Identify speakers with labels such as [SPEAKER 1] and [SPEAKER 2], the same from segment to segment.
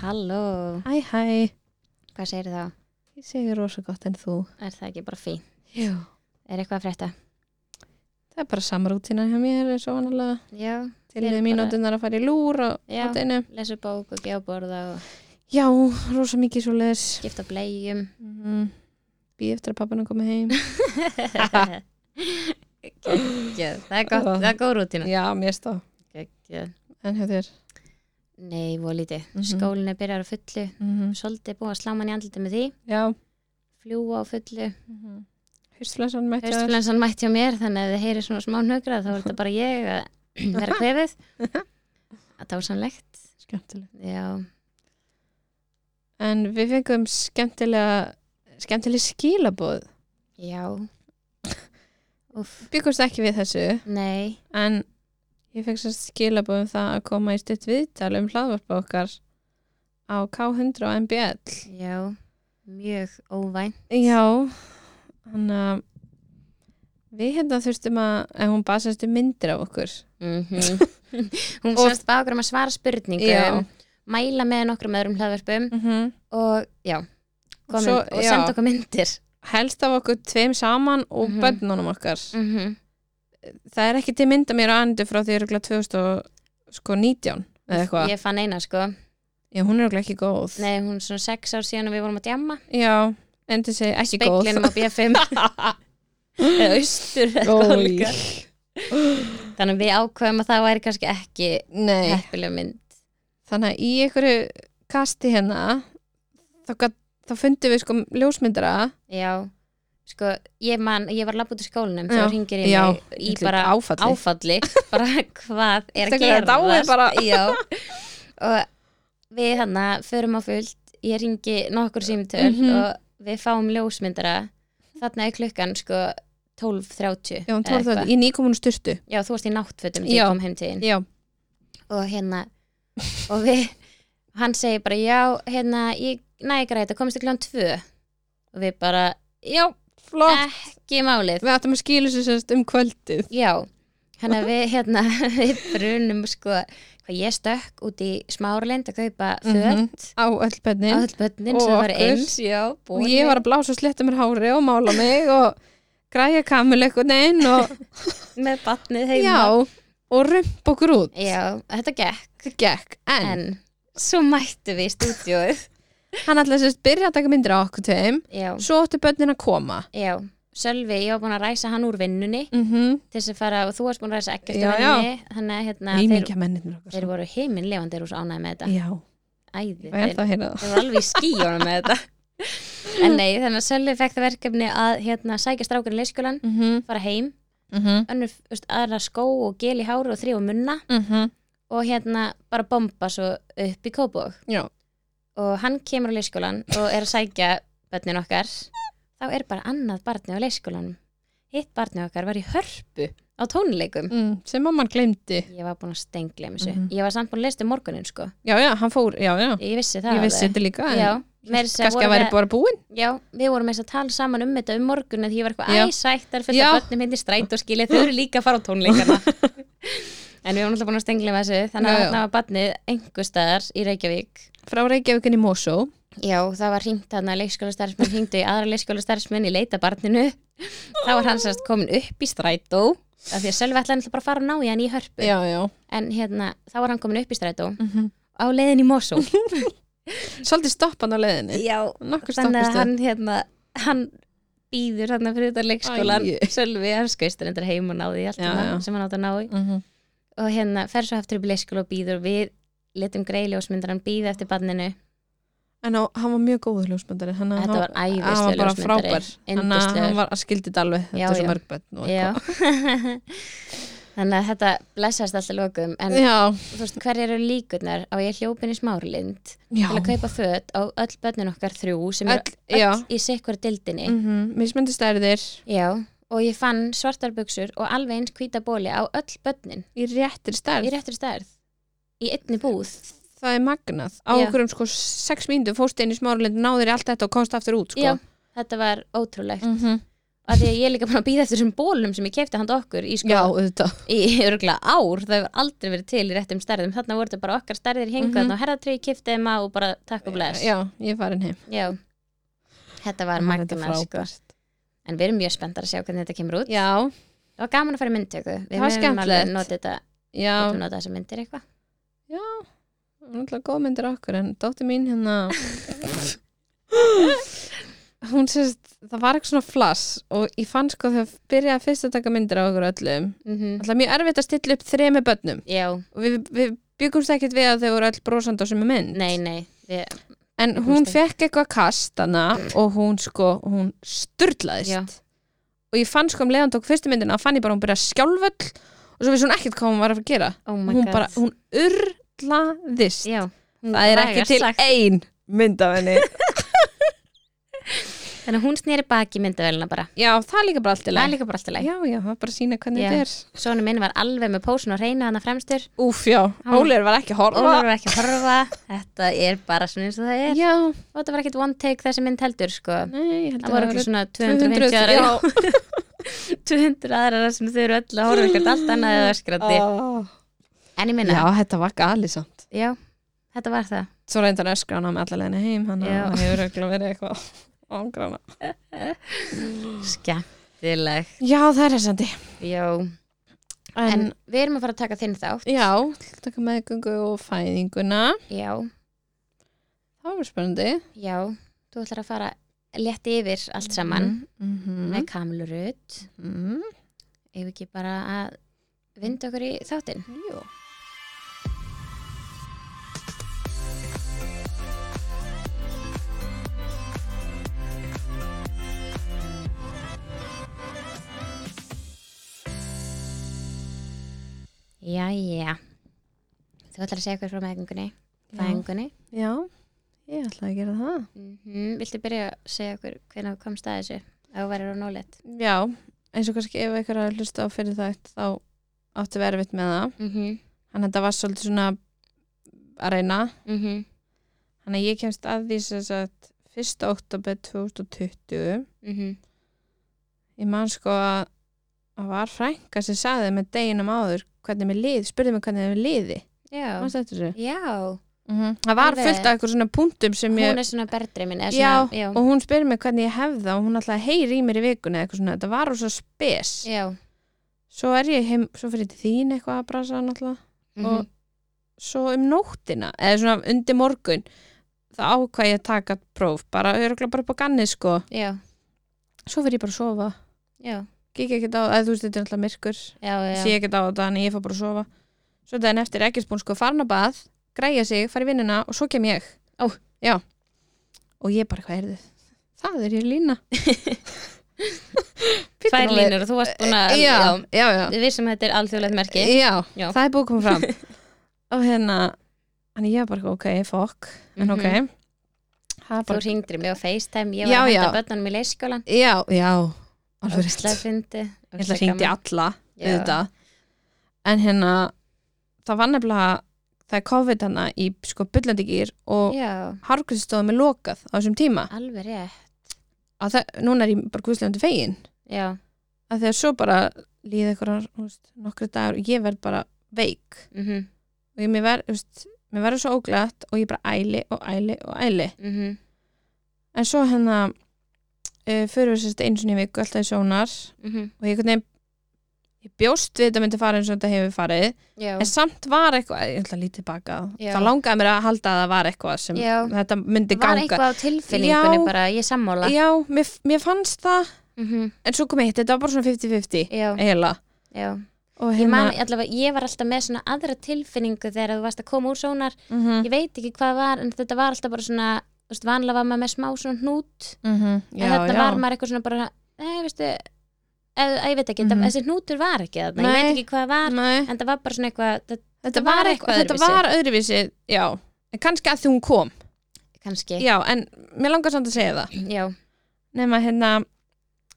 [SPEAKER 1] Halló,
[SPEAKER 2] Hæ, hæ,
[SPEAKER 1] hvað segir þá?
[SPEAKER 2] ég segi rosa gott en þú.
[SPEAKER 1] Er það ekki bara fín?
[SPEAKER 2] Já.
[SPEAKER 1] Er eitthvað að frétta?
[SPEAKER 2] Það er bara samrútina hjá mér eins og vanalega
[SPEAKER 1] Já,
[SPEAKER 2] til
[SPEAKER 1] Við erum bara-
[SPEAKER 2] mínútunar að fara í lúr og
[SPEAKER 1] Já.
[SPEAKER 2] og deinu.
[SPEAKER 1] lesa bók og gefa borða og
[SPEAKER 2] Já, rosa mikið svo leis.
[SPEAKER 1] skipta blegjum Mhm.
[SPEAKER 2] Býð eftir að pappina komi heim.
[SPEAKER 1] Gekkjöð, það er gott, það er góð rútina
[SPEAKER 2] Já, mér stá.
[SPEAKER 1] Gekkjöð
[SPEAKER 2] En hjá þér.
[SPEAKER 1] Nei, voða lítið,
[SPEAKER 2] Mhm.
[SPEAKER 1] skólinn er byrjar á fullu
[SPEAKER 2] Mm
[SPEAKER 1] Svolítið búið að slá mann í andlitið með því
[SPEAKER 2] Já.
[SPEAKER 1] Fljúa á fullu
[SPEAKER 2] Mm -hmm. Hustflensan mætti að þér.
[SPEAKER 1] Mhm. Haustflensan mætti á mér þannig að þið heyri svona smá nögra þá er þetta bara ég að vera kvefið að dásamlegt
[SPEAKER 2] Skemmtileg.
[SPEAKER 1] Já,
[SPEAKER 2] En við fengum skemmtilega, skemmtileg skilabóð.
[SPEAKER 1] já Úff,
[SPEAKER 2] Byggumst ekki við þessu,
[SPEAKER 1] nei
[SPEAKER 2] en ég fengst að skilabóð um það að koma í stutt viðtal um hlaðvarpa okkar á K100 og MBL.
[SPEAKER 1] Já, mjög óvænt
[SPEAKER 2] Já, hann að við hérna þurftum að, en hún basast um myndir af okkur.
[SPEAKER 1] Mhm. Hún
[SPEAKER 2] Og-
[SPEAKER 1] sást bákur um að svara spurningum mæla með nokkrum öðrum hlaðverpum
[SPEAKER 2] Mm -hmm.
[SPEAKER 1] og já, komin
[SPEAKER 2] Svo-
[SPEAKER 1] og
[SPEAKER 2] já.
[SPEAKER 1] senda okkur myndir
[SPEAKER 2] Helst af okkur tveim saman og
[SPEAKER 1] Mhm.
[SPEAKER 2] börnunum okkar. Það er ekki til mynda mér á andu frá því örgulega 2019 sko, eða eitthvað.
[SPEAKER 1] Ég fann eina sko
[SPEAKER 2] Já, hún er örgulega ekki góð.
[SPEAKER 1] Nei, hún er svona sex ár síðan og við vorum að djamma
[SPEAKER 2] Já, endur segi ekki
[SPEAKER 1] Beiglinum á B5 eða austur eða
[SPEAKER 2] góð.
[SPEAKER 1] eitthvað líka. Þannig að við ákveðum að það væri kannski ekki
[SPEAKER 2] Nei,
[SPEAKER 1] heppileg mynd
[SPEAKER 2] þannig að í einhverju kasti hérna þá, gat- þá fundum við sko ljósmyndara
[SPEAKER 1] Já, sko, ég man ég var labbúti í skólanum
[SPEAKER 2] Já.
[SPEAKER 1] þegar hringir í
[SPEAKER 2] Já,
[SPEAKER 1] mig í
[SPEAKER 2] Þetta er
[SPEAKER 1] bara
[SPEAKER 2] áfalli.
[SPEAKER 1] áfalli bara hvað er að
[SPEAKER 2] Þetta er
[SPEAKER 1] gera sko.
[SPEAKER 2] dáið bara.
[SPEAKER 1] já og við hann að förum á fullt ég ringi nokkur símtöl
[SPEAKER 2] Mhm.
[SPEAKER 1] og við fáum ljósmyndara þarna er klukkan sko 12.30
[SPEAKER 2] Já, hún
[SPEAKER 1] eða Mm.
[SPEAKER 2] tóð það
[SPEAKER 1] eitthvað.
[SPEAKER 2] í nýkomunu styrtu.
[SPEAKER 1] já, þú varst í náttfötum þegar
[SPEAKER 2] Já.
[SPEAKER 1] ég kom heim til þín
[SPEAKER 2] Já.
[SPEAKER 1] og hérna og við, hann segir bara já, hérna, ég næg græta komist í klukkan 2 og við bara, já,
[SPEAKER 2] Flott.
[SPEAKER 1] ekki málið
[SPEAKER 2] Við ættum að skýla þessu semst um kvöldið.
[SPEAKER 1] Já, hann að við hérna við brunum sko hvað ég stökk út í smárlind að kaupa föt
[SPEAKER 2] Mhm. Á öll
[SPEAKER 1] á
[SPEAKER 2] bennin.
[SPEAKER 1] öll bönnin
[SPEAKER 2] Og
[SPEAKER 1] sem var
[SPEAKER 2] okkur.
[SPEAKER 1] eins já,
[SPEAKER 2] Og ég var að blása og sletta mér hári og mála mig og græja kamil eitthvað neinn og
[SPEAKER 1] með batnið
[SPEAKER 2] já,
[SPEAKER 1] heima
[SPEAKER 2] og rump okkur út.
[SPEAKER 1] Já, þetta gekk
[SPEAKER 2] Það gekk. En,
[SPEAKER 1] en svo mættu við í stúdíóið
[SPEAKER 2] hann ætlaði sérst byrja að taka myndir á okkur tveim,
[SPEAKER 1] Já,
[SPEAKER 2] svo áttu bönnin að koma.
[SPEAKER 1] já Sölvi, ég var búin að ræsa hann úr vinnunni
[SPEAKER 2] Mm -hmm.
[SPEAKER 1] til þess að fara og þú varst búin að ræsa ekkert
[SPEAKER 2] Já,
[SPEAKER 1] úr vinnunni þannig að hérna, þeir,
[SPEAKER 2] Ímingja mennirnir okkar.
[SPEAKER 1] þeir voru heiminlefandi og svo ánæði með þetta
[SPEAKER 2] Já,
[SPEAKER 1] Æði,
[SPEAKER 2] það er það að heyra það.
[SPEAKER 1] Ég var alveg í skíjónum með þetta En nei, þannig að Sölvi fekk það verkefni að hérna, sækja strákurinn leyskjölan
[SPEAKER 2] Mm -hmm.
[SPEAKER 1] fara heim,
[SPEAKER 2] Mm -hmm.
[SPEAKER 1] önnur veist, aðra skó og gel í háru og þrjá munna
[SPEAKER 2] Mm-hmm.
[SPEAKER 1] og hérna bara bomba svo upp í kópog
[SPEAKER 2] Já.
[SPEAKER 1] og hann kemur á leyskjölan og er að sækja börnin okkar þá er bara annað barni á leyskjölanum hitt barni okkar var í hörpu á tónleikum
[SPEAKER 2] Mm, sem mamman glemdi.
[SPEAKER 1] Ég var búin að stengla um þessu
[SPEAKER 2] Mhm.
[SPEAKER 1] Ég var samt búin að leysa um morgunin sko
[SPEAKER 2] Já, já, hann fór, já, já.
[SPEAKER 1] Ég vissi það
[SPEAKER 2] Ég vissi
[SPEAKER 1] alveg.
[SPEAKER 2] þetta líka. en
[SPEAKER 1] Já, meira að segja
[SPEAKER 2] Kannski
[SPEAKER 1] vorum
[SPEAKER 2] að væri
[SPEAKER 1] við-
[SPEAKER 2] bara búinn.
[SPEAKER 1] Já, við vorum eins að tala saman um þetta um morgun en því ég var
[SPEAKER 2] Já.
[SPEAKER 1] eitthvað æsættar fullt
[SPEAKER 2] Já.
[SPEAKER 1] af börnum hérna hindi stræt og skilja þau eru líka að fara á tónleikana en við vorum alltaf búin að stengla með þessu þannig
[SPEAKER 2] Já,
[SPEAKER 1] að
[SPEAKER 2] já.
[SPEAKER 1] þarna var barnið einhver staðar í Reykjavík
[SPEAKER 2] Frá Reykjavíkinni Mosó.
[SPEAKER 1] Já, það var hringt þarna leikskólastarfsmenn hringdu í aðra leikskólastarfsmenn í leita barninu þá var hann sérst komin upp í strætó af því að Sölvi ætlaði náttúrulega bara að fara og ná í hann í hörpu
[SPEAKER 2] Já, já.
[SPEAKER 1] en hérna, þá var hann komin upp í strætó
[SPEAKER 2] Mm -hmm.
[SPEAKER 1] á leiðin í Mosó
[SPEAKER 2] Svolítið stoppan á leiðinni.
[SPEAKER 1] Já,
[SPEAKER 2] Nokkur
[SPEAKER 1] þannig að
[SPEAKER 2] stoppustu.
[SPEAKER 1] hann hérna, hann býður þarna fyrir þetta leikskólan
[SPEAKER 2] Æi.
[SPEAKER 1] Sölvi, hann skauðst reyndar heim og náði í allt
[SPEAKER 2] Já, já.
[SPEAKER 1] það sem hann átt að ná í
[SPEAKER 2] Mm -hmm.
[SPEAKER 1] og hérna fer svo aftur upp í leikskóla og býður og við letum greiljósmyndar hann býða eftir barninu
[SPEAKER 2] En á, hann var mjög góður ljósmyndari. Hann,
[SPEAKER 1] þetta var
[SPEAKER 2] hann var
[SPEAKER 1] æðislega
[SPEAKER 2] bara frábær. Hann, hann
[SPEAKER 1] yndislegur.
[SPEAKER 2] var að skildi þetta alveg. Þetta
[SPEAKER 1] Já,
[SPEAKER 2] er svo
[SPEAKER 1] já.
[SPEAKER 2] mörg bönn. og
[SPEAKER 1] Já.
[SPEAKER 2] eitthvað.
[SPEAKER 1] þannig að þetta blessast alltaf lokum en
[SPEAKER 2] Já.
[SPEAKER 1] þú veist, hver eru líkurnar á ég hljópin í smárlind
[SPEAKER 2] Já.
[SPEAKER 1] til að kaupa föt á öll börnin okkar þrjú sem
[SPEAKER 2] Öll,
[SPEAKER 1] eru
[SPEAKER 2] já.
[SPEAKER 1] í sikkur dildinni
[SPEAKER 2] Mm -hmm. Mismöndi stærðir
[SPEAKER 1] Já, og ég fann svartar buksur og alveg eins hvíta bóli á öll börnin
[SPEAKER 2] í réttir stærð.
[SPEAKER 1] í réttur stærð, í einni búð.
[SPEAKER 2] Það er magnað. Á
[SPEAKER 1] Já.
[SPEAKER 2] okkur um sko sex mínútu fórst inn í smáralind, náður í allt þetta og komst aftur út sko.
[SPEAKER 1] Já, þetta var ótrúlegt.
[SPEAKER 2] Mm -hmm.
[SPEAKER 1] af því að ég er líka búin að býða eftir þessum bólum sem ég kefti handa okkur í sko
[SPEAKER 2] Já, auðvitað.
[SPEAKER 1] í örgulega ár, það hefur aldrei verið til í réttum stærðum, þarna voru þetta bara okkar stærðir hengið þarna á herðatryggi, kiftið þeim á og bara takk og bless.
[SPEAKER 2] Mhm. Já, ég er farin heim.
[SPEAKER 1] Já. Þetta var
[SPEAKER 2] Þetta er
[SPEAKER 1] magna, sko.
[SPEAKER 2] frábært.
[SPEAKER 1] En við erum mjög spenntar að sjá hvernig þetta kemur út.
[SPEAKER 2] Já,
[SPEAKER 1] Það var gaman að fara í myndtöku.
[SPEAKER 2] Það
[SPEAKER 1] Við
[SPEAKER 2] var
[SPEAKER 1] höfum alveg
[SPEAKER 2] skemmtilegt.
[SPEAKER 1] notið þetta,
[SPEAKER 2] já,
[SPEAKER 1] getum notið þessar myndir eitthvað.
[SPEAKER 2] náttúrulega góð myndir af okkur en dóttir mín hérna hún sérst það var eitthvað svona flass og ég fann sko þegar byrjaði fyrst að taka myndir af okkur öllum
[SPEAKER 1] Mm
[SPEAKER 2] alltaf mjög erfitt að stilla upp þremi börnum
[SPEAKER 1] Já,
[SPEAKER 2] og við, við byggumst ekkert við að þau voru öll brosandi á sem mynd
[SPEAKER 1] nei, nei. Við,
[SPEAKER 2] en
[SPEAKER 1] byggumst
[SPEAKER 2] hún
[SPEAKER 1] ekki.
[SPEAKER 2] fekk eitthvað kast hana og hún sko, hún styrlaðist
[SPEAKER 1] Já.
[SPEAKER 2] og ég fann sko um leiðan tók fyrstu myndina að fann ég bara að hún byrjaði að skjálföll og svo vissi hún ekkert hvað hún var að fara að gera
[SPEAKER 1] oh my
[SPEAKER 2] hún
[SPEAKER 1] god.
[SPEAKER 2] bara, hún urlaðist
[SPEAKER 1] Já. hún
[SPEAKER 2] Það er ekki
[SPEAKER 1] vægast
[SPEAKER 2] til
[SPEAKER 1] sagt.
[SPEAKER 2] ein mynd af henni
[SPEAKER 1] Þannig að hún snýri baki myndavelina bara.
[SPEAKER 2] Já, það er líka bara allt í
[SPEAKER 1] Það er
[SPEAKER 2] lagi
[SPEAKER 1] líka bara alltaf leið.
[SPEAKER 2] Já, já, það er bara að sína hvernig
[SPEAKER 1] Já.
[SPEAKER 2] þetta er
[SPEAKER 1] Sónu minn var alveg með pósun og reyna hana fremstur.
[SPEAKER 2] Úf, já,
[SPEAKER 1] Hann-
[SPEAKER 2] Ólefur var ekki að horfa
[SPEAKER 1] Ólafur var ekki að horfa. Þetta er bara svona eins og það er.
[SPEAKER 2] Já,
[SPEAKER 1] Og þetta var ekkit one take þessi mynd heldur, sko.
[SPEAKER 2] nei, ég held
[SPEAKER 1] Það
[SPEAKER 2] að
[SPEAKER 1] voru ekki svona 250 aðra.
[SPEAKER 2] Já,
[SPEAKER 1] 200 aðra sem þau eru öll að horfa eitthvað allt annað eða öskrandi.
[SPEAKER 2] Ah.
[SPEAKER 1] En ég
[SPEAKER 2] já
[SPEAKER 1] minna,
[SPEAKER 2] þetta var gali samt
[SPEAKER 1] já. þetta var það.
[SPEAKER 2] Svo reyndar öskra hana með alla leðina heim hann
[SPEAKER 1] Já.
[SPEAKER 2] hefur örugglega verið eitthvað ángrana
[SPEAKER 1] Skemmtileg.
[SPEAKER 2] Já, það er þessandi
[SPEAKER 1] Já.
[SPEAKER 2] En,
[SPEAKER 1] En við erum að fara að taka þinn þátt.
[SPEAKER 2] já, taka meðgöngu og fæðinguna
[SPEAKER 1] Já,
[SPEAKER 2] Það var spennandi
[SPEAKER 1] já. Þú ætlar að fara létt yfir allt saman
[SPEAKER 2] mm mhm. -hmm.
[SPEAKER 1] með kamlurut. Ef ekki bara að vinda okkur í þáttinn.
[SPEAKER 2] Jú
[SPEAKER 1] Já, já. Þú ætlar að segja okkur frá meðgöngunni, fæðingunni.
[SPEAKER 2] Já, ég ætla að gera það
[SPEAKER 1] Mm Viltu byrja að segja okkur hvernig þú komst að þessu? Ef þú værir á nólett.
[SPEAKER 2] Já, eins og kannski ef eitthvað er að hlusta á fyrir þætt þá áttu verið erfitt með það
[SPEAKER 1] Mm -hmm.
[SPEAKER 2] þannig að þetta var svolítið svona að reyna
[SPEAKER 1] Mm -hmm.
[SPEAKER 2] þannig að ég kemst að því sem sagt 1. oktober 2020
[SPEAKER 1] Mhm.
[SPEAKER 2] ég man sko að að var frænka sem sagði með deginum áður hvernig mér liði, spurði mig hvernig mér liði
[SPEAKER 1] Já.
[SPEAKER 2] Manstu eftir þessu?
[SPEAKER 1] Já.
[SPEAKER 2] það var
[SPEAKER 1] Alveg.
[SPEAKER 2] fullt af eitthvað svona punktum sem ég
[SPEAKER 1] Hún er svona berðdreimin.
[SPEAKER 2] Já,
[SPEAKER 1] já.
[SPEAKER 2] og hún spurði mig hvernig ég hefði það og hún alltaf heyri í mér í vikunni eða eitthvað svona, þetta var rosa spes
[SPEAKER 1] Já.
[SPEAKER 2] svo er ég heim, svo fyrir til þín eitthvað að brasa náttúrulega
[SPEAKER 1] Mm
[SPEAKER 2] Og- svo um nóttina eða svona undir morgun þá ákvað ég að taka próf bara örgulega bara upp á ganni sko
[SPEAKER 1] Já.
[SPEAKER 2] svo fyrir ég bara að sofa
[SPEAKER 1] Já.
[SPEAKER 2] gík ekkert á, eða þú veist þetta er alltaf myrkur
[SPEAKER 1] Já, já.
[SPEAKER 2] sé ekkert á þetta en ég fór bara að sofa svo daginn eftir er ekkert búin sko farin á bað græja sig, fara í vinnuna og svo kem ég
[SPEAKER 1] Ó.
[SPEAKER 2] já og ég bara hvað er þið það er ég lína Bíddu
[SPEAKER 1] Tvær
[SPEAKER 2] nú við.
[SPEAKER 1] línur og þú varst búin að
[SPEAKER 2] já, já, já.
[SPEAKER 1] Eh, Við vissum að þetta er alþjóðlegt merki
[SPEAKER 2] Já,
[SPEAKER 1] Já.
[SPEAKER 2] það er búið að koma fram og hérna hann ég var bara ok, fokk en ok
[SPEAKER 1] Mhm.
[SPEAKER 2] það er
[SPEAKER 1] Þú
[SPEAKER 2] bara,
[SPEAKER 1] ringdir mig á FaceTime Ég
[SPEAKER 2] Já,
[SPEAKER 1] var að
[SPEAKER 2] já.
[SPEAKER 1] henda börnunum í leyskólan
[SPEAKER 2] já, já alveg rétt,
[SPEAKER 1] Óslega fyndi
[SPEAKER 2] ég ætla að hringdi alla
[SPEAKER 1] Já.
[SPEAKER 2] auðvitað. en hérna það var nefnilega það er COVID hana í sko byllandikýr og
[SPEAKER 1] Já,
[SPEAKER 2] harkustóðum er lokað á þessum tíma
[SPEAKER 1] alveg rétt
[SPEAKER 2] að það, núna er ég bara guðslegandi fegin
[SPEAKER 1] Já,
[SPEAKER 2] að þegar svo bara líða eitthvað nokkru dagur og ég verð bara veik
[SPEAKER 1] mhm, mhm
[SPEAKER 2] og ég mér verð, þú veist, mér verður svo óglætt og ég bara æli og æli og æli
[SPEAKER 1] mhm,
[SPEAKER 2] en svo hérna uh, fyrir við sérst eins og nýjum viku alltaf í sjónar
[SPEAKER 1] mhm,
[SPEAKER 2] og ég, hvernig, ég bjóst við þetta myndi fara eins og þetta hefur farið
[SPEAKER 1] Já,
[SPEAKER 2] en samt var eitthvað, ég ætla að lítið baka
[SPEAKER 1] Já.
[SPEAKER 2] það langaði mér að halda að það var eitthvað sem
[SPEAKER 1] Já.
[SPEAKER 2] þetta myndi
[SPEAKER 1] var
[SPEAKER 2] ganga
[SPEAKER 1] eitthvað á tilfinningunni
[SPEAKER 2] Já.
[SPEAKER 1] bara, ég er sammála
[SPEAKER 2] já, mér, mér fannst það
[SPEAKER 1] Mhm,
[SPEAKER 2] en svo kom eitt, þetta var bara svona 50-50
[SPEAKER 1] Já,
[SPEAKER 2] eiginlega
[SPEAKER 1] já
[SPEAKER 2] og
[SPEAKER 1] Ég man
[SPEAKER 2] hérna
[SPEAKER 1] allavega, ég var alltaf með svona aðra tilfinningu þegar þú varst að koma úr sónar
[SPEAKER 2] mhm,
[SPEAKER 1] Ég veit ekki hvað var, en þetta var alltaf bara svona Þú veist, vanlega var maður með smá svona hnút
[SPEAKER 2] mhm, já,
[SPEAKER 1] en þetta
[SPEAKER 2] já.
[SPEAKER 1] var maður eitthvað svona bara nei, veistu, eð, ég veit ekki, mm
[SPEAKER 2] Mhm.
[SPEAKER 1] þessi hnútur var ekki þarna, ég
[SPEAKER 2] Nei.
[SPEAKER 1] veit ekki hvað var
[SPEAKER 2] Nei,
[SPEAKER 1] en það var bara svona eitthvað, það,
[SPEAKER 2] þetta var eitthvað þetta var öðruvísi, já En kannski að því hún kom
[SPEAKER 1] kannski já,
[SPEAKER 2] já, en mér langar samt að segja það
[SPEAKER 1] já,
[SPEAKER 2] nema hérna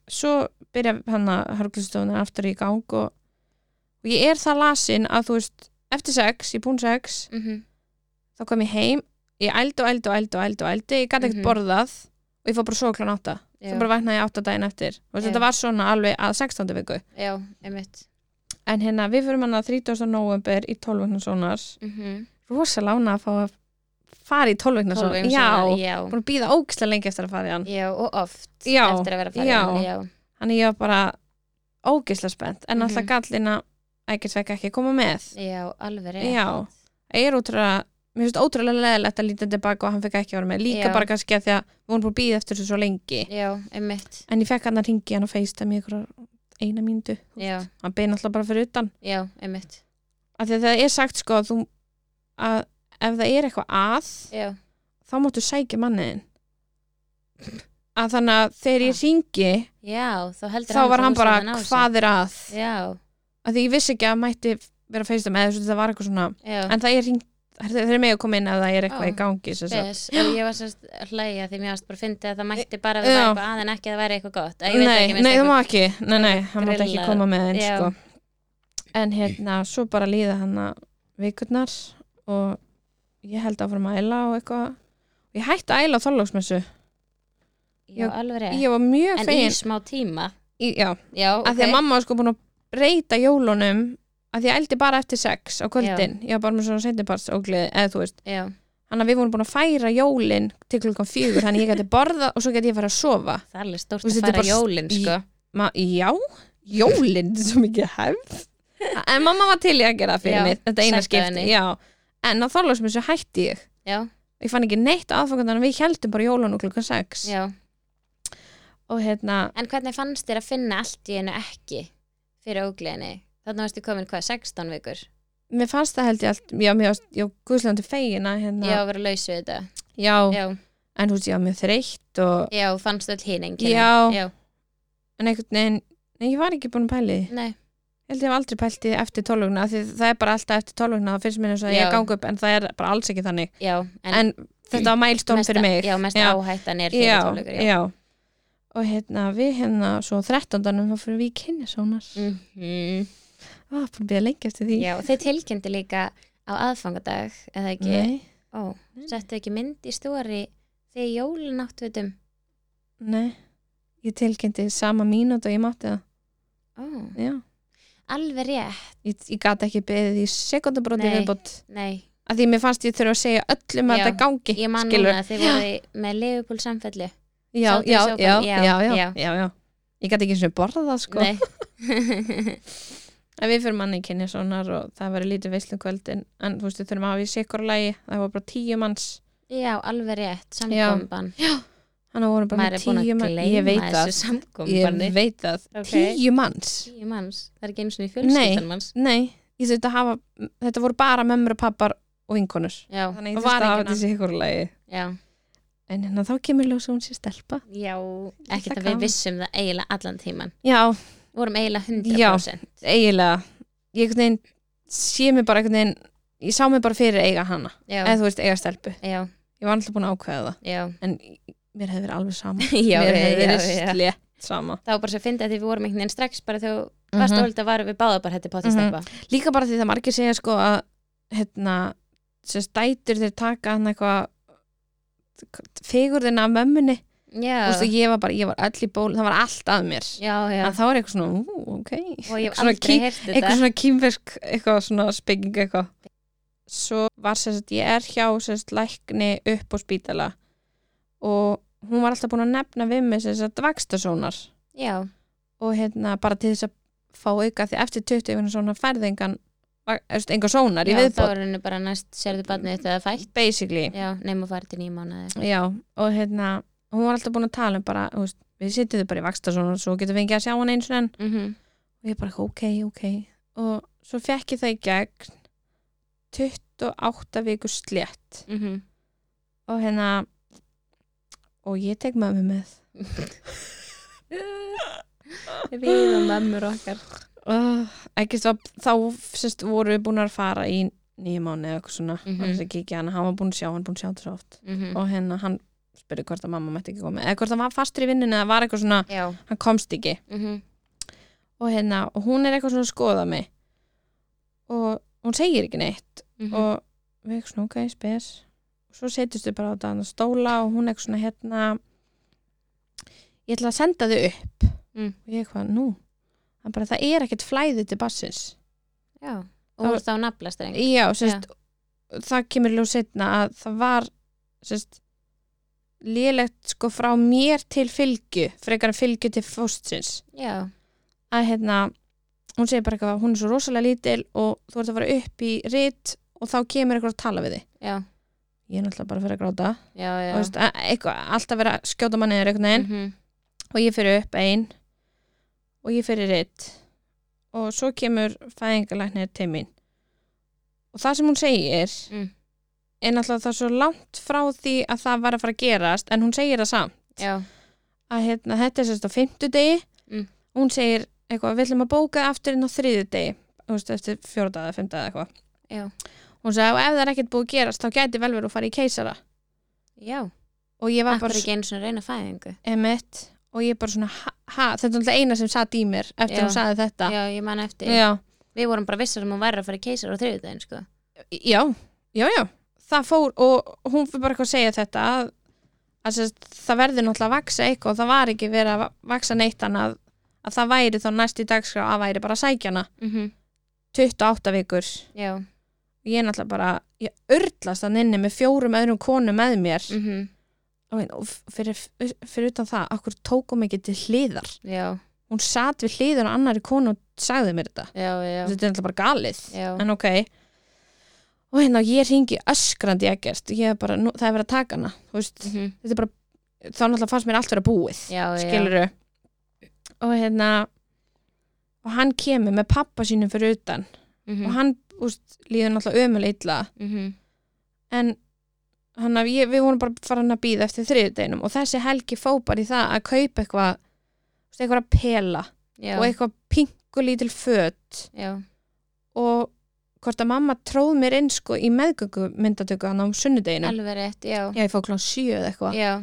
[SPEAKER 2] svo byrja hann að hörglustofunar aftur í gang og, og ég er það lasin að þú veist eftir sex, ég er búin sex
[SPEAKER 1] mm
[SPEAKER 2] þá kom ég heim, ég ældi og ældi og ældi og ældi og ældi, ég gæti ekkert
[SPEAKER 1] Mhm.
[SPEAKER 2] borðað og ég fór bara svo klán átta svo bara vaknaði ég átta daginn eftir og
[SPEAKER 1] Já.
[SPEAKER 2] þetta var svona alveg að 16. viku
[SPEAKER 1] já, einmitt
[SPEAKER 2] en hérna við fyrir manna 30. november í 12 vegna sónar
[SPEAKER 1] mm
[SPEAKER 2] Mhm. rosa lána að fá að fara í 12 vegna sónar já,
[SPEAKER 1] já,
[SPEAKER 2] búin að býða ógislega lengi eftir að fara í hann
[SPEAKER 1] já, og oft
[SPEAKER 2] Já,
[SPEAKER 1] eftir að vera farin
[SPEAKER 2] já.
[SPEAKER 1] já,
[SPEAKER 2] þannig ég var bara ógislega spennt en alltaf
[SPEAKER 1] Mhm.
[SPEAKER 2] gallina ægisveik ekki að koma með
[SPEAKER 1] já, alveg rétt.
[SPEAKER 2] Já, ég er ótrúlega mér finnst ótrúlega leðilegt að líta tilbaka og hann fekk ekki að vera með, líka
[SPEAKER 1] Já.
[SPEAKER 2] bara kannski að því að við vorum búin að býða eftir þessu svo lengi
[SPEAKER 1] já, einmitt
[SPEAKER 2] en ég fekk hann að ringi hann og feista mér ykkur eina mínútu, þú
[SPEAKER 1] já,
[SPEAKER 2] veist. hann beina alltaf bara fyrir utan
[SPEAKER 1] já, einmitt
[SPEAKER 2] af því að það er sagt sko að þú að ef það er eitthvað að
[SPEAKER 1] já,
[SPEAKER 2] þá máttu sækja manniðin að þannig að þegar
[SPEAKER 1] Ah.
[SPEAKER 2] ég ringi
[SPEAKER 1] já, þá heldur
[SPEAKER 2] þá var
[SPEAKER 1] að
[SPEAKER 2] hann
[SPEAKER 1] þú
[SPEAKER 2] bara
[SPEAKER 1] sért að ná þessu.
[SPEAKER 2] hvað er að
[SPEAKER 1] já,
[SPEAKER 2] af því ég vissi ekki að mætti vera feista með þessu, það var eitthvað svona
[SPEAKER 1] já,
[SPEAKER 2] en það er ringt, þeir eru með að koma inn að það er
[SPEAKER 1] Ó.
[SPEAKER 2] eitthvað í gangi sem sagt.
[SPEAKER 1] spes og ég var sérst að hlæja því mér varst bara að fyndi að það mætti bara að
[SPEAKER 2] Já.
[SPEAKER 1] það væri eitthvað að en ekki að það væri eitthvað gott Eða ég veit
[SPEAKER 2] nei,
[SPEAKER 1] ekki, mér
[SPEAKER 2] nei,
[SPEAKER 1] finnst
[SPEAKER 2] það má ekki nei, nei, hann mátt
[SPEAKER 1] grillað.
[SPEAKER 2] ekki koma með henn
[SPEAKER 1] Já.
[SPEAKER 2] sko. en hérna, svo bara líða hann vikurnar og ég held áfram að æla og eitthvað ég hætti að æla á þorlóksmessu
[SPEAKER 1] eitthvað- já, alveg rétt
[SPEAKER 2] ég var mjög
[SPEAKER 1] en í
[SPEAKER 2] fegin
[SPEAKER 1] smá tíma
[SPEAKER 2] í, já,
[SPEAKER 1] já,
[SPEAKER 2] af því að mamma var sko búin að breyta jólunum af því að ég ældi bara eftir sex á kvöldin ég var bara með svona seinniparts og gleði eða þú veist,
[SPEAKER 1] já,
[SPEAKER 2] hann að við vorum búin að færa jólin til klukkan fjögur, þannig ég gæti borða og svo gæti ég fara að sofa
[SPEAKER 1] það er alveg stórt
[SPEAKER 2] Þú veist,
[SPEAKER 1] að
[SPEAKER 2] þetta er
[SPEAKER 1] fara
[SPEAKER 2] bara
[SPEAKER 1] jólin
[SPEAKER 2] í-
[SPEAKER 1] sko
[SPEAKER 2] Ma já, jólinn þetta er svo mikið hefð en mamma var til í að gera það fyrir
[SPEAKER 1] Já,
[SPEAKER 2] mig þetta eina
[SPEAKER 1] sætta
[SPEAKER 2] skipti,
[SPEAKER 1] henni.
[SPEAKER 2] já en á þorlásmissu hætti ég
[SPEAKER 1] já,
[SPEAKER 2] ég fann ekki neitt aðfangandan við heldum bara jólun og klukkan 6
[SPEAKER 1] já
[SPEAKER 2] og hérna,
[SPEAKER 1] En hvernig fannst þér að finna allt í einu ekki fyrir ógleðinni? Þannig varstu komin hvað, 16 vikur?
[SPEAKER 2] mér fannst það held ég allt já, mér varst, já, guðslandi fegina hérna,
[SPEAKER 1] Já, að vera laus við þetta.
[SPEAKER 2] já,
[SPEAKER 1] Já,
[SPEAKER 2] en þú veist, ég var mjög þreytt og,
[SPEAKER 1] já fannst öll hinn enginn.
[SPEAKER 2] Já.
[SPEAKER 1] já.
[SPEAKER 2] en einhvern veginn nei, ég var ekki búin að pæli því
[SPEAKER 1] Nei,
[SPEAKER 2] Ég held ég hef aldrei pælt í eftir tólugna því það er bara alltaf eftir tólugna það finnst mér eins og að
[SPEAKER 1] Já.
[SPEAKER 2] ég gangi upp en það er bara alls ekki þannig
[SPEAKER 1] já.
[SPEAKER 2] en, þetta var mælstón
[SPEAKER 1] mesta,
[SPEAKER 2] fyrir mig
[SPEAKER 1] Já, mesta áhættan er fyrir
[SPEAKER 2] já,
[SPEAKER 1] tólugur.
[SPEAKER 2] já. og hérna við hérna svo 13. þá fyrir við í kynnisónar mm.
[SPEAKER 1] Mm
[SPEAKER 2] ah, búin að býða lengi eftir því
[SPEAKER 1] já, þeir tilkynnti líka á aðfangadag, eða ekki?
[SPEAKER 2] nei,
[SPEAKER 1] Ó, settu ekki mynd í stóri þegar jólin áttu við um.
[SPEAKER 2] nei, ég tilkynnti sama mínút og ég mátti það
[SPEAKER 1] Ó,
[SPEAKER 2] já.
[SPEAKER 1] alveg rétt.
[SPEAKER 2] ég, ég gat ekki beðið í sekundabróti
[SPEAKER 1] Nei.
[SPEAKER 2] viðbútt
[SPEAKER 1] Nei,
[SPEAKER 2] að því mér fannst ég þurfa að segja öllum að
[SPEAKER 1] Já,
[SPEAKER 2] þetta gangi
[SPEAKER 1] ég man
[SPEAKER 2] skilurðu.
[SPEAKER 1] núna að þið voru með leifupúl samfellu.
[SPEAKER 2] já,
[SPEAKER 1] sátu í
[SPEAKER 2] já,
[SPEAKER 1] sófanum,
[SPEAKER 2] já,
[SPEAKER 1] já,
[SPEAKER 2] já, já,
[SPEAKER 1] já.
[SPEAKER 2] já, já. ég gat ekki eins og borða það sko
[SPEAKER 1] Nei.
[SPEAKER 2] en við fyrir manni í kynnisónar og það var lítið veislum kvöldin en þú veist við þurfum að hafa í sekurlægi það var bara tíu manns
[SPEAKER 1] Já, alveg rétt, samkomban
[SPEAKER 2] Þannig að voru bara
[SPEAKER 1] Maður er
[SPEAKER 2] með
[SPEAKER 1] búin að
[SPEAKER 2] tíu manns Ég veit
[SPEAKER 1] gleyma
[SPEAKER 2] það,
[SPEAKER 1] þessu samkombanni
[SPEAKER 2] ég veit það
[SPEAKER 1] Ok.
[SPEAKER 2] Tíu manns
[SPEAKER 1] Tíu manns, það er ekki einu sinni fjölskyldan manns
[SPEAKER 2] Nei, ég þurfti að hafa Þetta voru bara mömmur og pappar og vinkonur
[SPEAKER 1] Já,
[SPEAKER 2] Þannig ég
[SPEAKER 1] og
[SPEAKER 2] þurfti
[SPEAKER 1] var
[SPEAKER 2] að hafa
[SPEAKER 1] enginn
[SPEAKER 2] þessi ykkur lagi
[SPEAKER 1] Já,
[SPEAKER 2] En hérna þá kemur ljós að hún sé stelpa
[SPEAKER 1] já ekki
[SPEAKER 2] Það
[SPEAKER 1] að við
[SPEAKER 2] gaman.
[SPEAKER 1] vissum það eiginlega allan tíman
[SPEAKER 2] Já,
[SPEAKER 1] vorum eiginlega 100%
[SPEAKER 2] eiginlega Ég einhvern veginn sé mig bara einhvern veginn Ég sá mig bara fyrir eiga hana
[SPEAKER 1] Já,
[SPEAKER 2] Eða þú veist eiga stelpu
[SPEAKER 1] já,
[SPEAKER 2] Ég var alltaf búin að ákveða það
[SPEAKER 1] já
[SPEAKER 2] En mér hefði verið alveg sama
[SPEAKER 1] Já,
[SPEAKER 2] Mér
[SPEAKER 1] já,
[SPEAKER 2] hefði
[SPEAKER 1] já,
[SPEAKER 2] verið
[SPEAKER 1] já.
[SPEAKER 2] slétt sama
[SPEAKER 1] Það var bara svo að finna að því við vorum einhvern veginn strax bara þegar þú varst
[SPEAKER 2] Mhm.
[SPEAKER 1] ólita varum við báða bara hætti potið
[SPEAKER 2] Mhm.
[SPEAKER 1] steppa
[SPEAKER 2] líka bara því það margir segja sko að hérna, sem stætur þeir taka hann eitthvað fegurðina af mömmunni
[SPEAKER 1] Já,
[SPEAKER 2] Þú veist, og ég var bara, ég var öll í ból það var allt að mér,
[SPEAKER 1] já, já
[SPEAKER 2] en þá er eitthvað svona ú, ok,
[SPEAKER 1] Og ég hef
[SPEAKER 2] svona
[SPEAKER 1] aldrei heyrt þetta
[SPEAKER 2] eitthvað svona kýmverk eitthvað svona spegging eitthvað svo var sem sagt, ég er hjá sem sagt, lækni upp á spítala og hún var alltaf búin að nefna við mig sem sagt vakstasónar
[SPEAKER 1] Já,
[SPEAKER 2] og hérna bara til þess að fá auka því eftir 20 vinna svona færðingan enga sónar í
[SPEAKER 1] já þá
[SPEAKER 2] viðbót
[SPEAKER 1] er henni bara næst sérðu barnið þetta eða fætt
[SPEAKER 2] basically
[SPEAKER 1] Já, nefnum að fara til nýjum mánuði
[SPEAKER 2] já, og hérna, hún var alltaf búin að tala um bara, þú veist, við sitjum þau bara í vaksta svona svo getum við ekki að sjá hann eins og enn
[SPEAKER 1] mm
[SPEAKER 2] og ég bara, ok, ok og svo fekk ég það í gegn 28 viku slett
[SPEAKER 1] -hmm.
[SPEAKER 2] og hérna og ég tek mömmu með
[SPEAKER 1] Við og mömmur okkar
[SPEAKER 2] uh, ekki þá, þá sérst, voru við búin að fara í nýju mánu eða eitthvað svona mm
[SPEAKER 1] Mhm.
[SPEAKER 2] -hmm. hann, hann var búin að sjá, hann var búin að sjá þetta svo oft
[SPEAKER 1] mm
[SPEAKER 2] og hérna hann spurði hvort að mamma mætti ekki koma eða hvort hann var fastur í vinnunni eða var eitthvað svona
[SPEAKER 1] Já
[SPEAKER 2] hann komst ekki
[SPEAKER 1] mhm,
[SPEAKER 2] og hérna, og hún er eitthvað svona að skoða mig og hún segir ekki neitt
[SPEAKER 1] mhm.
[SPEAKER 2] og við erum svona, ok, spes og svo setjumst við bara á þetta annað stóla og hún er eitthvað svona hérna ég ætla að senda þau upp
[SPEAKER 1] Mm.
[SPEAKER 2] og ég eitthvað, nú hann bara, það er ekkert flæði til bassins
[SPEAKER 1] já. Og hún þá naflastreng.
[SPEAKER 2] já, sérst, það kemur ljóð setna að það var sérst, lélegt sko frá mér til fylgju frekar en fylgju til fóstsins
[SPEAKER 1] Já,
[SPEAKER 2] að hérna hún segir bara eitthvað, hún er svo rosalega lítil og þú ert að fara upp í rit og þá kemur eitthvað að tala við þig
[SPEAKER 1] já,
[SPEAKER 2] ég er náttúrulega bara að fara að gráta
[SPEAKER 1] já, já.
[SPEAKER 2] Og þú veist, að- eitthvað, alltaf vera að skjóta manni eða eitthvað neginn
[SPEAKER 1] Mhm.
[SPEAKER 2] og ég fyrir upp ein og ég fyrir reitt og svo kemur fæðingalæknir til mín og það sem hún segir
[SPEAKER 1] Mm.
[SPEAKER 2] er náttúrulega það svo langt frá því að það var að fara að gerast en hún segir það samt
[SPEAKER 1] Já,
[SPEAKER 2] að hérna, þetta er sérst á fimmtudegi
[SPEAKER 1] Mm.
[SPEAKER 2] hún segir eitthvað, við ætlum að bóka það aftur inn á þriðjudegi þú veist, eftir fjórða eða fimmta eða eitthvað
[SPEAKER 1] já,
[SPEAKER 2] hún sagði, og ef það er ekkert búið að gerast þá gæti vel verið að fara í keisara
[SPEAKER 1] já.
[SPEAKER 2] og ég var
[SPEAKER 1] Akkur
[SPEAKER 2] bara
[SPEAKER 1] ekki einu svona reyna fæðingu.
[SPEAKER 2] emitt og ég bara svona, ha, ha, þetta er náttúrulega eina sem satt í mér eftir
[SPEAKER 1] Já.
[SPEAKER 2] hún sagði þetta
[SPEAKER 1] Já, ég man eftir.
[SPEAKER 2] Já.
[SPEAKER 1] Við vorum bara vissar um hún væri að fara í keisar á þriðudaginn, sko.
[SPEAKER 2] já, já, já það fór og hún fyrir bara eitthvað að segja þetta að, að sérst, það verði náttúrulega að vaksa eitthvað og það var ekki verið að va- vaksa neitt annað að það væri þá næst í dagskrá að væri bara sækjana
[SPEAKER 1] Mm
[SPEAKER 2] 28 vikur
[SPEAKER 1] Já,
[SPEAKER 2] ég er náttúrulega bara, ég örlast hann inni með fjórum öðrum konum með mér
[SPEAKER 1] mm
[SPEAKER 2] og, hérna, og f- fyrir, fyrir utan það, okkur tókum ekki til hliðar
[SPEAKER 1] já,
[SPEAKER 2] hún satt við hliðar á annari konu og sagði mér þetta
[SPEAKER 1] já, já.
[SPEAKER 2] þetta er náttúrulega bara galið
[SPEAKER 1] Já.
[SPEAKER 2] en ok og hérna ég ringi öskrandi ekkert ég er bara, nú, það er verið að taka hana þú veist,
[SPEAKER 1] Mm -hmm.
[SPEAKER 2] þetta er bara, þá náttúrulega fannst mér allt vera búið
[SPEAKER 1] Já, já.
[SPEAKER 2] skiluru og hérna og hann kemur með pappa sínum fyrir utan
[SPEAKER 1] Mm
[SPEAKER 2] og hann úst, líður náttúrulega ömul illa en hann að ég, við vorum bara farin að býða eftir þriðudeginum og þessi helgi fó bara í það að kaupa eitthvað þú veist, eitthvað að pela
[SPEAKER 1] Já,
[SPEAKER 2] og eitthvað pinkulítil föt
[SPEAKER 1] já,
[SPEAKER 2] og hvort að mamma tróð mér inn sko í meðgöngu myndatöku hann á sunnudeginu
[SPEAKER 1] alveg rétt, já.
[SPEAKER 2] já, ég fór klán sjö eða eitthvað
[SPEAKER 1] Já,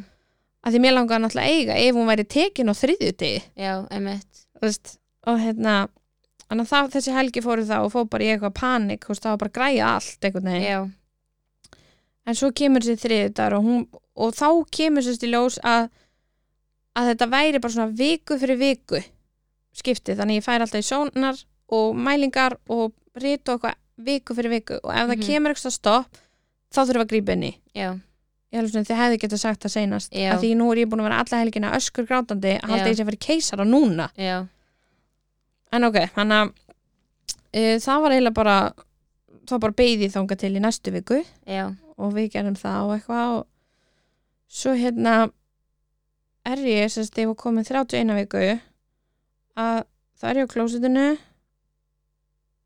[SPEAKER 2] að því mér langaði náttúrulega að eiga ef hún væri tekin á þriðjudegi
[SPEAKER 1] já, emitt.
[SPEAKER 2] þú veist, og hérna þannig að það, þessi helgi fóru það og fór bara í eitthvað panik þú veist, það var bara að græja allt einhvern veginn
[SPEAKER 1] Já,
[SPEAKER 2] en svo kemur þessi þriðjudagur og, hún, og þá kemur sérst í ljós að, að þetta væri bara svona viku fyrir viku skiptið, þannig að ég fær alltaf í sónar og mælingar og rit og eitthvað viku fyrir viku og ef
[SPEAKER 1] Mhm.
[SPEAKER 2] það kemur eitthvað stopp þá þurfum við að grípa inn í
[SPEAKER 1] já,
[SPEAKER 2] ég heldur svona þið hefði getað sagt það seinast
[SPEAKER 1] Já.
[SPEAKER 2] að því nú er ég búin að vera alla helgina öskur grátandi að halda
[SPEAKER 1] Já.
[SPEAKER 2] ég sér fyrir keisara núna
[SPEAKER 1] já,
[SPEAKER 2] en ok, hann að e, það var eiginlega bara þá bara beigði þanga til í næstu viku
[SPEAKER 1] já,
[SPEAKER 2] og við gerum það og eitthvað og svo hérna er ég, sem sagt, ég var komin 31 viku að það er ég á klósitinu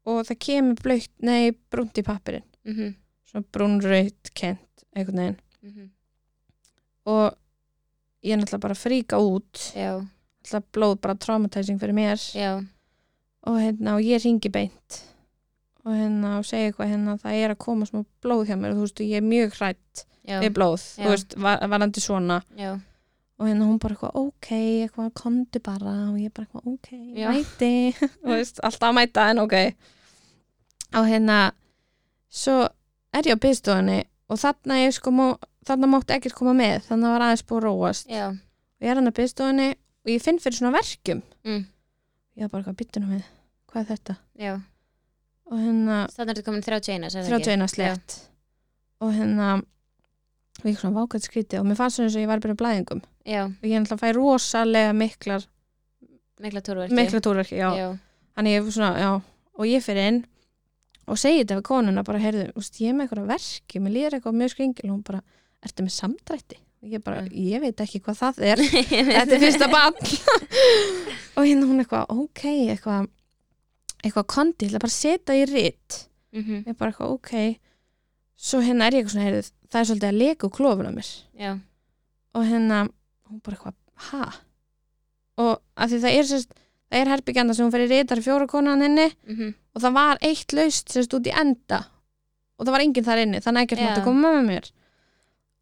[SPEAKER 2] og það kemur blöitt, nei, brúnt í pappirin
[SPEAKER 1] mhm,
[SPEAKER 2] svona brúnraut kent, einhvern veginn
[SPEAKER 1] mhm,
[SPEAKER 2] og ég er náttúrulega bara að fríka út
[SPEAKER 1] já,
[SPEAKER 2] náttúrulega blóð bara traumatizing fyrir mér
[SPEAKER 1] já,
[SPEAKER 2] og hérna og ég ringi beint og hérna og segja eitthvað hérna það er að koma smá blóð hjá mér og þú veist og ég er mjög hrætt
[SPEAKER 1] já,
[SPEAKER 2] við blóð,
[SPEAKER 1] Já.
[SPEAKER 2] þú veist, var, varandi svona
[SPEAKER 1] já,
[SPEAKER 2] og hérna hún bara eitthvað ok, eitthvað komdu bara og ég bara eitthvað ok,
[SPEAKER 1] Já.
[SPEAKER 2] mæti þú veist, alltaf að mæta en ok og hérna svo er ég á byggstofunni og þarna ég sko mó, þarna mátti ekkert koma með, þannig var aðeins búið að róast
[SPEAKER 1] já,
[SPEAKER 2] og ég er hann að byggstofunni og ég finn fyrir svona verkjum
[SPEAKER 1] Mm.
[SPEAKER 2] ég er bara eitthvað byttu nú við hvað er þetta
[SPEAKER 1] já.
[SPEAKER 2] og hérna
[SPEAKER 1] Þannig er þetta komin 31, sagði það ekki?
[SPEAKER 2] 31 slett og hérna og ég svona vákvæmt skrítið og mér fannst svona eins og ég var bara í blæðingum
[SPEAKER 1] Já,
[SPEAKER 2] og ég náttúrulega fæ rosalega miklar
[SPEAKER 1] mikla túrverki.
[SPEAKER 2] mikla túrverki, já.
[SPEAKER 1] já.
[SPEAKER 2] þannig ég svona, já og ég fyrir inn og segi þetta við konuna bara, heyrðu, úst, ég er með eitthvað verki mér líður eitthvað mjög skringil og hún bara, ertu með samdrætti? og ég bara,
[SPEAKER 1] Mm.
[SPEAKER 2] ég veit ekki hvað það er þetta er fyrsta bann og hérna hún eitthvað, ok eitthvað, eitthvað kondi, ég ætla bara að setja í ritt
[SPEAKER 1] Mhm,
[SPEAKER 2] ég bara eitthvað, ok svo hérna er ég eitthvað svona, heyrðu, það er svolítið að leka úr klófun á mér
[SPEAKER 1] já,
[SPEAKER 2] og hérna, hún bara eitthvað, ha og að því það er sérst, það er herbyggjanda sem hún fyrir ritar fjóra konan henni
[SPEAKER 1] mhm,
[SPEAKER 2] og það var eitt laust sérst út í enda og það var enginn þar inni, þannig að ekkert
[SPEAKER 1] Já.
[SPEAKER 2] mátti koma með mér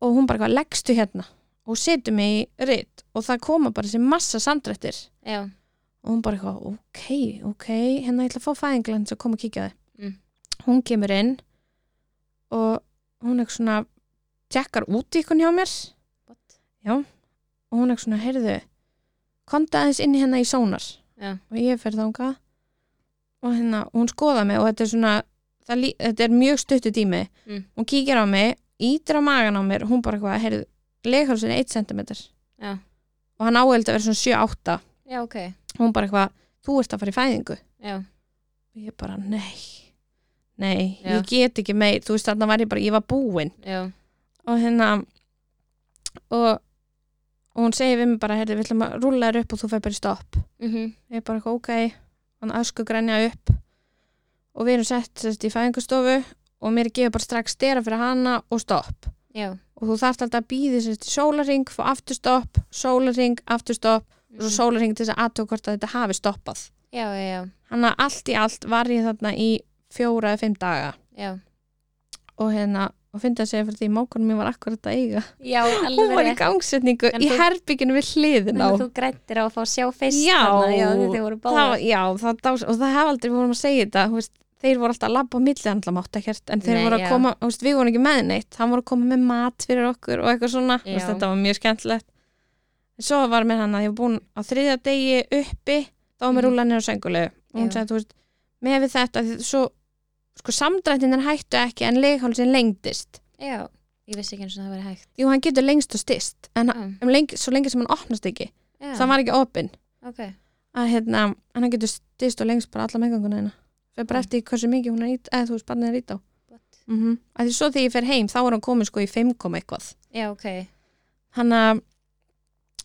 [SPEAKER 2] og hún bara eitthvað, leggstu hérna og setu mig í ritt og það koma bara þessi massa samdrættir
[SPEAKER 1] já,
[SPEAKER 2] og hún bara eitthvað, ok, ok hérna ég ætla að fá fæðinglæns að koma og kíkja á þig
[SPEAKER 1] Mm.
[SPEAKER 2] hún kemur inn og hún eitthvað svona tjekkar út í hjá mér
[SPEAKER 1] What?
[SPEAKER 2] já, og hún eitthvað svona, heyrðu konta aðeins inn í hérna í sónar
[SPEAKER 1] Já.
[SPEAKER 2] og ég fer þánga og hérna, og hún skoða mig og þetta er svona það, lí- þetta er mjög stuttu tími
[SPEAKER 1] Mm.
[SPEAKER 2] hún kíkir á mig, ítir á magan á mér hún bara eitthvað, heyrðu, leghálsinn er 1 cm
[SPEAKER 1] Já.
[SPEAKER 2] og hann áhældi að vera svona 7-8
[SPEAKER 1] Já, ok.
[SPEAKER 2] hún bara eitthvað, þú ert að fara í fæðingu
[SPEAKER 1] Já,
[SPEAKER 2] og ég bara, nei nei,
[SPEAKER 1] Já.
[SPEAKER 2] ég get ekki meir þú veist, þarna var ég bara, ég var búin
[SPEAKER 1] já,
[SPEAKER 2] og hérna og, og hún segir við mig bara, heyrðu, við ætlum að rúlla þér upp og þú fer bara í stopp
[SPEAKER 1] mm
[SPEAKER 2] ég er bara eitthvað ok hann ösku grænja upp og við erum sett sérst, í fæðingustofu og mér er gefið bara strax stera fyrir hana og stopp
[SPEAKER 1] já.
[SPEAKER 2] og þú þarft alltaf að býði sérst í sólaring fá aftur stopp, sólaring, aftur stopp og svo sólaring til þess að aðtöku hvort að þetta hafi stoppað
[SPEAKER 1] Mhm. Já, já, já,
[SPEAKER 2] hann að allt í allt var ég þarna í fjóra eða fimm daga
[SPEAKER 1] já.
[SPEAKER 2] og hérna og fyndi að segja fyrir því mókunum mér var akkurat að eiga
[SPEAKER 1] Já,
[SPEAKER 2] hún var í
[SPEAKER 1] rétt.
[SPEAKER 2] gangsetningu
[SPEAKER 1] En
[SPEAKER 2] í
[SPEAKER 1] þú-
[SPEAKER 2] herbygginu við hliðin á
[SPEAKER 1] Þannig að þú grættir á að fá að sjá fyrst
[SPEAKER 2] Já.
[SPEAKER 1] þarna, já, þetta voru
[SPEAKER 2] það,
[SPEAKER 1] báðar.
[SPEAKER 2] já, það dás, og það hef aldrei við vorum að segja þetta þú veist, þeir voru alltaf að labba á milli hann alltaf mátt ekkert en þeir
[SPEAKER 1] Nei,
[SPEAKER 2] voru að
[SPEAKER 1] já.
[SPEAKER 2] koma, þú veist, við vorum ekki með neitt hann voru að koma með mat fyrir okkur og eitthvað svona þú veist,
[SPEAKER 1] Já.
[SPEAKER 2] þetta var mjög skemmtilegt en svo var mér hann að ég var búin á þriðja degi uppi þá var mér
[SPEAKER 1] Mhm.
[SPEAKER 2] rúlan niður á sængulegu og hún
[SPEAKER 1] Já.
[SPEAKER 2] sagði, þú veist, með við þetta því svo, sko, samdrættin er hættu ekki en leghálsin lengdist
[SPEAKER 1] Já, ég vissi ekki eins og það væri hægt.
[SPEAKER 2] jú, hann getur lengst og stist en
[SPEAKER 1] Já,
[SPEAKER 2] um lengi, svo lengi sem hann opnast ekki
[SPEAKER 1] já,
[SPEAKER 2] það var ekki opinn
[SPEAKER 1] ok.
[SPEAKER 2] að hérna, en hann getur styrst og lengst bara alla meðganguna hérna fyrir bara
[SPEAKER 1] Mm.
[SPEAKER 2] eftir hversu mikið hún er ít, eða þú veist, barnið er ít á
[SPEAKER 1] What?
[SPEAKER 2] mm -hmm. að því svo þegar ég fer heim, þá er hann komin sko í 5 kom eitthvað,
[SPEAKER 1] Já, ok.
[SPEAKER 2] hann að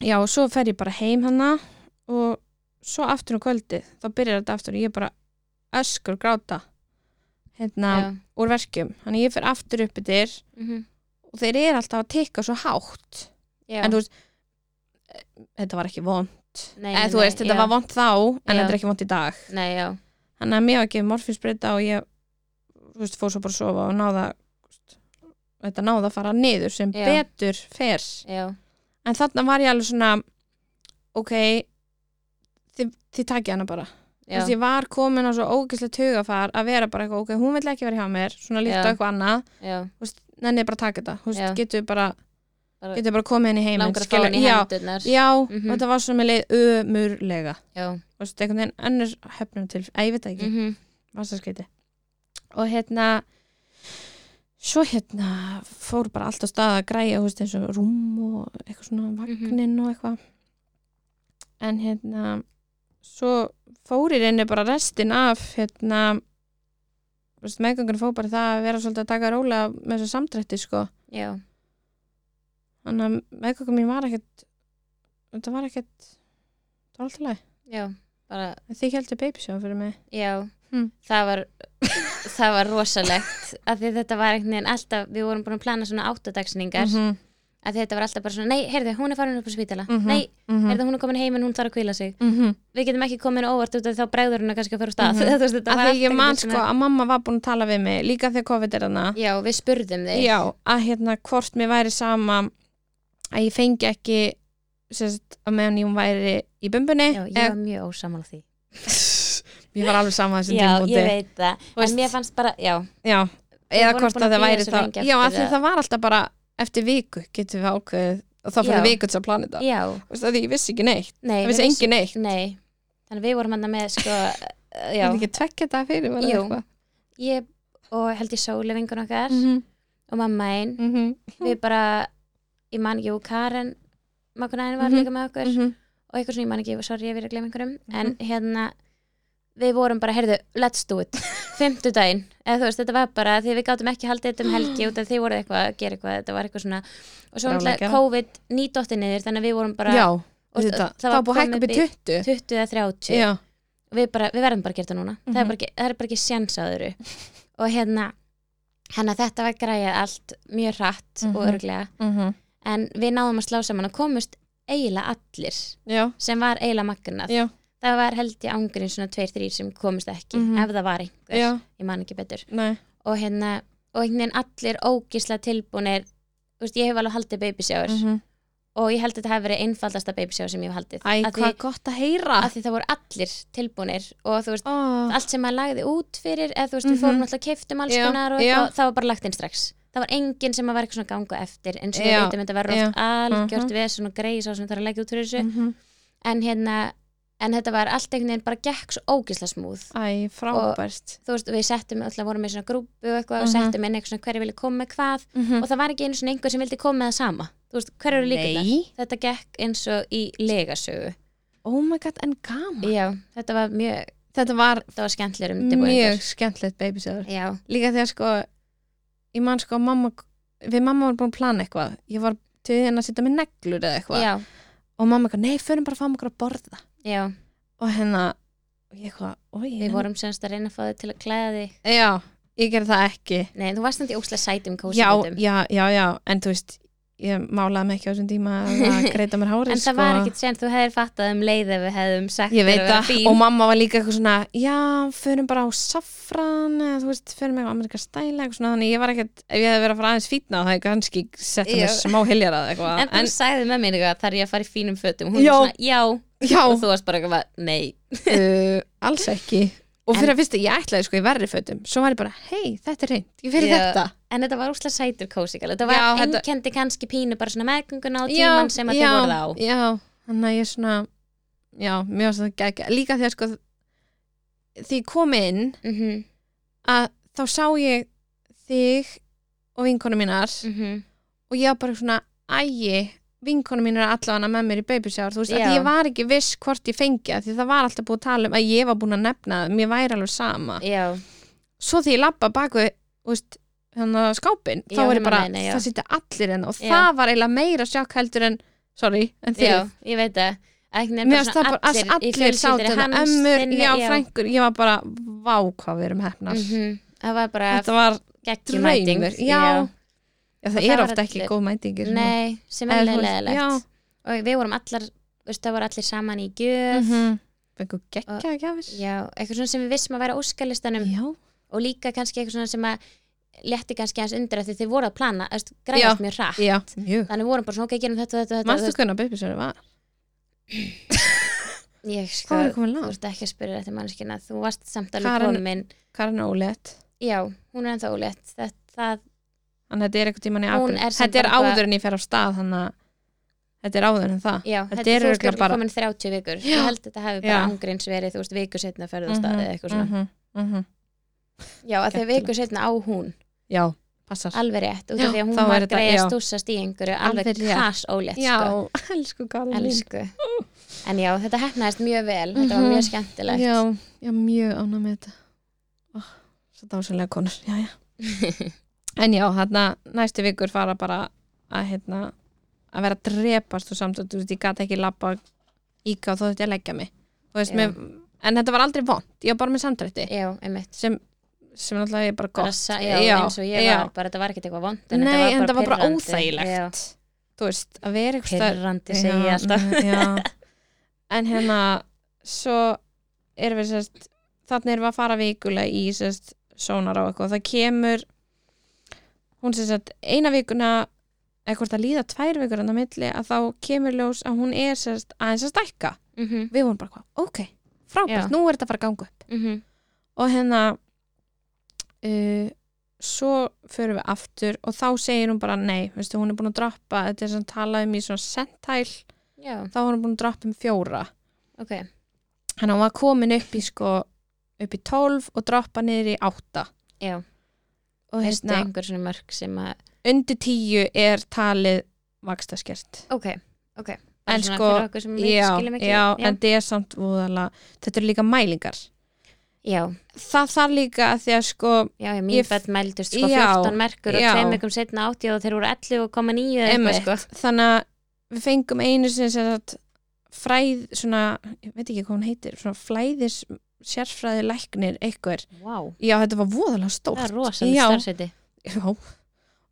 [SPEAKER 2] já, og svo fer ég bara heim hana og svo aftur um kvöldið þá byrjar þetta aftur og ég bara öskur gráta hérna,
[SPEAKER 1] Já,
[SPEAKER 2] úr verkjum, hann að ég fer aftur upp yfir
[SPEAKER 1] mhm,
[SPEAKER 2] og þeir eru alltaf að tikka svo hátt
[SPEAKER 1] já.
[SPEAKER 2] en þú veist eh, þetta var ekki vond,
[SPEAKER 1] Nei,
[SPEAKER 2] eða
[SPEAKER 1] nei,
[SPEAKER 2] þú
[SPEAKER 1] nei,
[SPEAKER 2] veist, þetta
[SPEAKER 1] já.
[SPEAKER 2] var vond þá en
[SPEAKER 1] Já.
[SPEAKER 2] þetta er ekki vond í dag
[SPEAKER 1] Nei, já,
[SPEAKER 2] Þannig að mér var gefið morfinsbreyta og ég þú veist, fór svo bara að sofa og náða þetta náða að fara niður sem
[SPEAKER 1] Já.
[SPEAKER 2] betur fer
[SPEAKER 1] já,
[SPEAKER 2] en þarna var ég alveg svona ok þið, þið takið hana bara
[SPEAKER 1] já.
[SPEAKER 2] Þess, ég var komin á svo ógæslegt hugafar að vera bara eitthvað, ok, hún vill ekki vera hjá mér svona líkt
[SPEAKER 1] Já.
[SPEAKER 2] á eitthvað annað,
[SPEAKER 1] já.
[SPEAKER 2] þú veist, nennið bara að taka þetta þú
[SPEAKER 1] Já.
[SPEAKER 2] veist, getur bara,
[SPEAKER 1] Bara-
[SPEAKER 2] getur bara komið henni heim
[SPEAKER 1] Langar að fá hann í
[SPEAKER 2] já,
[SPEAKER 1] hendurnar.
[SPEAKER 2] já
[SPEAKER 1] Mhm.
[SPEAKER 2] og þetta var svona með leið ömurlega
[SPEAKER 1] Já,
[SPEAKER 2] þú veist, einhvern veginn önnur hefnum til, að ég veit það ekki
[SPEAKER 1] mhm,
[SPEAKER 2] vasaskeiti og hérna svo hérna fór bara allt á stað að græja þú veist, eins og rúm og eitthvað svona vagnin og eitthvað en hérna svo fór í reyni bara restin af hérna þú veist, meðgangur fór bara það að vera svolítið að taka róla með þessu samdrætti sko
[SPEAKER 1] já,
[SPEAKER 2] þannig að meðgangur mín var ekkert þetta var ekkert það var alltaf leið
[SPEAKER 1] já. Bara,
[SPEAKER 2] þið heldur babysjá fyrir mig
[SPEAKER 1] já.
[SPEAKER 2] Hmm.
[SPEAKER 1] Það var, það var rosalegt. Af því þetta var einhvern veginn alltaf, við vorum búin að plana svona áttadagsningar.
[SPEAKER 2] -hmm.
[SPEAKER 1] að þetta var alltaf bara svona, nei, heyrðu, hún er farin upp á spítala
[SPEAKER 2] Mhm.
[SPEAKER 1] nei,
[SPEAKER 2] Mm
[SPEAKER 1] heyrðu, hún er komin heim en hún þarf að kvíla sig
[SPEAKER 2] mm -hmm.
[SPEAKER 1] við getum ekki komin óvart út af þá bregður hún að kannski að fara úr stað
[SPEAKER 2] Mhm.
[SPEAKER 1] Þú veist, þetta
[SPEAKER 2] að
[SPEAKER 1] var
[SPEAKER 2] því
[SPEAKER 1] allt
[SPEAKER 2] ég
[SPEAKER 1] einhvern
[SPEAKER 2] man
[SPEAKER 1] veginn
[SPEAKER 2] sko að mamma var búin að tala við mig líka þegar COVID er hana
[SPEAKER 1] já, við spurðum þig
[SPEAKER 2] já, að hérna hvort mér væri sama að ég fengi ekki sérst, að meðan ég væri í bumbunni
[SPEAKER 1] Já, ég var mjög ósamála því
[SPEAKER 2] ég var alveg sama á
[SPEAKER 1] já,
[SPEAKER 2] þessum
[SPEAKER 1] ég
[SPEAKER 2] tímpúti
[SPEAKER 1] veit það,
[SPEAKER 2] Þú
[SPEAKER 1] en
[SPEAKER 2] veist-
[SPEAKER 1] mér fannst bara já,
[SPEAKER 2] já, eða
[SPEAKER 1] vorum
[SPEAKER 2] hvort
[SPEAKER 1] búin að
[SPEAKER 2] að það
[SPEAKER 1] bíða
[SPEAKER 2] væri
[SPEAKER 1] svo
[SPEAKER 2] það
[SPEAKER 1] lengi
[SPEAKER 2] já,
[SPEAKER 1] eftir
[SPEAKER 2] að því
[SPEAKER 1] það.
[SPEAKER 2] það var alltaf bara eftir viku getum við ákveðið og þá
[SPEAKER 1] Já.
[SPEAKER 2] fyrir viku til að plana þetta
[SPEAKER 1] já,
[SPEAKER 2] Þú veist, að því ég vissi ekki neitt,
[SPEAKER 1] nei
[SPEAKER 2] það
[SPEAKER 1] við
[SPEAKER 2] vissi
[SPEAKER 1] vissum-
[SPEAKER 2] engin neitt
[SPEAKER 1] nei, þannig að við vorum hann með sko, uh, já,
[SPEAKER 2] það er ekki tvekja þetta fyrir mér
[SPEAKER 1] Jú. ég og held ég sóli vingun okkar
[SPEAKER 2] Mhm.
[SPEAKER 1] og mamma einn, við bara ég man ekki, og Karen makunaðin var
[SPEAKER 2] Mhm.
[SPEAKER 1] líka með okkur og eitthvað svona, ég man ekki, sorry, ég verið að glemja einhverjum en
[SPEAKER 2] Mhm.
[SPEAKER 1] hérna, við vorum bara heyrðu, let's do it, fimmtudaginn eða þú veist, þetta var bara, því við gátum ekki haldið þetta um helgi, út af þið voruð eitthvað að gera eitthvað þetta var eitthvað svona, og svo náttúrulega
[SPEAKER 2] Bráðleggera.
[SPEAKER 1] COVID nýdótti niður, þannig að við vorum bara
[SPEAKER 2] já,
[SPEAKER 1] og
[SPEAKER 2] þetta,
[SPEAKER 1] það
[SPEAKER 2] það
[SPEAKER 1] var
[SPEAKER 2] var búið að hækka upp í
[SPEAKER 1] komið
[SPEAKER 2] 20
[SPEAKER 1] 20 eða 30
[SPEAKER 2] já,
[SPEAKER 1] og við, bara, við verðum bara að gera þetta núna það, er
[SPEAKER 2] Mhm.
[SPEAKER 1] bara, ekki- það er bara ekki séns að öðru og hérna, hérna þetta var græjað allt mjög hratt og
[SPEAKER 2] Mhm.
[SPEAKER 1] örglega
[SPEAKER 2] Mhm.
[SPEAKER 1] en við náðum að slá saman og komust eiginlega allir
[SPEAKER 2] já
[SPEAKER 1] sem var eiginlega magnað
[SPEAKER 2] Já.
[SPEAKER 1] það var held ég ángurinn svona tveir, þrýr sem komist ekki
[SPEAKER 2] Mhm.
[SPEAKER 1] ef það var einhver,
[SPEAKER 2] Já,
[SPEAKER 1] ég man ekki betur
[SPEAKER 2] nei,
[SPEAKER 1] og hérna, og einhvern veginn allir ógisla tilbúinir, þú veist, ég hef alveg haldið babysjáur
[SPEAKER 2] Mhm.
[SPEAKER 1] og ég held að þetta hafi verið einfaldasta babysjáur sem ég hef haldið
[SPEAKER 2] Æ,
[SPEAKER 1] að,
[SPEAKER 2] hvað
[SPEAKER 1] því,
[SPEAKER 2] gott að heyra
[SPEAKER 1] að því það voru allir tilbúinir og þú veist,
[SPEAKER 2] oh,
[SPEAKER 1] allt sem maður lagði út fyrir eða þú veist, við
[SPEAKER 2] Mhm.
[SPEAKER 1] fórum alltaf keftum alls
[SPEAKER 2] Já,
[SPEAKER 1] konar og
[SPEAKER 2] já.
[SPEAKER 1] eitthvað, það var bara lagt inn strax það var enginn sem að vera eitthvað svona að ganga á eftir eins og við
[SPEAKER 2] Já,
[SPEAKER 1] veitum þetta verður oft algjört
[SPEAKER 2] Mhm.
[SPEAKER 1] vesen og greið sá sem þarf að leggja út fyrir þessu
[SPEAKER 2] mm
[SPEAKER 1] en hérna en þetta var allt einhvern veginn bara gekk svo ógisla smúð
[SPEAKER 2] Æ, frábært.
[SPEAKER 1] þú veist, við settum alltaf vorum með svona grúpu og eitthvað og
[SPEAKER 2] Mhm.
[SPEAKER 1] settum inn eitthvað svona hverju vilja koma með hvað og það var ekki einu svona einhver sem vildi koma með það sama þú veist, hverju eru líka það?
[SPEAKER 2] Nei.
[SPEAKER 1] Þetta gekk eins og í legasögu
[SPEAKER 2] Oh my god, en gaman.
[SPEAKER 1] Já, þetta var mjög,
[SPEAKER 2] Þetta var
[SPEAKER 1] þetta var skemmtilegur
[SPEAKER 2] mjög
[SPEAKER 1] undirbúingur
[SPEAKER 2] skemmtilegt babysitter.
[SPEAKER 1] Já,
[SPEAKER 2] Líka þegar sko, ég man sko, mamma, við mamma varum búin að plana eitthvað. Ég var til henni að sitja með neglur eða eitthvað.
[SPEAKER 1] já,
[SPEAKER 2] Og mamma eitthvað, nei, förum bara að fá okkur að borða.
[SPEAKER 1] já
[SPEAKER 2] Og hérna, og ég eitthvað, oi.
[SPEAKER 1] Við vorum semst að reyna að fá þig til að klæða þig
[SPEAKER 2] Já, ég gerði það ekki.
[SPEAKER 1] Nei, þú varst þannig óslega sætum
[SPEAKER 2] Já,
[SPEAKER 1] kósum
[SPEAKER 2] já, já, já, en þú veist, ég málaði mig ekki á þessum tíma að greita mér hárið,
[SPEAKER 1] En
[SPEAKER 2] sko.
[SPEAKER 1] það var ekkit sen, þú hefðir fattað um leið ef við hefðum sagt
[SPEAKER 2] Ég
[SPEAKER 1] þér
[SPEAKER 2] veit
[SPEAKER 1] að vera
[SPEAKER 2] það, Oh
[SPEAKER 1] fín.
[SPEAKER 2] og mamma var líka eitthvað svona, já, förum bara á safran, eða þú veist, förum eitthvað amerika stæla, eitthvað svona, þannig ég var ekkert, ef ég hefði verið að fara aðeins fítna, þá hefði kannski sett
[SPEAKER 1] Já.
[SPEAKER 2] mér smá hiljarað eitthvað,
[SPEAKER 1] En þú sagði með mér eitthvað, þar ég að fara í fínum fötum Hún
[SPEAKER 2] Já.
[SPEAKER 1] já. svona, já,
[SPEAKER 2] já,
[SPEAKER 1] og þú varst bara eitthvað, nei
[SPEAKER 2] uh, alls ekki. Og
[SPEAKER 1] En-
[SPEAKER 2] fyrir að fyrst ég ætlaði sko í verri fötum, svo var ég bara, hei, þetta er reynd, ég fyrir
[SPEAKER 1] Já.
[SPEAKER 2] þetta.
[SPEAKER 1] En þetta var óslega sætur kósikal Þetta var
[SPEAKER 2] Já, þetta-
[SPEAKER 1] einkendi kannski pínu bara svona meðgönguna á tíman sem að þið voruð á
[SPEAKER 2] Já, þannig að ég svona, já, mér varst það gegja, líka þegar sko, því ég kom inn,
[SPEAKER 1] Mhm,
[SPEAKER 2] að þá sá ég þig og vinkonu mínar,
[SPEAKER 1] mhm,
[SPEAKER 2] og ég var bara svona ægi, vinkonu mín er allavega með mér í babysjáður, þú veist,
[SPEAKER 1] Já.
[SPEAKER 2] að ég var ekki viss hvort ég fengi það, því það var alltaf búið að tala um að ég var búin að nefna, það, mér væri alveg sama
[SPEAKER 1] já
[SPEAKER 2] svo því ég labba baku, þú veist þannig að skápin, þá
[SPEAKER 1] Já,
[SPEAKER 2] er ég
[SPEAKER 1] heima
[SPEAKER 2] bara
[SPEAKER 1] með henni, já.
[SPEAKER 2] það sitja allir henn og
[SPEAKER 1] Já.
[SPEAKER 2] það var eiginlega meira sjokk heldur en sorry, en þið
[SPEAKER 1] Já, ég veit það Mér
[SPEAKER 2] mér finnst það bara allir, allir sátt en ömmur, já, frængur, ég var bara vá hvað við erum hefnar
[SPEAKER 1] -hmm. Það var bara
[SPEAKER 2] þetta var
[SPEAKER 1] geggjumæting
[SPEAKER 2] draumur, já, já. það
[SPEAKER 1] það
[SPEAKER 2] er
[SPEAKER 1] var
[SPEAKER 2] ofta ekki
[SPEAKER 1] allir-
[SPEAKER 2] góð mætingir svona.
[SPEAKER 1] Nei, sem er
[SPEAKER 2] Eða þú veist, já.
[SPEAKER 1] leðilegt Og við vorum allar, veist, það voru allir saman í gjöf
[SPEAKER 2] Mhm. fengu geggja gjafir
[SPEAKER 1] Já, eitthvað svona sem við vissum að vera á óskalistanum
[SPEAKER 2] já,
[SPEAKER 1] Og líka kannski eitthvað svona sem að Létti kannski hans undir að því þið voru að plana þú veist, Græðast mjög hratt
[SPEAKER 2] já, mjög
[SPEAKER 1] Þannig vorum bara svona, ok, gerum þetta, þetta, þetta þú
[SPEAKER 2] Manstu
[SPEAKER 1] veist,
[SPEAKER 2] hvernig að bubisverði var?
[SPEAKER 1] Ég sko,
[SPEAKER 2] Hvað er komin
[SPEAKER 1] þú
[SPEAKER 2] langt?
[SPEAKER 1] ert ekki að spyrja þetta mannskina Þú varst samt alveg
[SPEAKER 2] Karen-
[SPEAKER 1] komin
[SPEAKER 2] Karin er ólétt
[SPEAKER 1] Já, hún er ennþá ólétt Það, það
[SPEAKER 2] Þannig að þetta er eitthvað tíman í
[SPEAKER 1] Hún
[SPEAKER 2] apríl
[SPEAKER 1] er samt
[SPEAKER 2] Þetta er
[SPEAKER 1] bara eitthvað-
[SPEAKER 2] áður en ég fer af stað Þannig að þetta er áður en það
[SPEAKER 1] Já,
[SPEAKER 2] Þetta
[SPEAKER 1] þetta er þú
[SPEAKER 2] eru
[SPEAKER 1] veist
[SPEAKER 2] örugglega
[SPEAKER 1] bara
[SPEAKER 2] bara-
[SPEAKER 1] komin 30 vikur
[SPEAKER 2] Já.
[SPEAKER 1] ég held að þetta hafi bara
[SPEAKER 2] Já.
[SPEAKER 1] angriðins verið þú veist viku setna að ferðast mm
[SPEAKER 2] Mhm,
[SPEAKER 1] eða eitthvað svona
[SPEAKER 2] mhm, mhm.
[SPEAKER 1] Já, að þegar
[SPEAKER 2] Skemmtilegt.
[SPEAKER 1] viku setna á hún
[SPEAKER 2] Já, passar
[SPEAKER 1] alveg rétt, út af
[SPEAKER 2] Já,
[SPEAKER 1] því að hún
[SPEAKER 2] þá er
[SPEAKER 1] var
[SPEAKER 2] þetta-
[SPEAKER 1] greið
[SPEAKER 2] já.
[SPEAKER 1] að stússast í einhverju alveg
[SPEAKER 2] Alveg rétt.
[SPEAKER 1] kass ólétt
[SPEAKER 2] Já,
[SPEAKER 1] sko,
[SPEAKER 2] elsku Karin mín.
[SPEAKER 1] elsku En já, þetta hefnaðist mjög vel þetta var
[SPEAKER 2] Mhm.
[SPEAKER 1] mjög skemmtilegt
[SPEAKER 2] Já, já, mjög ánæg með þetta oh, Svo dásanlega konur já, já. En já, þarna næstu vikur fara bara að, hérna, að vera að drepast og samt að þú veist, ég gat ekki labba íka og þó þetta ég að leggja mig Þú veist,
[SPEAKER 1] Já.
[SPEAKER 2] mér, en þetta var aldrei vond, ég var bara með samdrætti
[SPEAKER 1] Já, einmitt
[SPEAKER 2] sem, sem náttúrulega er bara
[SPEAKER 1] bara,
[SPEAKER 2] gott
[SPEAKER 1] sa- já, eins og ég var, bara þetta var ekkert eitthvað vond
[SPEAKER 2] Nei,
[SPEAKER 1] þetta
[SPEAKER 2] en þetta var bara
[SPEAKER 1] pirrandi.
[SPEAKER 2] óþægilegt
[SPEAKER 1] Já,
[SPEAKER 2] Þú veist, að vera eitthvað staðar-
[SPEAKER 1] Pirrandi segi ég alltaf
[SPEAKER 2] n- já. en hérna svo erum við sérst þannig erum við að fara vikulega í sérst sónar á eitthvað, það kemur hún sérst eina vikuna eitthvað að líða tvær vikur en á milli að þá kemur ljós að hún er sérst aðeins að stækka
[SPEAKER 1] Mhm,
[SPEAKER 2] við vorum bara hvað, ok, frábært,
[SPEAKER 1] Já.
[SPEAKER 2] nú er þetta að fara að ganga upp
[SPEAKER 1] mhm,
[SPEAKER 2] og hérna uh, svo förum við aftur og þá segir hún bara nei, veistu, hún er búin að droppa þetta er sem talað um í svona sentæl
[SPEAKER 1] Já,
[SPEAKER 2] þá var hún búin að droppa um fjóra
[SPEAKER 1] ok
[SPEAKER 2] þannig að hún var komin upp í sko upp í 12 og droppa niður í 8
[SPEAKER 1] Já,
[SPEAKER 2] og
[SPEAKER 1] veistu
[SPEAKER 2] hérna,
[SPEAKER 1] einhver svona mörg sem að
[SPEAKER 2] undir 10 er talið vakstaskert
[SPEAKER 1] ok, ok Bara
[SPEAKER 2] En
[SPEAKER 1] svona
[SPEAKER 2] sko,
[SPEAKER 1] fyrir okkur sem við
[SPEAKER 2] já,
[SPEAKER 1] skiljum ekki.
[SPEAKER 2] já,
[SPEAKER 1] já.
[SPEAKER 2] en þetta er samt voðala þetta eru líka mælingar
[SPEAKER 1] já,
[SPEAKER 2] það þarf líka að því að sko
[SPEAKER 1] já, já,
[SPEAKER 2] Ég
[SPEAKER 1] mín
[SPEAKER 2] f-
[SPEAKER 1] bætt mældust sko
[SPEAKER 2] Já,
[SPEAKER 1] 14 merkur og
[SPEAKER 2] já.
[SPEAKER 1] tveim mikum setna 80 og þeir voru 11 og koma 9 eða
[SPEAKER 2] Einmitt.
[SPEAKER 1] eitthvað sko
[SPEAKER 2] þannig að við fengum einu sem sagt, fræð svona, ég veit ekki hvað hún heitir svona flæðis sérfræði læknir einhver,
[SPEAKER 1] wow.
[SPEAKER 2] já þetta var voðalega stórt
[SPEAKER 1] það er rosalega
[SPEAKER 2] sko. Já,
[SPEAKER 1] starfsveiti
[SPEAKER 2] já,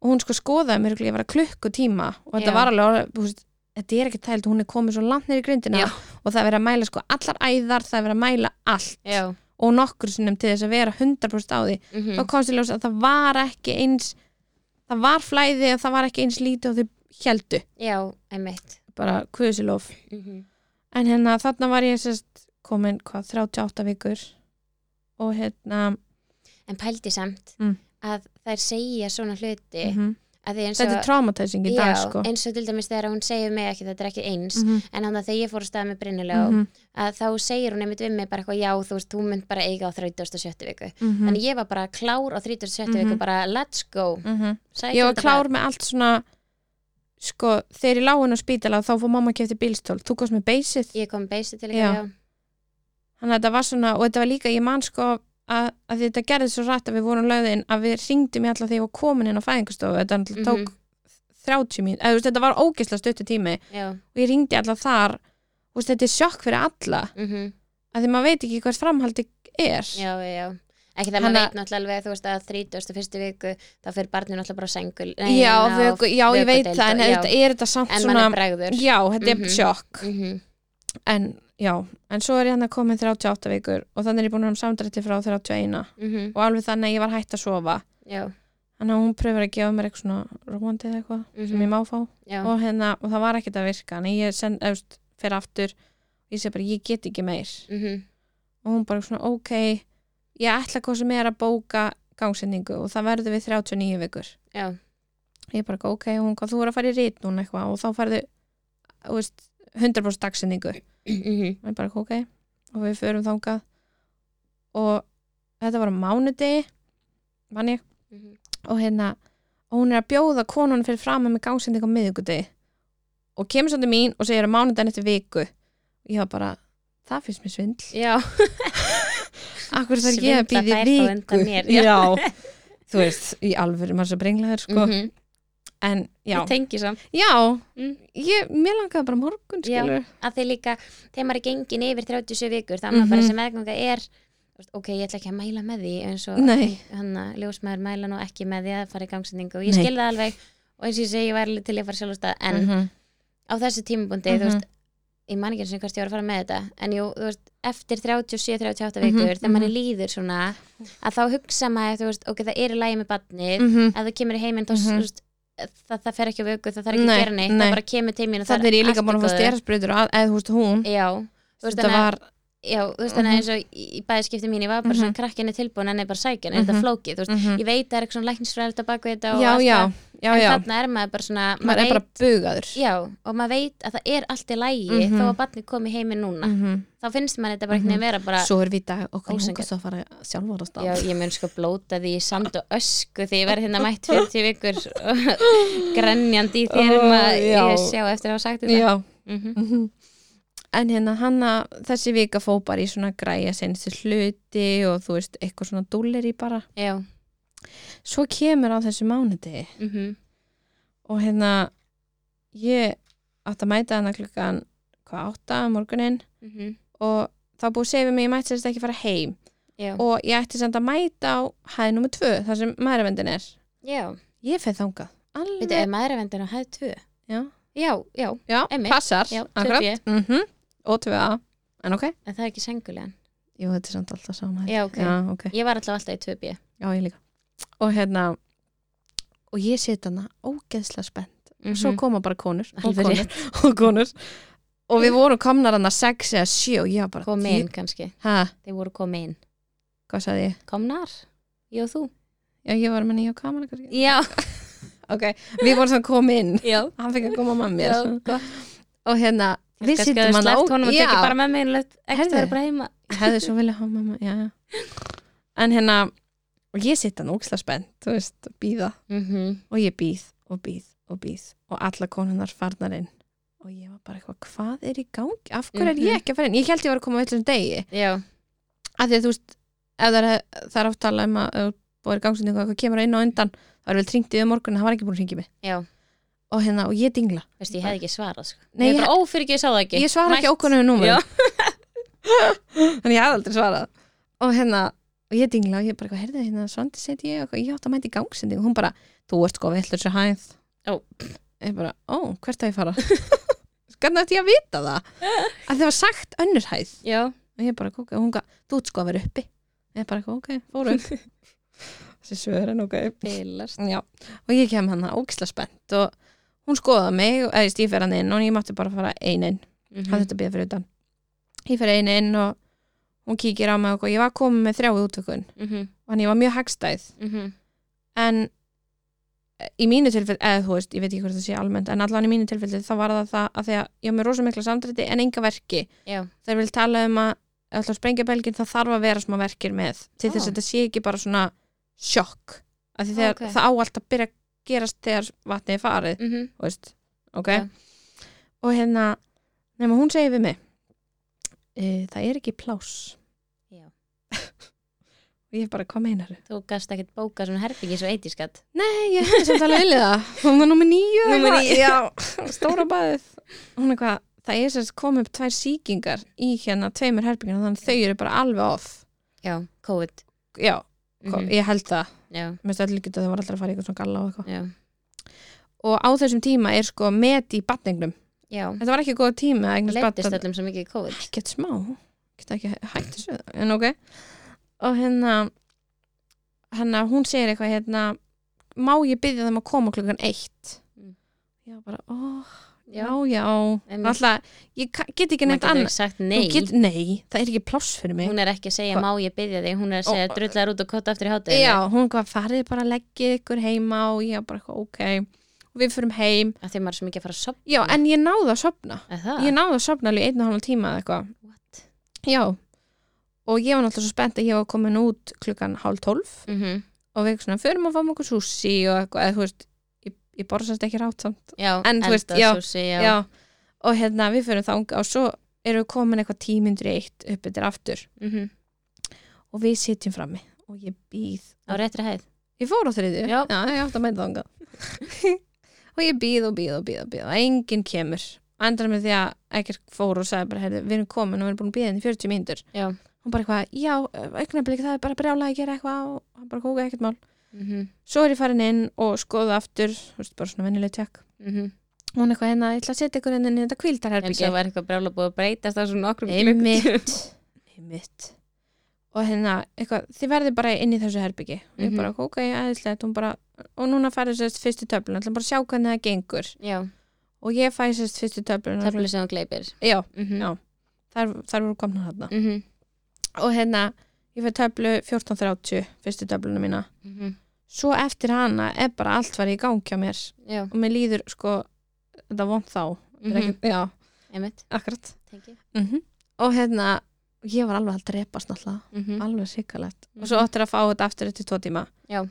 [SPEAKER 2] og hún sko skoðaði mér örugglega, ég var að klukku tíma og þetta
[SPEAKER 1] Já.
[SPEAKER 2] var alveg, orðið- þú veist, þetta er ekki tælt hún er komið svo langt neyri grindina
[SPEAKER 1] Já.
[SPEAKER 2] og það er verið að mæla sko allar æðar, það er verið að mæla allt
[SPEAKER 1] já,
[SPEAKER 2] og nokkur sinnum til þess að vera 100% á því
[SPEAKER 1] mm
[SPEAKER 2] þá komst ég ljós að það var ekki eins það var flæði og það var ekki eins lítið og þau heldu,
[SPEAKER 1] já, einmitt
[SPEAKER 2] bara kvöðsilof
[SPEAKER 1] mm -hmm.
[SPEAKER 2] en hérna þarna var ég sérst komin hvað, 38 vikur og hérna
[SPEAKER 1] en pældi samt
[SPEAKER 2] Mm.
[SPEAKER 1] að þær segja svona hluti
[SPEAKER 2] mhm,
[SPEAKER 1] að því eins og
[SPEAKER 2] Þetta er traumatizing í dag,
[SPEAKER 1] Eh, Já,
[SPEAKER 2] sko.
[SPEAKER 1] eins og til dæmis þegar hún segir mig ekki þetta er ekki eins
[SPEAKER 2] Mhm,
[SPEAKER 1] en þannig að þegar ég fór að staða með brinnilega
[SPEAKER 2] mhm,
[SPEAKER 1] að þá segir hún einmitt við mig bara eitthvað já þú veist, þú mynd bara eiga á 37. viku
[SPEAKER 2] mhm,
[SPEAKER 1] þannig ég var bara klár á 37.
[SPEAKER 2] Mhm.
[SPEAKER 1] viku bara let's go
[SPEAKER 2] mhm.
[SPEAKER 1] Sækjum
[SPEAKER 2] Ég var
[SPEAKER 1] þetta
[SPEAKER 2] klár með allt svona, sko, þegar ég lág inn á spítala þá fór mamma að kefti bílstól. Þú komst með beysið.
[SPEAKER 1] bara. ég kom beisið til
[SPEAKER 2] Já.
[SPEAKER 1] eitthvað já.
[SPEAKER 2] Þannig að þetta var svona, og þetta var líka, ég man sko að, að þetta gerði svo rætt að við vorum lögðin að við ringdum í alltaf þegar ég var komin inn á fæðingarstofu. Þetta mm
[SPEAKER 1] Mhm.
[SPEAKER 2] -hmm. tók 30 mín, eða þú veist, þetta var ógisla stuttu tími
[SPEAKER 1] já,
[SPEAKER 2] og ég ringdi alltaf þar. Þú veist, þetta er sjokk fyrir alla,
[SPEAKER 1] mhm,
[SPEAKER 2] að því maður veit ekki hvert framhaldi er.
[SPEAKER 1] já, já, já ekki það
[SPEAKER 2] Þannig
[SPEAKER 1] maður
[SPEAKER 2] að-
[SPEAKER 1] veit náttúrulega alveg þú veist að 31. viku þá fyrir barnið náttúrulega bara á sengul nei,
[SPEAKER 2] Já,
[SPEAKER 1] hérna á-
[SPEAKER 2] vöku, já, ég veit
[SPEAKER 1] vökudeild
[SPEAKER 2] það, en
[SPEAKER 1] og-
[SPEAKER 2] er
[SPEAKER 1] já.
[SPEAKER 2] þetta, er þetta samt
[SPEAKER 1] en
[SPEAKER 2] svona,
[SPEAKER 1] mann er bregður
[SPEAKER 2] já, þetta
[SPEAKER 1] Mhm.
[SPEAKER 2] er sjokk,
[SPEAKER 1] Mhm.
[SPEAKER 2] en já, en svo er ég hann að komin 38 vikur og þannig er ég búin að hafa samdrætti frá 31
[SPEAKER 1] Mhm.
[SPEAKER 2] og alveg þannig að ég var hætt að sofa,
[SPEAKER 1] já,
[SPEAKER 2] þannig að hún pröfur að gefa mér eitthvað svona róandi eða eitthvað sem
[SPEAKER 1] Mhm.
[SPEAKER 2] ég má fá
[SPEAKER 1] já,
[SPEAKER 2] og hérna, og það var ekkert að virka, en ég send, eftir, fer aftur, ég segi bara, ég get ekki meir
[SPEAKER 1] mhm,
[SPEAKER 2] og hún bara svona, ok, ég ætla hvað sem er að bóka gangsetningu og það verður við 39 vikur.
[SPEAKER 1] já,
[SPEAKER 2] ég bara ok, hún, hvað, þú er að fara í rít núna eitthvað og þá færðu þú veist, 100% dagsendingu og
[SPEAKER 1] mhm,
[SPEAKER 2] ég bara ok, og við förum þangað og þetta var á mánudegi mann ég,
[SPEAKER 1] mhm.
[SPEAKER 2] og hérna og hún er að bjóða konun fyrir fram með gangsendingu á miðvikudegi og kemur svolítið mín og segir að mánudegin eftir viku ég var bara, það finnst mér svindl
[SPEAKER 1] já
[SPEAKER 2] akkur þarf ég
[SPEAKER 1] Svindla
[SPEAKER 2] að býði
[SPEAKER 1] þær þá
[SPEAKER 2] viku
[SPEAKER 1] undan mér, já.
[SPEAKER 2] já, þú veist, í alvöru maður er svo brenglaður sko,
[SPEAKER 1] Mhm.
[SPEAKER 2] en já
[SPEAKER 1] Ég tengi samt
[SPEAKER 2] já,
[SPEAKER 1] Mm.
[SPEAKER 2] ég, mér langaði bara morgun
[SPEAKER 1] Já.
[SPEAKER 2] skilur
[SPEAKER 1] að þeir líka, þegar maður er gengin yfir 37 vikur, það mm -hmm.
[SPEAKER 2] Mhm.
[SPEAKER 1] bara sem meðganga er þú veist, ok, ég ætla ekki að mæla með því eins og
[SPEAKER 2] Nei.
[SPEAKER 1] hann að ljósmaður mæla nú ekki með því að fara í gangsendingu og ég
[SPEAKER 2] Nei.
[SPEAKER 1] skil það alveg og eins og ég segi, ég væri alveg til í að fara sjálf á stað en
[SPEAKER 2] -hmm.
[SPEAKER 1] á þessu tímabundi, þú
[SPEAKER 2] Mhm.
[SPEAKER 1] veist ég man ekki eins og hvert ég var að fara með þetta en jú, þú veist, eftir 37-38 vikur
[SPEAKER 2] Mhm,
[SPEAKER 1] þegar manni
[SPEAKER 2] mhm.
[SPEAKER 1] líður svona að þá hugsa maður, þú veist, ok, það er í lægi með badnið
[SPEAKER 2] -hmm.
[SPEAKER 1] að þú kemur í heiminn þá mm
[SPEAKER 2] Mhm.
[SPEAKER 1] veist, það, það fer ekki á vöku, það þarf ekki
[SPEAKER 2] Nei,
[SPEAKER 1] að gera neitt
[SPEAKER 2] nei.
[SPEAKER 1] það bara kemur til mín og það
[SPEAKER 2] þannig er ég
[SPEAKER 1] allt
[SPEAKER 2] líka
[SPEAKER 1] í
[SPEAKER 2] búin að fá
[SPEAKER 1] góðu.
[SPEAKER 2] stjærasprutur eða þú veist hún
[SPEAKER 1] já, þú veist
[SPEAKER 2] þetta
[SPEAKER 1] þannig að
[SPEAKER 2] var Mhm.
[SPEAKER 1] já, þú veist þannig að eins og í, í bæðiskipti mín ég var bara svona krakkinni tilbúin en ég bara sækjan er þetta
[SPEAKER 2] Mhm.
[SPEAKER 1] flókið, þú veist,
[SPEAKER 2] Mhm.
[SPEAKER 1] ég veit það er eitthvað svona læknisfræðilt á baku þetta og
[SPEAKER 2] já,
[SPEAKER 1] allt
[SPEAKER 2] já,
[SPEAKER 1] það,
[SPEAKER 2] já,
[SPEAKER 1] en
[SPEAKER 2] já
[SPEAKER 1] þarna er maður bara svona maður,
[SPEAKER 2] maður er
[SPEAKER 1] veit,
[SPEAKER 2] bara bugaður
[SPEAKER 1] já, og maður veit að það er allt í lægi
[SPEAKER 2] Mhm.
[SPEAKER 1] þó að barnið komi heiminn núna
[SPEAKER 2] -hmm.
[SPEAKER 1] þá finnst maður þetta bara einhvern veginn vera bara
[SPEAKER 2] svo er við í dag okkur
[SPEAKER 1] Ósanngjarnt.
[SPEAKER 2] langar svo að fara sjálfvara stað
[SPEAKER 1] Já, ég mun sko blóta því í sand og ösku því ég verði hérna mætt 40 vikur og grenjandi í þér um að
[SPEAKER 2] Ó, já.
[SPEAKER 1] ég sjá eftir að hafa sagt þetta
[SPEAKER 2] já.
[SPEAKER 1] mm -hmm.
[SPEAKER 2] mhm. en hérna hanna þessi vika fó bara í svona græja senstu hluti og þú veist eitthvað svona dúlleri bara
[SPEAKER 1] Já,
[SPEAKER 2] svo kemur á þessu mánudegi
[SPEAKER 1] mm
[SPEAKER 2] og hérna ég átt að mæta hana klukkan hvað átta um morguninn
[SPEAKER 1] mhm,
[SPEAKER 2] og þá búið að segja við mig ég mætti sérst ekki fara heim
[SPEAKER 1] já,
[SPEAKER 2] og ég ætti samt að mæta á hæð nummer 2 þar sem maðuravendin er
[SPEAKER 1] já.
[SPEAKER 2] ég feð þangað
[SPEAKER 1] Veitu, er
[SPEAKER 2] alveg
[SPEAKER 1] maðuravendin á hæð 2?
[SPEAKER 2] já,
[SPEAKER 1] Já, já,
[SPEAKER 2] já
[SPEAKER 1] einmitt.
[SPEAKER 2] passar
[SPEAKER 1] Já,
[SPEAKER 2] akkurat.
[SPEAKER 1] 2B.
[SPEAKER 2] Mhm. og 2a en ok,
[SPEAKER 1] en það er ekki sengulegan
[SPEAKER 2] jú þetta er samt alltaf sama
[SPEAKER 1] Já, ok.
[SPEAKER 2] já, ok,
[SPEAKER 1] Ég var alltaf alltaf í 2B
[SPEAKER 2] já ég líka og hérna og ég seti hana ógeðslega spennt
[SPEAKER 1] mm
[SPEAKER 2] og svo koma bara konur og
[SPEAKER 1] Alveg
[SPEAKER 2] konur, og konur og við vorum komnar hana 6 eða 7 og ég var bara
[SPEAKER 1] Komi inn kannski,
[SPEAKER 2] ha,
[SPEAKER 1] þeir voru komi inn
[SPEAKER 2] hvað sagði ég?
[SPEAKER 1] Komnar, ég og þú
[SPEAKER 2] Já, ég var með nýja kamera kannski.
[SPEAKER 1] Já,
[SPEAKER 2] Ok, við vorum svona komin
[SPEAKER 1] já,
[SPEAKER 2] hann fekk að koma með mér
[SPEAKER 1] já gott.
[SPEAKER 2] og hérna, við
[SPEAKER 1] Kannski að þú
[SPEAKER 2] sittum hann á
[SPEAKER 1] sleppt honum og
[SPEAKER 2] já,
[SPEAKER 1] tekið bara með mig einlegt ekstra
[SPEAKER 2] Heyrðu.
[SPEAKER 1] verið bara heima
[SPEAKER 2] ég hefði svo vilja hafa mamma já. en hérna og ég sitt hann óksla spennt, þú veist býða,
[SPEAKER 1] mm
[SPEAKER 2] og ég býð og býð og býð og alla konunar farnar inn og ég var bara eitthvað, hvað er í gangi af hverju er
[SPEAKER 1] Mhm.
[SPEAKER 2] ég ekki að fara inn, ég held ég var að koma á villum degi,
[SPEAKER 1] Já,
[SPEAKER 2] af því að þú veist ef það er, það er oft talað um að ef þú búir gangsendingu og eitthvað kemur inn og undan það er vel tringt yfir morgun, það var ekki búin að ringja mig
[SPEAKER 1] já,
[SPEAKER 2] og hérna, og ég dingla
[SPEAKER 1] veist ég hefði ekki svarað sko.
[SPEAKER 2] Nei,
[SPEAKER 1] Ég er
[SPEAKER 2] ég-
[SPEAKER 1] bara ófyrirgeðu, ég sá það ekki
[SPEAKER 2] Ég svara ekki
[SPEAKER 1] Mætt.
[SPEAKER 2] ókunnum númer
[SPEAKER 1] Já.
[SPEAKER 2] Þannig ég hafði aldrei svarað Og hérna, og ég dingla og ég bara, hvað heyrði hérna, svandi seti ég og ég átt að mæta í gangsending og hún bara, þú ert sko villur sér hæð
[SPEAKER 1] Ó.
[SPEAKER 2] Ég bara, ó, hvert að ég fara? Hvernig ætti ég að vita það? Að það var sagt önnur hæð
[SPEAKER 1] Já,
[SPEAKER 2] og ég bara, ok, og hún gaf, þú ert sko að vera uppi Ég bara, ok, fóru upp Þessi svörin, ok
[SPEAKER 1] fylast
[SPEAKER 2] Já, og ég kem hann að ógisla spennt og hún skoðaði mig, eða ég stíf er hann inn og ég mátti bara fara einin
[SPEAKER 1] mm
[SPEAKER 2] hann þurfti að bíða fyrir utan ég fer einu inn og hún kíkir á mig og eitthvað. ég var komin með þrjá útvökun
[SPEAKER 1] -hmm.
[SPEAKER 2] og hann ég var mjög hagstæð
[SPEAKER 1] Mm -hmm.
[SPEAKER 2] en eh, í mínu tilfell, eða þú veist, ég veit ekki hvort það sé almennt en allan í mínu tilfelli þá var það það að því að ég á mér rosa mikla samdrætti en enga verki
[SPEAKER 1] já,
[SPEAKER 2] þegar vil tala um að ef ætla að sprengja belgin þá þarf að vera smá verkir með til
[SPEAKER 1] Ó.
[SPEAKER 2] þess að þetta sé ekki bara svona sjokk af því
[SPEAKER 1] Ó,
[SPEAKER 2] þegar
[SPEAKER 1] Ah. ok.
[SPEAKER 2] það á allt að byrja að gerast þegar vatnið er farið
[SPEAKER 1] mm
[SPEAKER 2] þú veist, ok
[SPEAKER 1] Já.
[SPEAKER 2] og hérna, nema hún segir við mig e, það er ekki pláss
[SPEAKER 1] Já.
[SPEAKER 2] og ég bara, hvað meinar þau?
[SPEAKER 1] þú gast ekkert bóka svona herbyggi svo eitískatt
[SPEAKER 2] Nei, ég hefði samt alveg viljað það hún var nummer níu eða
[SPEAKER 1] Númer
[SPEAKER 2] eitthvað.
[SPEAKER 1] níu.
[SPEAKER 2] Já, stóra baðið hún er hvað, það er sérst kom upp tvær sýkingar í hérna tveimur herbyggina þannig að þau eru bara alveg off
[SPEAKER 1] já, COVID
[SPEAKER 2] já,
[SPEAKER 1] mm
[SPEAKER 2] ég held það
[SPEAKER 1] já,
[SPEAKER 2] mér stæði líka að þau var alltaf að fara í eitthvað svona galla og eitthvað
[SPEAKER 1] já,
[SPEAKER 2] og á þessum tíma er sko met í batningnum
[SPEAKER 1] já
[SPEAKER 2] þetta var ekki góð tími að eignast
[SPEAKER 1] leittist
[SPEAKER 2] batn
[SPEAKER 1] öllum svo mikið í COVID
[SPEAKER 2] ekkert smá geta ekki hægt þessu en ok og hérna hérna hún segir eitthvað hérna má ég byggja þeim að koma klukkan eitt
[SPEAKER 1] Mm.
[SPEAKER 2] já bara ó, já,
[SPEAKER 1] já,
[SPEAKER 2] já
[SPEAKER 1] Einmitt.
[SPEAKER 2] alltaf, ég ka- get ekki
[SPEAKER 1] maður
[SPEAKER 2] neitt
[SPEAKER 1] getur
[SPEAKER 2] annað
[SPEAKER 1] ekki sagt
[SPEAKER 2] Þú
[SPEAKER 1] nei
[SPEAKER 2] get, nei, það er ekki pláss fyrir mig
[SPEAKER 1] hún er ekki að segja
[SPEAKER 2] Hva-
[SPEAKER 1] má ég byggja þig hún er að segja
[SPEAKER 2] Ó.
[SPEAKER 1] drullar út og kott aftur í hátæðinu
[SPEAKER 2] já, hún hvað farið bara að leggja ykkur heima og ég bara eitthvað ok og við fyrum heim,
[SPEAKER 1] að því maður er svo mikið að fara að sopna
[SPEAKER 2] já en ég náði að sopna
[SPEAKER 1] það,
[SPEAKER 2] ég náði að sopna alveg einn og halvan tíma eða eitthvað
[SPEAKER 1] what
[SPEAKER 2] Já, og ég var náttúrulega svo spennt að ég var komin út klukkan hálf tólf
[SPEAKER 1] mm
[SPEAKER 2] og við svona förum og fáum okkur sushi og eitthvað, eða þú veist, ég, ég borðsast ekki rátt samt.
[SPEAKER 1] já,
[SPEAKER 2] En þú veist,
[SPEAKER 1] eldað
[SPEAKER 2] já,
[SPEAKER 1] sushi, já,
[SPEAKER 2] og hérna við förum þanga og svo erum við komin eitthvað tímyndur í eitt upp eftir aftur
[SPEAKER 1] Mhm.
[SPEAKER 2] og við sitjum frammi og ég býð.
[SPEAKER 1] á réttri hæð
[SPEAKER 2] Ég fór á þriðju,
[SPEAKER 1] Já.
[SPEAKER 2] ég átti að mæta þanga. og ég býð og býð og býð og býð og enginn kemur. Endar með því að ekkert fór og sagði bara, heyrðu, við erum komin og við erum búin að hérna býða henni 40 myndur.
[SPEAKER 1] já,
[SPEAKER 2] hún bara eitthvað, já, augnablik það er bara brjála að gera eitthvað og hann bara kóka ekkert mál
[SPEAKER 1] mm
[SPEAKER 2] svo er ég farin inn og skoða aftur þú veist, bara svona venjuleg tjekk hún eitthvað hérna, ég ætla að setja ykkur hérna inn í
[SPEAKER 1] en
[SPEAKER 2] þetta
[SPEAKER 1] svo
[SPEAKER 2] kvíldarherbyggi
[SPEAKER 1] Mhm. var eitthvað brjála búið að breytast á svona nokkrum
[SPEAKER 2] einmitt, einmitt og hérna, eitthvað, þið verði bara inn í þessu herbyggi og ég
[SPEAKER 1] Mhm.
[SPEAKER 2] bara, ok, aðeinslegt, hún bara og núna færði sérst fyrstu töflun ætla bara að sjá hvernig það gengur
[SPEAKER 1] já,
[SPEAKER 2] og ég fæ sérst fyrstu töflun
[SPEAKER 1] töflu sem hún gleipir
[SPEAKER 2] já,
[SPEAKER 1] mm -hmm.
[SPEAKER 2] Já. þar, þar voru komna þarna
[SPEAKER 1] mm -hmm.
[SPEAKER 2] og hérna, ég fæ töflu 14.30 fyrstu töfluna mína
[SPEAKER 1] Mhm.
[SPEAKER 2] svo eftir hana er bara allt var í gang hjá mér
[SPEAKER 1] já,
[SPEAKER 2] og mér líður sko þetta vond þá mm
[SPEAKER 1] mhm,
[SPEAKER 2] ekki, já,
[SPEAKER 1] einmitt
[SPEAKER 2] akkurat
[SPEAKER 1] tengi.
[SPEAKER 2] og hérna, ég var alveg að drepast náttúrulega,
[SPEAKER 1] Mhm.
[SPEAKER 2] alveg sikalegt
[SPEAKER 1] Mhm.
[SPEAKER 2] og svo áttir að fá þetta aftur eftir tvo tíma
[SPEAKER 1] Já.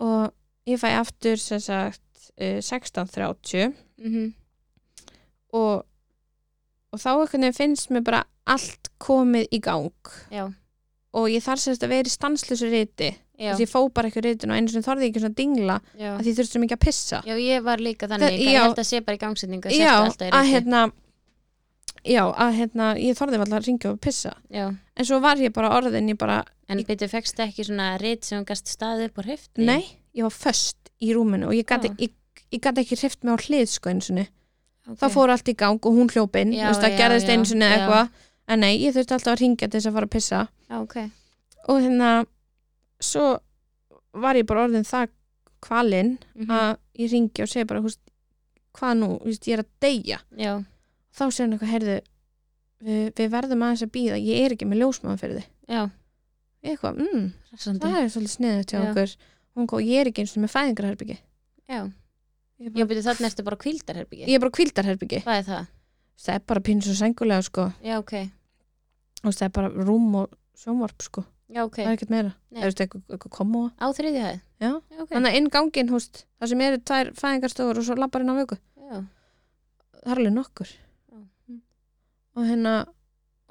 [SPEAKER 2] og ég fæ aftur sem sagt eh, 16.30
[SPEAKER 1] Mhm.
[SPEAKER 2] og, og þá einhvern veginn finnst mér bara allt komið í gang
[SPEAKER 1] já,
[SPEAKER 2] og ég þarf sérst að vera í stanslösu riti
[SPEAKER 1] já,
[SPEAKER 2] þess að ég fó bara ekki ritin og einu sem þorði ég ekki svona að dingla
[SPEAKER 1] já
[SPEAKER 2] að því þurftum ekki að pissa
[SPEAKER 1] já, ég var líka þannig
[SPEAKER 2] Það-
[SPEAKER 1] Þa, ég
[SPEAKER 2] já.
[SPEAKER 1] held að sé bara í gangsetningu sérstu
[SPEAKER 2] já,
[SPEAKER 1] alltaf í
[SPEAKER 2] að
[SPEAKER 1] riti.
[SPEAKER 2] hérna já, að hérna ég þorði alltaf að ringja og pissa
[SPEAKER 1] já.
[SPEAKER 2] en svo var ég bara orðin, ég bara
[SPEAKER 1] en byrju, fegstu ekki svona rít sem hún gast staðið upp og hrift
[SPEAKER 2] nei, ég var föst í rúminu og ég gæti
[SPEAKER 1] Já.
[SPEAKER 2] ég, ég gat ekki hrift mig á hlið sko eins og þá fór allt í gang og hún hljóp inn
[SPEAKER 1] Já,
[SPEAKER 2] þú veist, það
[SPEAKER 1] já,
[SPEAKER 2] gerðist
[SPEAKER 1] já,
[SPEAKER 2] eins og
[SPEAKER 1] já.
[SPEAKER 2] eitthvað en nei, ég þurfti alltaf að ringja til þess að fara að pissa
[SPEAKER 1] já, ok
[SPEAKER 2] og hérna svo var ég bara orðin það kvalinn
[SPEAKER 1] mm
[SPEAKER 2] að ég ringja og segja bara, húst, hvað nú, þú veist, ég er að deyja
[SPEAKER 1] já,
[SPEAKER 2] þá segir hann eitthvað, heyrðu við, við verðum aðeins að býða, ég er ekki með ljósmaðan fyrir þig
[SPEAKER 1] já,
[SPEAKER 2] Ég eitthvað, mm,
[SPEAKER 1] rassandi
[SPEAKER 2] það er svolítið sniðið til
[SPEAKER 1] Já.
[SPEAKER 2] okkur hún góð, ég er ekki eins og með fæðingarherbyggi
[SPEAKER 1] já,
[SPEAKER 2] ég
[SPEAKER 1] já,
[SPEAKER 2] er bara,
[SPEAKER 1] byrju, þannig ertu bara kvildarherbyggi
[SPEAKER 2] ég er bara kvildarherbyggi
[SPEAKER 1] hvað er það?
[SPEAKER 2] það er bara pínu svo sengulega sko
[SPEAKER 1] já, ok,
[SPEAKER 2] Þú veist, það er bara rúm og sjónvarp sko
[SPEAKER 1] já, ok
[SPEAKER 2] það er ekkert meira,
[SPEAKER 1] Nei.
[SPEAKER 2] það er eitthvað, eitthvað komóa
[SPEAKER 1] á þriðju hæð
[SPEAKER 2] Já.
[SPEAKER 1] já, ok
[SPEAKER 2] þannig að inn gangin, húst, það sem eru tvær fæðingarstofur og svo labbar inn á vöku
[SPEAKER 1] já.
[SPEAKER 2] það er alveg nokkur
[SPEAKER 1] Já.
[SPEAKER 2] og hérna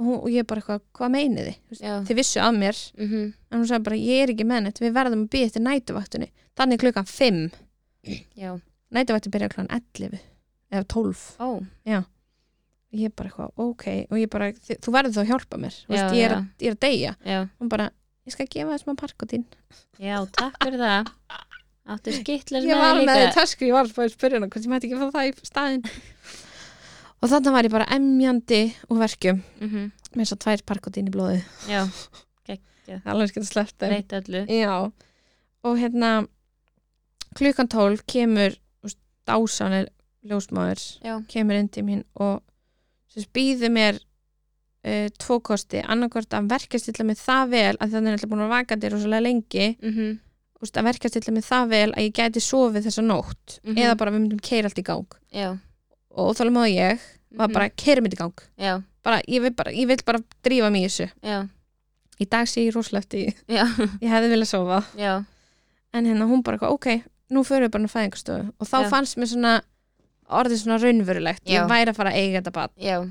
[SPEAKER 2] hún, og ég bara eitthvað, hvað meinið þið Þú veist,
[SPEAKER 1] Já.
[SPEAKER 2] þið vissu af mér
[SPEAKER 1] Mm
[SPEAKER 2] en hún sagði bara, ég er ekki með neitt, við verðum að býja eftir nætuvaktunni þannig klukkan 5,
[SPEAKER 1] já,
[SPEAKER 2] nætuvaktin byrja klukkan 11 eða 12
[SPEAKER 1] ó,
[SPEAKER 2] ég bara eitthvað, ok, og ég bara þi- þú verður þá að hjálpa mér, já, veist,
[SPEAKER 1] Já,
[SPEAKER 2] ég, er að, ég er að deyja
[SPEAKER 1] já,
[SPEAKER 2] hún bara, ég skal gefa þess maður parkotín
[SPEAKER 1] já, takk fyrir það áttu skittlar
[SPEAKER 2] ég var með því
[SPEAKER 1] líka
[SPEAKER 2] tasku, ég var bara að spyrja hana hvort ég mætti ekki fá það í staðinn og þannig var ég bara emjandi og verkjum,
[SPEAKER 1] mm -hmm.
[SPEAKER 2] með þess að tvær parkotín í blóði
[SPEAKER 1] já,
[SPEAKER 2] Það er alveg skil að sleppta
[SPEAKER 1] breyta öllu
[SPEAKER 2] Já, og hérna klukkan 12 kemur dásanir ljósmaður
[SPEAKER 1] já,
[SPEAKER 2] kemur inn til mín og sem býður mér uh, tvo kosti, annarkvort að verkastilla mig það vel að þannig er alltaf búin að vaka þér rosalega lengi
[SPEAKER 1] mhm,
[SPEAKER 2] úst, að verkast til mig það vel að ég gæti sofið þessa nótt
[SPEAKER 1] Mhm.
[SPEAKER 2] eða bara við myndum keira allt í gang
[SPEAKER 1] já,
[SPEAKER 2] og óþálega móðu ég var
[SPEAKER 1] Mhm.
[SPEAKER 2] bara keirum þetta í gang
[SPEAKER 1] já,
[SPEAKER 2] bara, ég, vil bara, ég vil bara drífa mig í þessu
[SPEAKER 1] já,
[SPEAKER 2] í dag sé ég rosalegt í,
[SPEAKER 1] já,
[SPEAKER 2] ég hefði viljað sofa
[SPEAKER 1] já
[SPEAKER 2] en hérna hún bara, eitthvað, ok, nú förum við bara á fæðingastöðu og þá
[SPEAKER 1] Já.
[SPEAKER 2] fannst mér svona orðið svona raunverulegt,
[SPEAKER 1] Já.
[SPEAKER 2] ég væri að fara að eiga þetta bad
[SPEAKER 1] já,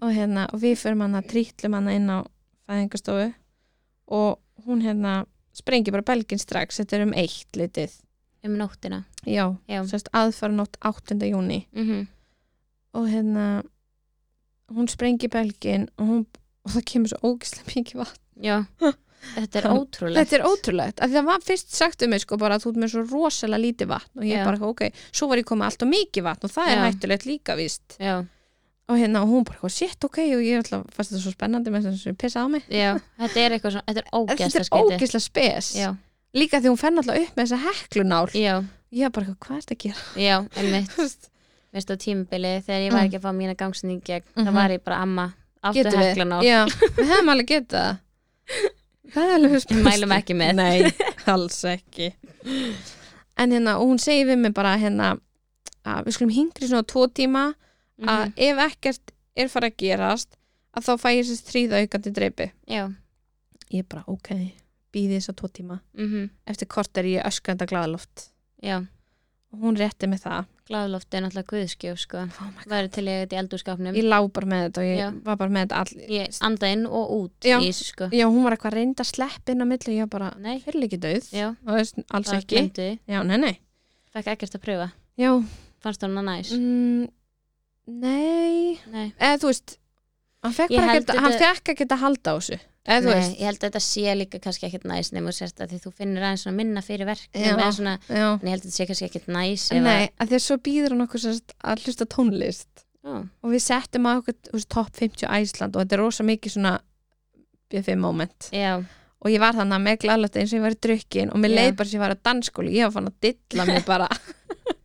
[SPEAKER 2] og hérna, og við förum hana trýtlum hana inn á fæðingastofu og hún hérna sprengir bara belgin strax, þetta er um eitt litið,
[SPEAKER 1] um nóttina
[SPEAKER 2] já,
[SPEAKER 1] Já.
[SPEAKER 2] sérst aðfara nótt 8. júni
[SPEAKER 1] mm
[SPEAKER 2] og hérna hún sprengir belgin og, hún, og það kemur svo ógislega mikið vatn
[SPEAKER 1] já, þetta er
[SPEAKER 2] Hann-
[SPEAKER 1] ótrúlegt
[SPEAKER 2] þetta er ótrúlegt, af því það var fyrst sagt um mig sko bara að þú ert með svo rosalega lítið vatn og ég
[SPEAKER 1] Já.
[SPEAKER 2] bara, ok, svo var ég komið allt og mikið vatn og það er
[SPEAKER 1] Já.
[SPEAKER 2] hættulegt líka víst
[SPEAKER 1] já,
[SPEAKER 2] og hérna, og hún bara, shit, ok og ég ætla, fannst þetta svo spennandi með þess að pissa á mig
[SPEAKER 1] já, þetta er eitthvað svona þetta er
[SPEAKER 2] þetta
[SPEAKER 1] ógæsta
[SPEAKER 2] er ógislega spes
[SPEAKER 1] já,
[SPEAKER 2] líka því hún fenn alltaf upp með þessa heklunál
[SPEAKER 1] já,
[SPEAKER 2] ég var bara, eitthvað, hvað er þetta að gera
[SPEAKER 1] já, einmitt
[SPEAKER 2] Þú veist,
[SPEAKER 1] veist á tímabilið þegar ég var
[SPEAKER 2] Mm.
[SPEAKER 1] ekki að fá mína gangsning gegn,
[SPEAKER 2] Mhm.
[SPEAKER 1] það var ég bara amma áttu
[SPEAKER 2] getum við?
[SPEAKER 1] heklan á,
[SPEAKER 2] Já, við hefum alveg getað það. það er alveg spes
[SPEAKER 1] mælum ekki með
[SPEAKER 2] nei, alls ekki en hérna, og hún segir við mig bara hérna, að við skulum hingri svona tvo tíma að
[SPEAKER 1] Mhm.
[SPEAKER 2] ef ekkert er farið að gerast að þá fæ ég þessi tríða aukandi dreipi
[SPEAKER 1] já,
[SPEAKER 2] ég bara, ok, býði þess að tvo tíma
[SPEAKER 1] mhm,
[SPEAKER 2] eftir kort er ég öskranda glaðloft
[SPEAKER 1] já
[SPEAKER 2] og hún rétti með það
[SPEAKER 1] gláðloft er náttúrulega guðskjöf sko
[SPEAKER 2] oh my
[SPEAKER 1] væri til ég þetta í eldurskapnum
[SPEAKER 2] ég lá bara með þetta og ég
[SPEAKER 1] Já.
[SPEAKER 2] var bara með þetta all...
[SPEAKER 1] ég anda inn og út
[SPEAKER 2] Já.
[SPEAKER 1] í þessu sko
[SPEAKER 2] já, hún var eitthvað reynd að sleppa inn á milli og ég var bara,
[SPEAKER 1] nei,
[SPEAKER 2] fyrir ekki döð
[SPEAKER 1] já,
[SPEAKER 2] Þú veist, alls
[SPEAKER 1] bara
[SPEAKER 2] ekki
[SPEAKER 1] glemdu því
[SPEAKER 2] já, nei, nei
[SPEAKER 1] fekk ekkert að pröfa,
[SPEAKER 2] já,
[SPEAKER 1] fannst hún að næs
[SPEAKER 2] mm, nei
[SPEAKER 1] nei,
[SPEAKER 2] eða þú veist hann fekk
[SPEAKER 1] Ég
[SPEAKER 2] bara
[SPEAKER 1] held
[SPEAKER 2] ekki, hann
[SPEAKER 1] þetta-
[SPEAKER 2] fekk ekki að halda á þessu eða þú
[SPEAKER 1] nei
[SPEAKER 2] veist
[SPEAKER 1] ég held að þetta sé líka kannski ekkert næs nema þú sérst að því þú finnur aðeins svona minna fyrir
[SPEAKER 2] Já.
[SPEAKER 1] verknum eða svona,
[SPEAKER 2] já.
[SPEAKER 1] en ég held að þetta sé kannski ekkert næs
[SPEAKER 2] nei, að því að svo býður hann okkur sérst að hlusta á tónlist
[SPEAKER 1] Ó,
[SPEAKER 2] og við settum á okkur þú veist, top 50 Æsland og þetta er rosa mikið svona BFM moment
[SPEAKER 1] já,
[SPEAKER 2] og ég var þannig með glalögt eins og ég var í drukkin og mér
[SPEAKER 1] Já.
[SPEAKER 2] leið bara sem ég var að danskóli ég var fann að dilla mig bara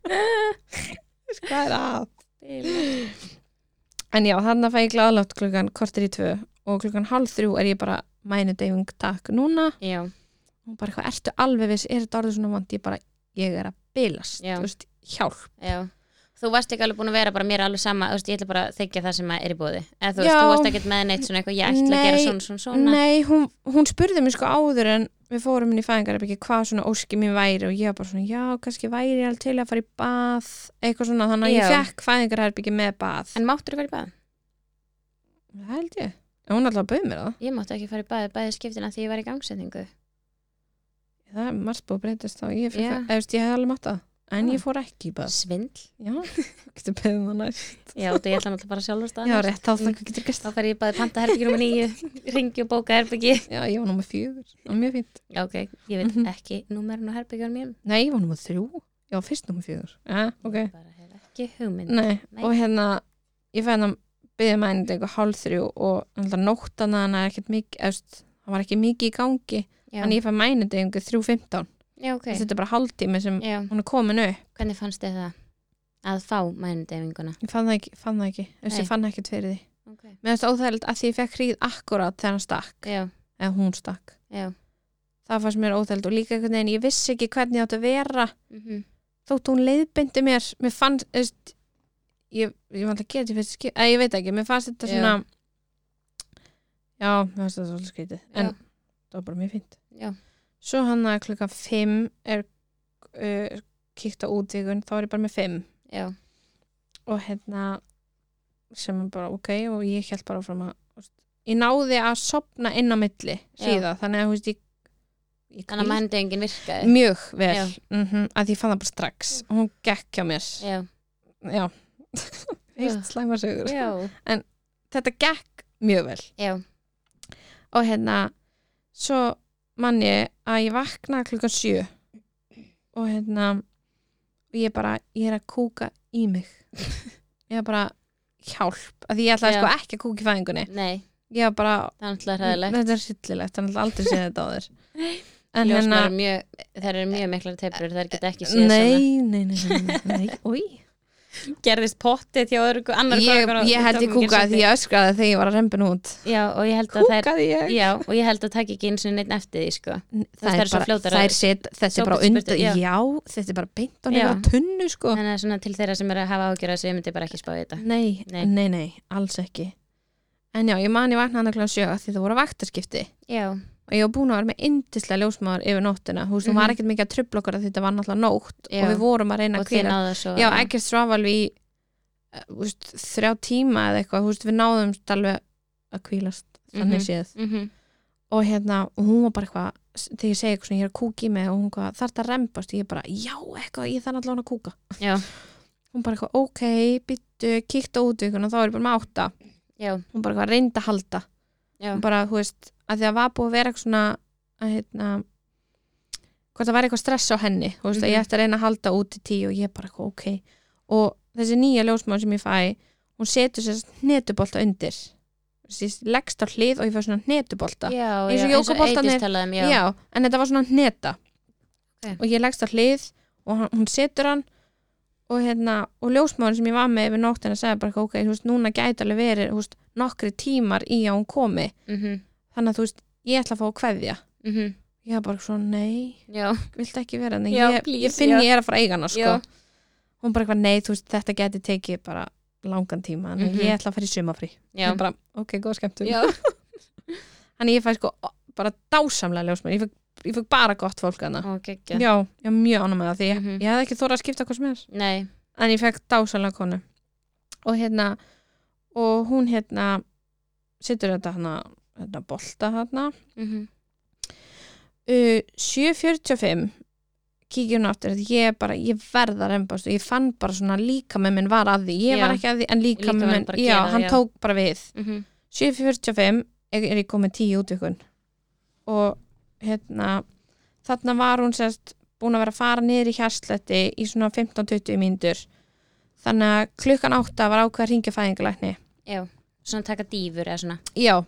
[SPEAKER 2] Þú veist, hvað er að en já, þannig að fæ ég glalögt klukkan kortir í tvö og klukkan hálf þrjú er ég bara mænudeyfing takk núna
[SPEAKER 1] já,
[SPEAKER 2] og bara eitthvað, ertu alveg viss, er þetta orðið svona vant ég bara, ég er að bilast
[SPEAKER 1] Já.
[SPEAKER 2] þú veist, hjálp
[SPEAKER 1] já þú varst ekki alveg búin að vera bara mér er alveg sama þú veist, ég ætla bara að þykja það sem að er í bóði eða þú veist,
[SPEAKER 2] Já.
[SPEAKER 1] þú varst ekkert með neitt svona eitthvað ég ætla að gera
[SPEAKER 2] Nei,
[SPEAKER 1] svona svona svona
[SPEAKER 2] nei, hún, hún spurði mér sko áður en við fórum inn í fæðingarabiki hvað svona óski mín væri og ég var bara svona já, kannski væri ég alveg til að fara í bað eitthvað svona, þannig að
[SPEAKER 1] Já.
[SPEAKER 2] ég fekk fæðingarabiki með bað
[SPEAKER 1] en máttur þú fara í bað?
[SPEAKER 2] Það held ég. En hún alltaf bauð mér það.
[SPEAKER 1] Ég mátti ekki fara í bæði, bæði skiptina því ég var í gangsetningu.
[SPEAKER 2] Það er margt búið að breytast þá. Ég,
[SPEAKER 1] Já.
[SPEAKER 2] yeah. eftir, ég hef alveg mátt það. En
[SPEAKER 1] Já.
[SPEAKER 2] ég fór ekki í bað.
[SPEAKER 1] Svindl?
[SPEAKER 2] Já, getur beðið um það næst. Mm.
[SPEAKER 1] Já, þú ég ætla náttúrulega bara sjálfur staðan.
[SPEAKER 2] Já, rétt á það getur gæst
[SPEAKER 1] Þá
[SPEAKER 2] það.
[SPEAKER 1] fer ég í bæði panta herbyggi nr. 9, ringi og bóka herbyggi.
[SPEAKER 2] Já, ég var nummer fjögur. Það var mjög fínt.
[SPEAKER 1] Já, ok, ég veit
[SPEAKER 2] Mhm.
[SPEAKER 1] ekki númerun á herbyggjum mínum.
[SPEAKER 2] Nei, ég var nummer þrjú. Ég var fyrst nummer fjögur. Já, ok.
[SPEAKER 1] Ég bara hef ekki hugmynd.
[SPEAKER 2] Nei,
[SPEAKER 1] Nei.
[SPEAKER 2] og hérna, ég fæði hann byggði maður einnig eitthvað hálf þrjú og alltaf nóttan að hann er ekkert mikið, eftir, hann var ekki mikið í gangi.
[SPEAKER 1] Já,
[SPEAKER 2] En ég fæði maður einnig eitthvað þrjú fymtán.
[SPEAKER 1] já ok.
[SPEAKER 2] Þetta er bara hálftími sem
[SPEAKER 1] Já,
[SPEAKER 2] hún er komin upp.
[SPEAKER 1] hvernig fannst þið það? Að fá mænudefinguna.
[SPEAKER 2] Ég fann það ekki, fann það ekki. Eftir,
[SPEAKER 1] Nei.
[SPEAKER 2] ég fann ekkert fyrir því.
[SPEAKER 1] Ok.
[SPEAKER 2] Mér finnst óþægilegt að því ég fekk hríð akkurat þegar hann stakk,
[SPEAKER 1] Já,
[SPEAKER 2] eða hún stakk.
[SPEAKER 1] já.
[SPEAKER 2] Það fannst mér óþægilegt og líka einhvern veginn, ég vissi ekki hvernig ég átt að vera,
[SPEAKER 1] Mm
[SPEAKER 2] þótt hún leiðbindi mér, mér fannst, þú veist, ég, ég var alltaf getið fyrst skip, eða ég veit ekki, mér fannst þetta
[SPEAKER 1] Já.
[SPEAKER 2] svona, já, mér fannst þetta svolítið skrítið, en
[SPEAKER 1] Já.
[SPEAKER 2] það var bara mjög fínt.
[SPEAKER 1] Já.
[SPEAKER 2] Svo hann að klukka 5 er uh, kíkt á útvíkun, þá er ég bara með 5
[SPEAKER 1] Já,
[SPEAKER 2] og hérna, sem er bara ok, og ég held bara áfram að, þú veist, ég náði að sopna inn á milli
[SPEAKER 1] Já.
[SPEAKER 2] síða, þannig að, þú veist, ég, ég
[SPEAKER 1] þannig að mænudefingin virkaði.
[SPEAKER 2] mjög vel
[SPEAKER 1] Já. Mm.
[SPEAKER 2] mm að ég fann það bara strax og hún gekk hjá mér
[SPEAKER 1] Já,
[SPEAKER 2] já,
[SPEAKER 1] Já.
[SPEAKER 2] heilt slæma sögur sko.
[SPEAKER 1] já,
[SPEAKER 2] þetta gekk mjög vel
[SPEAKER 1] já,
[SPEAKER 2] og hérna svo mann ég að ég vakna klukkan sjö og hérna og ég bara, ég er að kúka í mig ég er bara hjálp, að ég ætlaði
[SPEAKER 1] Já.
[SPEAKER 2] sko ekki að kúka í fæðingunni
[SPEAKER 1] nei,
[SPEAKER 2] ég var bara,
[SPEAKER 1] það er náttúrulega hræðilegt.
[SPEAKER 2] þetta er sýllilegt þannig að aldrei séð þetta á þér en hérna-
[SPEAKER 1] Ljósmar er mjög, það eru mjög miklar teipur, það geta ekki séð svona.
[SPEAKER 2] nei, nei, nei, nei, nei, nei, nei.
[SPEAKER 1] gerðist pottið hjá öðru annar
[SPEAKER 2] ég, ég held ég kúkaði því ég öskraði þegar ég var að rempin út
[SPEAKER 1] já, og ég held að þær
[SPEAKER 2] kúkaði ég
[SPEAKER 1] já, og ég held að taka ekki eins og neitt eftir því sko.
[SPEAKER 2] það
[SPEAKER 1] eru
[SPEAKER 2] er
[SPEAKER 1] svo
[SPEAKER 2] bara,
[SPEAKER 1] fljótar að-
[SPEAKER 2] það er set, þetta er bara
[SPEAKER 1] Sjóbetspurtu,
[SPEAKER 2] undan,
[SPEAKER 1] já.
[SPEAKER 2] já. þetta er bara beint á
[SPEAKER 1] Já.
[SPEAKER 2] nefnir tunnu sko
[SPEAKER 1] þannig að svona til þeirra sem er að hafa ágjörða sem myndi bara ekki spáði þetta
[SPEAKER 2] nei,
[SPEAKER 1] Nei.
[SPEAKER 2] nei, nei, alls ekki en já, ég man ég vaknaði annað klá sjö af því það voru vaktaskipti
[SPEAKER 1] já,
[SPEAKER 2] og ég var búin að vera með yndislega ljósmaður yfir nóttina, þú veist,
[SPEAKER 1] Mhm.
[SPEAKER 2] hún var ekkert mikið að trubla okkur að þetta var náttúrulega nótt
[SPEAKER 1] Já.
[SPEAKER 2] og við vorum að reyna
[SPEAKER 1] og
[SPEAKER 2] að
[SPEAKER 1] þið
[SPEAKER 2] hvíla
[SPEAKER 1] náðu svo
[SPEAKER 2] Já, ekkert svavalv í eh, þú veist, þrjá tíma eða eitthvað þú veist, við náðum alveg að kvílast þannig
[SPEAKER 1] Mhm.
[SPEAKER 2] séð
[SPEAKER 1] Mhm.
[SPEAKER 2] og hérna, og hún var bara eitthvað s- þegar ég segi eitthvað svona, ég er að kúka í mig og hún hvað, þarf það að rembast, ég bara, já, eitthvað ég þarf allan að kúka
[SPEAKER 1] Já.
[SPEAKER 2] hún bara eitthvað, ok, byttu, kíkta út við og þá er ég bara með átta
[SPEAKER 1] já,
[SPEAKER 2] hún bara eitthvað, reyndi að halda
[SPEAKER 1] já,
[SPEAKER 2] hún bara, þú veist, að því að var búið að vera eitthvað svona að hérna hvort það var eitthvað stress á henni þú veist, að ég
[SPEAKER 1] Mhm.
[SPEAKER 2] ætti að reyna að halda út í tíu og ég bara eitthvað, ok og þessi nýja ljósmaður sem ég fæ hún setur sér netubolta undir Þú veist, ég leggst á hlið og ég fæ svona netubolta
[SPEAKER 1] já,
[SPEAKER 2] Eins og
[SPEAKER 1] já, eins og
[SPEAKER 2] jógaboltarnir-
[SPEAKER 1] Eydís talaði um, já,
[SPEAKER 2] en þetta var svona neta
[SPEAKER 1] Ok.
[SPEAKER 2] og ég leggst á hlið og hann, hún setur hann og hérna, og ljósmaður sem ég var með yfir nóttina sagði bara, eitthvað, ok, þú veist, núna gæti alveg verið, þú veist, nokkri tímar í að hún komi
[SPEAKER 1] Mhm.
[SPEAKER 2] þannig að þú veist, ég ætla að fá að kveðja
[SPEAKER 1] Mhm.
[SPEAKER 2] ég var bara svona, nei,
[SPEAKER 1] já,
[SPEAKER 2] viltu ekki vera þannig,
[SPEAKER 1] Já,
[SPEAKER 2] ég,
[SPEAKER 1] please,
[SPEAKER 2] ég finn
[SPEAKER 1] já.
[SPEAKER 2] ég er að fara að eiga hana sko.
[SPEAKER 1] Já.
[SPEAKER 2] hún bara eitthvað, nei, þú veist, þetta geti tekið bara langan tíma, en
[SPEAKER 1] Mhm.
[SPEAKER 2] ég ætla að fara í sumafrí
[SPEAKER 1] já,
[SPEAKER 2] Ég bara, ok, góð skemmtum
[SPEAKER 1] já,
[SPEAKER 2] þannig að ég fæ sko bara dásamlega ljósmenn, ég fekk, ég fekk bara gott fólk hana
[SPEAKER 1] og geggja
[SPEAKER 2] já, ég var mjög ánum með það því ég,
[SPEAKER 1] Mhm.
[SPEAKER 2] ég hefði ekki þóra að skipta hvað sem er
[SPEAKER 1] nei,
[SPEAKER 2] en ég fekk dásamlega konu og hérna og hún hérna setur þetta hana, hérna bolta hana
[SPEAKER 1] Mhm.
[SPEAKER 2] uh, 7.45 kíkjum hún aftur því ég er bara, ég verð að rembast og ég fann bara svona líka með minn var að því ég
[SPEAKER 1] Já.
[SPEAKER 2] var ekki að því en líka
[SPEAKER 1] Líkaminn
[SPEAKER 2] með minn,
[SPEAKER 1] bara
[SPEAKER 2] já,
[SPEAKER 1] gerir það,
[SPEAKER 2] hann
[SPEAKER 1] já.
[SPEAKER 2] tók bara við
[SPEAKER 1] Mhm.
[SPEAKER 2] 7.45 er er ég komið 10 útvikun og hérna þarna var hún sérst búin að vera að fara niður í hjarsletti í svona 15-20 mínútur þannig að klukkan 8 var ákveð að ringja fæðingalækni
[SPEAKER 1] já svona taka dýfur eða svona
[SPEAKER 2] já,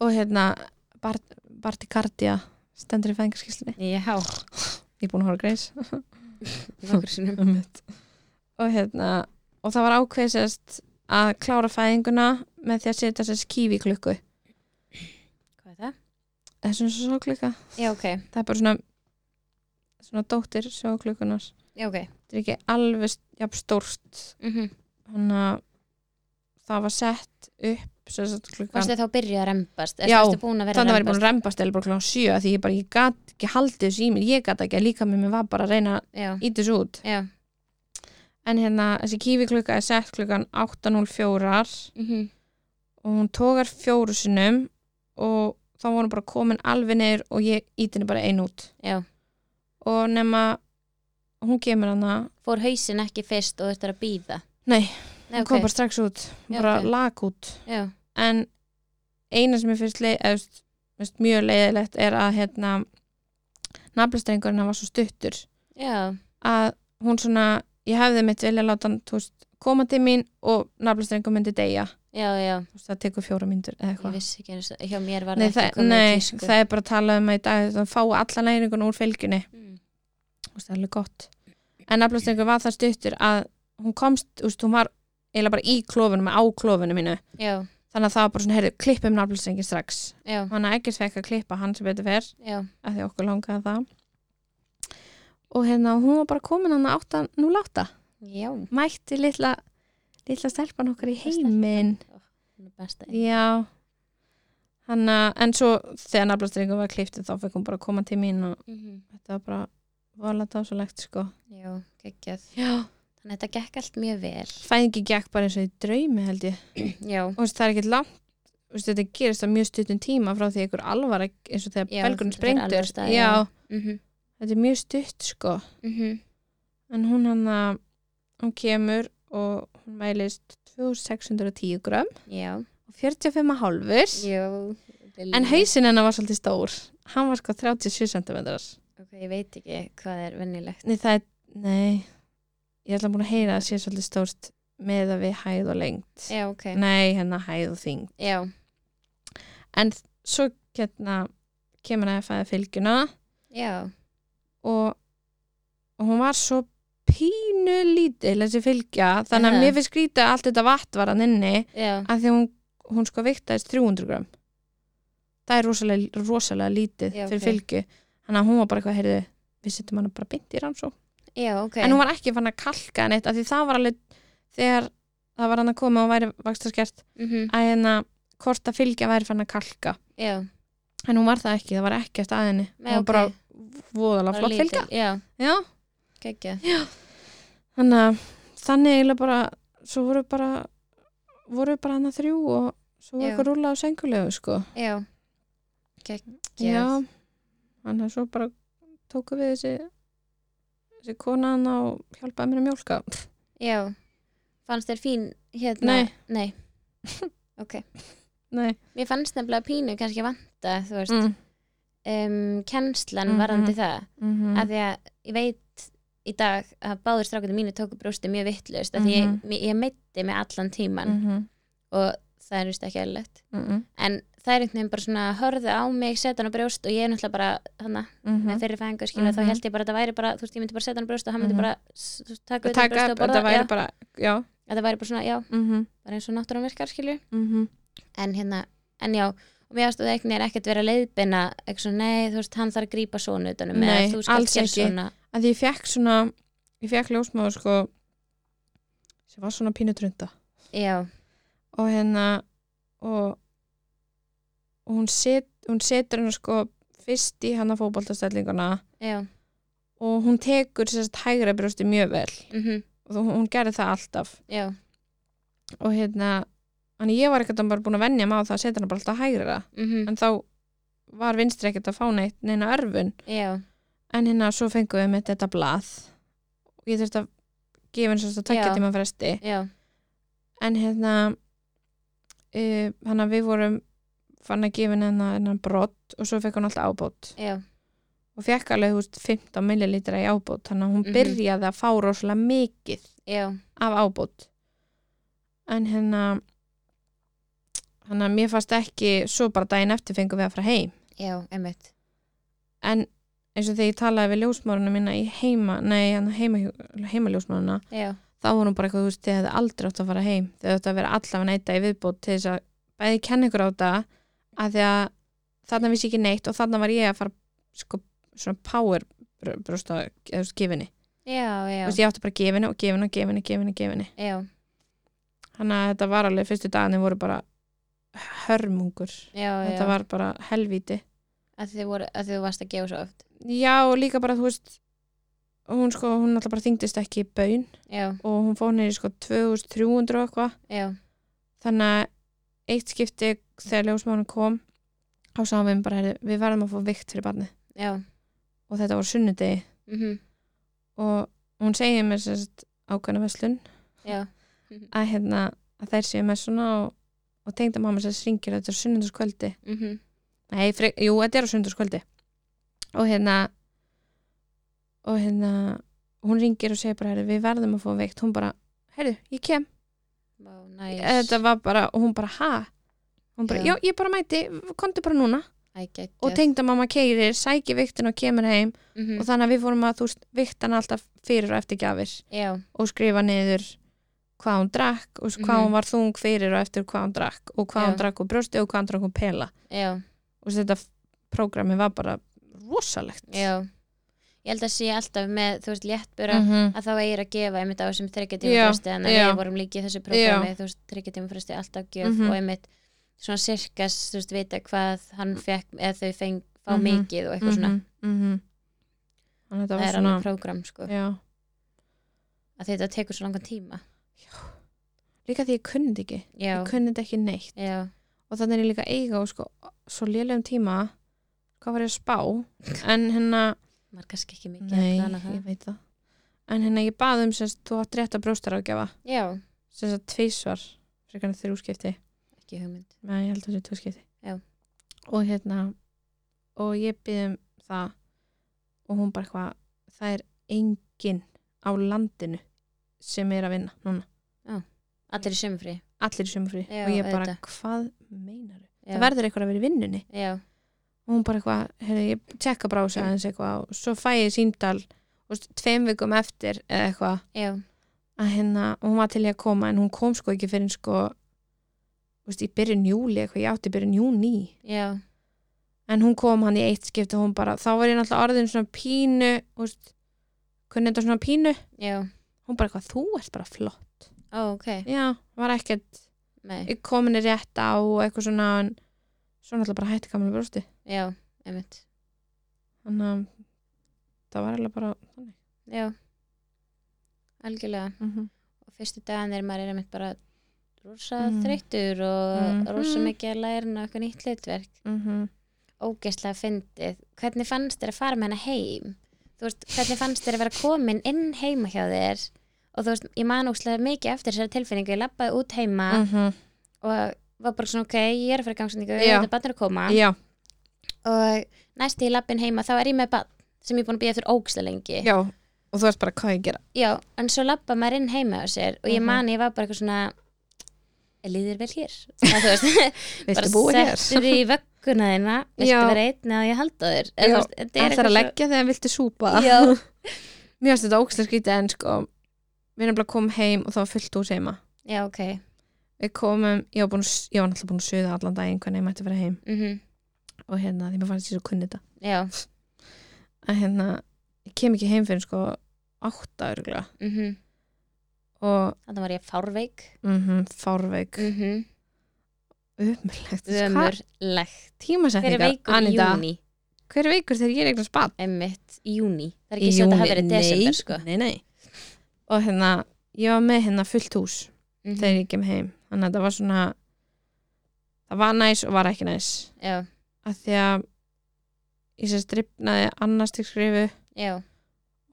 [SPEAKER 2] og hérna Bart, Bartikardia stendur í fæðingarskýslinni
[SPEAKER 1] já,
[SPEAKER 2] ég er búin að horfa á greis
[SPEAKER 1] nokkur sinnum
[SPEAKER 2] Einmitt. og hérna og það var ákveðsest að klára fæðinguna með því að setja sérst kífi klukku
[SPEAKER 1] hvað er það?
[SPEAKER 2] þessum svo klukka
[SPEAKER 1] já, ok,
[SPEAKER 2] það er bara svona svona dóttir sjóklukkunar
[SPEAKER 1] já, ok
[SPEAKER 2] þetta er ekki alveg st- jafn stórt
[SPEAKER 1] Mhm.
[SPEAKER 2] þannig að það var sett upp sem sagt, klukkan
[SPEAKER 1] varstu þá að byrja að rembast?
[SPEAKER 2] Já,
[SPEAKER 1] þannig
[SPEAKER 2] þannig að var ég búin að rembast eða bara klukkan sjö af því ég bara, ég gat ekki haldið þessu í mér ég gat ekki að líka mér, mér var bara að reyna að
[SPEAKER 1] já,
[SPEAKER 2] ít þessu út
[SPEAKER 1] já,
[SPEAKER 2] en hérna, þessi kífi klukka er sett klukkan 8.04
[SPEAKER 1] mhm,
[SPEAKER 2] og hún tókar fjóru sinnum og þá var hún bara komin alveg neyr og ég ít henni bara einu út
[SPEAKER 1] já
[SPEAKER 2] og nema hún kemur hann að
[SPEAKER 1] fór hausin ekki fyrst og þetta er að býða
[SPEAKER 2] Nei,
[SPEAKER 1] Nei,
[SPEAKER 2] hún
[SPEAKER 1] ok,
[SPEAKER 2] kom bara strax út
[SPEAKER 1] Já,
[SPEAKER 2] bara
[SPEAKER 1] ok. lag
[SPEAKER 2] lag út
[SPEAKER 1] já,
[SPEAKER 2] en eina sem ég finnst leið, eða, þú veist, finnst mjög leiðilegt er að hérna, naflastrengurinn hann var svo stuttur
[SPEAKER 1] já,
[SPEAKER 2] að hún svona ég hefði mitt vilja láta hann þú veist, koma til mín og naflastrengur myndi deyja
[SPEAKER 1] já, já
[SPEAKER 2] Þú veist, það tekur fjóra myndur eða
[SPEAKER 1] ég
[SPEAKER 2] eitthvað
[SPEAKER 1] vissi ekki eins og hjá mér var það
[SPEAKER 2] Nei, það,
[SPEAKER 1] ekki komið sko.
[SPEAKER 2] nei
[SPEAKER 1] í tísku
[SPEAKER 2] það er bara að tala um að í dag það fá alla næringuna úr fylgjunni
[SPEAKER 1] Mm.
[SPEAKER 2] Þú veist, það er alveg gott en naflastrengur var það stuttur að hún komst, þú veist, hún var eiginlega bara í klófunum, á klófunum mínu
[SPEAKER 1] já,
[SPEAKER 2] þannig að það var bara svona, heyrðu, klippum nafnlýsingin strax
[SPEAKER 1] já,
[SPEAKER 2] hann að ekkert fekk að klippa hann sem betur fer
[SPEAKER 1] já,
[SPEAKER 2] af því okkur langaði það og hérna, hún var bara komin hann að 8.08
[SPEAKER 1] já
[SPEAKER 2] mætti litla, litla stelpan okkar í heiminn
[SPEAKER 1] Hún er besta.
[SPEAKER 2] já hann að, en svo þegar nafnlýsingin var klippt þá fekk hún bara að koma til mín og
[SPEAKER 1] Mhm.
[SPEAKER 2] þetta var bara vola dásalegt sko
[SPEAKER 1] já, geggjað
[SPEAKER 2] já.
[SPEAKER 1] þannig að þetta gekk allt mjög vel
[SPEAKER 2] fæðingi gekk bara eins og í draumi held ég
[SPEAKER 1] já,
[SPEAKER 2] og þú veist, það er ekkert langt þú veist, þetta gerist á mjög stuttum tíma frá því ykkur alvara eins og þegar
[SPEAKER 1] Já,
[SPEAKER 2] belgurinn
[SPEAKER 1] þetta fer alveg af
[SPEAKER 2] sprengdur
[SPEAKER 1] stað,
[SPEAKER 2] já,
[SPEAKER 1] já. mhm,
[SPEAKER 2] þetta er mjög stutt sko
[SPEAKER 1] mhm,
[SPEAKER 2] en hún hann að hún kemur og hún mælist 2610 grömm
[SPEAKER 1] já
[SPEAKER 2] og 45 hálfur
[SPEAKER 1] já,
[SPEAKER 2] en hausinn hennar var svolítið stór hann var sko 37 cm nei,
[SPEAKER 1] ok, ég veit ekki hvað er vennilegt
[SPEAKER 2] það er, nei ég ætla búin að heyra að það sé svolítið stórt með að við hæð og lengt
[SPEAKER 1] já, ok,
[SPEAKER 2] nei, hennar hæð og þing
[SPEAKER 1] já,
[SPEAKER 2] en svo hérna kemur hann að fæða fylgjuna
[SPEAKER 1] já
[SPEAKER 2] og, og hún var svo pínu lítil þessi fylgja, þannig
[SPEAKER 1] Er
[SPEAKER 2] að
[SPEAKER 1] það?
[SPEAKER 2] mér finnst skrýta allt þetta vatn var hann inni
[SPEAKER 1] já,
[SPEAKER 2] af því að hún, hún sko viktaðist 300 gram það er rosalega, rosalega lítið
[SPEAKER 1] Já,
[SPEAKER 2] fyrir
[SPEAKER 1] ok.
[SPEAKER 2] fylgju þannig að hún var bara eitthvað, heyrðu, við setjum hana bara bynd í rannsó
[SPEAKER 1] já, ok
[SPEAKER 2] en hún var ekki fann að kalka hann eitt af því það var alveg þegar það var hann að koma og væri vakstaskert
[SPEAKER 1] Mhm,
[SPEAKER 2] að hérna hvort að fylgja væri fann að kalka
[SPEAKER 1] já,
[SPEAKER 2] en hún var það ekki, það var ekkert að henni
[SPEAKER 1] Nei, ok.
[SPEAKER 2] hún var bara voðalega
[SPEAKER 1] bara
[SPEAKER 2] flott
[SPEAKER 1] lítil.
[SPEAKER 2] fylgja
[SPEAKER 1] já,
[SPEAKER 2] Já,
[SPEAKER 1] geggja
[SPEAKER 2] þannig að þannig eiginlega bara svo voru bara voru bara hann að þrjú og svo voru
[SPEAKER 1] Já.
[SPEAKER 2] eitthvað rúla á sengulegu sko
[SPEAKER 1] já, geggja
[SPEAKER 2] Já, þannig að svo bara tóku við þessi þessi kona hann og hjálpaði mér að mjólka
[SPEAKER 1] já, fannst þér fín hérna,
[SPEAKER 2] Nei.
[SPEAKER 1] ok,
[SPEAKER 2] Nei,
[SPEAKER 1] mér fannst nefnilega pínu kannski vanta, þú veist
[SPEAKER 2] mm.
[SPEAKER 1] um, kennslan
[SPEAKER 2] Mhm.
[SPEAKER 1] varandi það
[SPEAKER 2] Mm
[SPEAKER 1] af því að ég veit í dag að báður strákunni mínu tóku brjósti mjög vittlust af því ég,
[SPEAKER 2] Mhm. Mm.
[SPEAKER 1] ég, ég meitti mig allan tíman og það er vist ekki eðlilegt en það er einhvern veginn bara svona hörðu á mig, setja hann á brjóst og ég er náttúrulega bara hana, með fyrir fæðingu skilja
[SPEAKER 2] Mhm.
[SPEAKER 1] þá held ég bara að það væri bara, þú veist, ég myndi bara setja hann á brjóst og hann myndi
[SPEAKER 2] Mhm.
[SPEAKER 1] bara s- þú veist, taka utan um
[SPEAKER 2] Takka,
[SPEAKER 1] brjóst og borða
[SPEAKER 2] þetta væri
[SPEAKER 1] já, Mhm,
[SPEAKER 2] bara Já,
[SPEAKER 1] að það væri bara svona, já,
[SPEAKER 2] mm -hmm.
[SPEAKER 1] bara eins og náttúran virkar skilju en hérna, en já og mér aðstöðu einhvern veginn ekkert vera leiðbina eitthvað svona, nei, þú veist, hann þarf að grípa svona utanum
[SPEAKER 2] Nei,
[SPEAKER 1] eða þú skalt
[SPEAKER 2] alls
[SPEAKER 1] gera
[SPEAKER 2] ekki.
[SPEAKER 1] svona
[SPEAKER 2] að ég fekk svona ég fekk ljósmáður sko sem var svona pínutrunda
[SPEAKER 1] já,
[SPEAKER 2] og hérna og, og hún, set, hún setur hennar sko fyrst í hann að fótboltastellinguna
[SPEAKER 1] já,
[SPEAKER 2] og hún tekur sérst hægra brjósti mjög vel
[SPEAKER 1] mhm
[SPEAKER 2] og þú- hún gerði það alltaf
[SPEAKER 1] Já,
[SPEAKER 2] og hérna þannig ég var ekkert bara búin að vennja maður það að setja hana bara alltaf hægra
[SPEAKER 1] mhm,
[SPEAKER 2] en þá var vinstri ekkert að fá neitt neina örfun
[SPEAKER 1] já,
[SPEAKER 2] en hérna svo fengum við með þetta blað og ég þurfti að gefa henni svo að
[SPEAKER 1] Já.
[SPEAKER 2] takja tíma fresti
[SPEAKER 1] já,
[SPEAKER 2] en hérna uh, hann að við vorum fann að gefa henni hennar hennar brott og svo fekk hún alltaf ábót
[SPEAKER 1] já,
[SPEAKER 2] og fekk alveg húst 15 millilitra í ábót þannig að hún
[SPEAKER 1] Mhm.
[SPEAKER 2] byrjaði að fá rosalega mikið
[SPEAKER 1] já,
[SPEAKER 2] af ábót en hérna þannig að mér fannst ekki svo bara daginn eftir fengum við að fara heim
[SPEAKER 1] já, einmitt.
[SPEAKER 2] en eins og þegar ég talaði við ljósmáruna mína í heima, nei, hérna heima, heima ljósmáruna,
[SPEAKER 1] Já,
[SPEAKER 2] þá var hún bara eitthvað þú veist, þið hefði aldrei átt að fara heim þau átt að vera allavega neyta í viðbót til þess að bæði kenna ykkur á þetta að því að þarna vissi ég ekki neitt og þarna var ég að fara sko, svona power br- brjósta, eða þú veist, gefinni
[SPEAKER 1] já,
[SPEAKER 2] Þú
[SPEAKER 1] já,
[SPEAKER 2] veist, ég átti bara gefinni og gefinni og gefinni, gefinni, gefinni
[SPEAKER 1] já,
[SPEAKER 2] Þannig að þetta var alveg fyrstu dagarnir voru bara hörmungur.
[SPEAKER 1] já,
[SPEAKER 2] Þetta
[SPEAKER 1] já,
[SPEAKER 2] var bara helvíti.
[SPEAKER 1] að þið voru, að þið varst að gefa svo oft.
[SPEAKER 2] Já, og líka bara, þú veist, hún sko, hún alltaf bara þyngdist ekki í baun
[SPEAKER 1] Já,
[SPEAKER 2] og hún fór niður í sko 2300 og eitthvað.
[SPEAKER 1] já,
[SPEAKER 2] Þannig að eitt skipti þegar ljósmánum kom, þá sáum við bara, "Heyrðu, við verðum að fá vikt fyrir barnið.
[SPEAKER 1] já,
[SPEAKER 2] Og þetta var sunnudegi
[SPEAKER 1] mhm,
[SPEAKER 2] og hún segir mér sérst ákveðna verslun
[SPEAKER 1] já,
[SPEAKER 2] að hérna, að þær séu með svona og, og tengda mamma sérst ringir þetta er sunnudagskvöldi
[SPEAKER 1] mhm,
[SPEAKER 2] Nei, frek, jú, þetta er á sunnudagskvöldi og hérna og hérna hún ringir og segir bara, herri, við verðum að fá veikt hún bara, herri, ég kem
[SPEAKER 1] vá, næs,
[SPEAKER 2] þetta var bara, og hún bara, ha hún bara,
[SPEAKER 1] Já.
[SPEAKER 2] já, ég bara mæti, komdu bara núna
[SPEAKER 1] æ, geggjað.
[SPEAKER 2] og tengda mamma keirir, sæki viktin og kemur heim
[SPEAKER 1] Mhm,
[SPEAKER 2] og þannig að við fórum að þú veist, viktan alltaf fyrir og eftir gjafir
[SPEAKER 1] já,
[SPEAKER 2] og skrifa niður hvað hún drakk og hvað
[SPEAKER 1] Mhm.
[SPEAKER 2] hún var þung fyrir og eftir hvað hún drakk og hvað hún
[SPEAKER 1] Já.
[SPEAKER 2] drakk og brjósti og hvað hún drakk og pela
[SPEAKER 1] já,
[SPEAKER 2] og þetta prógrami var bara rosalegt
[SPEAKER 1] já. Ég held að sé alltaf með, þú veist, léttbura
[SPEAKER 2] -hmm.
[SPEAKER 1] að þá eigir að gefa einmitt á þessum
[SPEAKER 2] Já,
[SPEAKER 1] þryggjartíma fresti en að
[SPEAKER 2] já.
[SPEAKER 1] við vorum líka í þessu prógrami þú veist, þryggjartíma fresti alltaf gjöf
[SPEAKER 2] Mhm.
[SPEAKER 1] og einmitt svona sirkas, þú veist, vita hvað hann fekk, eða þau feng, fá
[SPEAKER 2] Mhm.
[SPEAKER 1] mikið og eitthvað svona,
[SPEAKER 2] þannig að þetta
[SPEAKER 1] það
[SPEAKER 2] var
[SPEAKER 1] er
[SPEAKER 2] svona
[SPEAKER 1] alveg prógram sko,
[SPEAKER 2] já.
[SPEAKER 1] að þetta tekur svo langan tíma
[SPEAKER 2] líka því ég kunni þetta ekki
[SPEAKER 1] já,
[SPEAKER 2] ég kunni þetta ekki neitt
[SPEAKER 1] já,
[SPEAKER 2] og þannig er ég líka að eiga og sko, svo lélegum tíma hvað var ég að spá en hérna,
[SPEAKER 1] maður kannski ekki mikið
[SPEAKER 2] nei,
[SPEAKER 1] að plana það.
[SPEAKER 2] ég veit það en hérna ég bað um sérst, þú átt rétt að brjóstar ágjafa
[SPEAKER 1] já,
[SPEAKER 2] sérst að tvísvar frekar en þrjú skipti
[SPEAKER 1] ekki hugmynd
[SPEAKER 2] Nei, ég held að þetta er tvö skipti.
[SPEAKER 1] Já.
[SPEAKER 2] Og hérna, og ég byrðum það og hún bara eitthvað, það er enginn á landinu sem er að vinna núna.
[SPEAKER 1] allir í sömufrí,
[SPEAKER 2] Allir sem frí.
[SPEAKER 1] Já,
[SPEAKER 2] og ég bara,
[SPEAKER 1] auðvitað.
[SPEAKER 2] hvað meinar þau?
[SPEAKER 1] já,
[SPEAKER 2] Það verður eitthvað að vera í vinnunni.
[SPEAKER 1] já,
[SPEAKER 2] Og hún bara eitthvað, heyrðu, ég tjekka bara á sig aðeins eitthvað og svo fæ ég síndal og veist, tveim vikum eftir eða eitthvað
[SPEAKER 1] já,
[SPEAKER 2] að hérna, hún var til í að koma en hún kom sko ekki fyrir sko þú veist, í byrjun júli eitthvað, ég átti í byrjun júni
[SPEAKER 1] já,
[SPEAKER 2] en hún kom hann í eitt skipti og hún bara, þá var ég náttúrulega orðin svona pínu þú veist, kunni þetta svona pínu
[SPEAKER 1] já
[SPEAKER 2] hún bara eitthvað, þú ert bara flott
[SPEAKER 1] ó, ok,
[SPEAKER 2] já, var ekkert,
[SPEAKER 1] nei,
[SPEAKER 2] ég komin er rétt á og eitthvað svona, en svo náttúrulega bara hætti gamla brústi,
[SPEAKER 1] já, einmitt
[SPEAKER 2] þannig að það var alveg bara þannig
[SPEAKER 1] já, algjörlega
[SPEAKER 2] Mhm.
[SPEAKER 1] og fyrstu dagan er maður er einmitt bara rosa
[SPEAKER 2] Mm.
[SPEAKER 1] þreyttur og
[SPEAKER 2] Mhm.
[SPEAKER 1] rosa mikið að læra ná eitthvað nýtt hlutverk ógeðslega fyndið hvernig fannst þér að fara með hana heim þú veist, hvernig fannst þér að vera komin inn heima hjá þér og þú veist, ég man ógeðslega mikið eftir þessari tilfinningu ég labbaði út heima
[SPEAKER 2] -hmm.
[SPEAKER 1] og var bara svona ok, ég er að fara í gangsetningu
[SPEAKER 2] Já.
[SPEAKER 1] þetta bann er að koma
[SPEAKER 2] já,
[SPEAKER 1] og næst því ég labbin heima þá er ég með bann sem ég er búin að býja eftir ógeðslega lengi
[SPEAKER 2] já og þú veist bara hvað ég að gera
[SPEAKER 1] Já, en svo labba maður inn heima á sér og ég
[SPEAKER 2] Mhm.
[SPEAKER 1] man, ég var bara eitthvað svona líðir vel hér Eða þú veist, bara
[SPEAKER 2] Viltu búa hér?
[SPEAKER 1] settur í vögguna þína viltu
[SPEAKER 2] Já.
[SPEAKER 1] vera einn eða ég halda þér
[SPEAKER 2] Já,
[SPEAKER 1] Eða þú veist, þetta er
[SPEAKER 2] Það er
[SPEAKER 1] eitthvað
[SPEAKER 2] að leggja þegar viltu súpa
[SPEAKER 1] svo- Já,
[SPEAKER 2] Mér finnst þetta ógstlega skrítið en sko Við erum bara að koma heim og það var fullt úr heima
[SPEAKER 1] já, ok
[SPEAKER 2] Við komum, ég var, búin, ég var náttúrulega búin að suða allan daginn hvernig ég mætti að vera heim
[SPEAKER 1] mm
[SPEAKER 2] og hérna, því mér fannst ég svo kunni þetta
[SPEAKER 1] Já,
[SPEAKER 2] að hérna, ég kem ekki heim fyrir sko átta örgulega
[SPEAKER 1] mm -hmm.
[SPEAKER 2] og
[SPEAKER 1] þannig var ég fárveik
[SPEAKER 2] mm -hmm, fárveik,
[SPEAKER 1] mm -hmm.
[SPEAKER 2] umurlegt Hvað
[SPEAKER 1] Ömurlegt Mm. Hver er
[SPEAKER 2] tímasetningar,
[SPEAKER 1] veikur
[SPEAKER 2] Anita?
[SPEAKER 1] í júni?
[SPEAKER 2] Hver er veikur þegar ég er eitthvað spatt?
[SPEAKER 1] Emmitt, í júni Það er
[SPEAKER 2] Í
[SPEAKER 1] ekki sér að það
[SPEAKER 2] júní,
[SPEAKER 1] hafi verið desember,
[SPEAKER 2] nei,
[SPEAKER 1] sko
[SPEAKER 2] Nei, nei Og hérna, ég var með hérna fullt hús
[SPEAKER 1] mm
[SPEAKER 2] þegar ég kem heim þannig að það var svona það var næs og var ekki næs
[SPEAKER 1] Já,
[SPEAKER 2] að því að ég sem stripnaði annars til skrifu
[SPEAKER 1] já,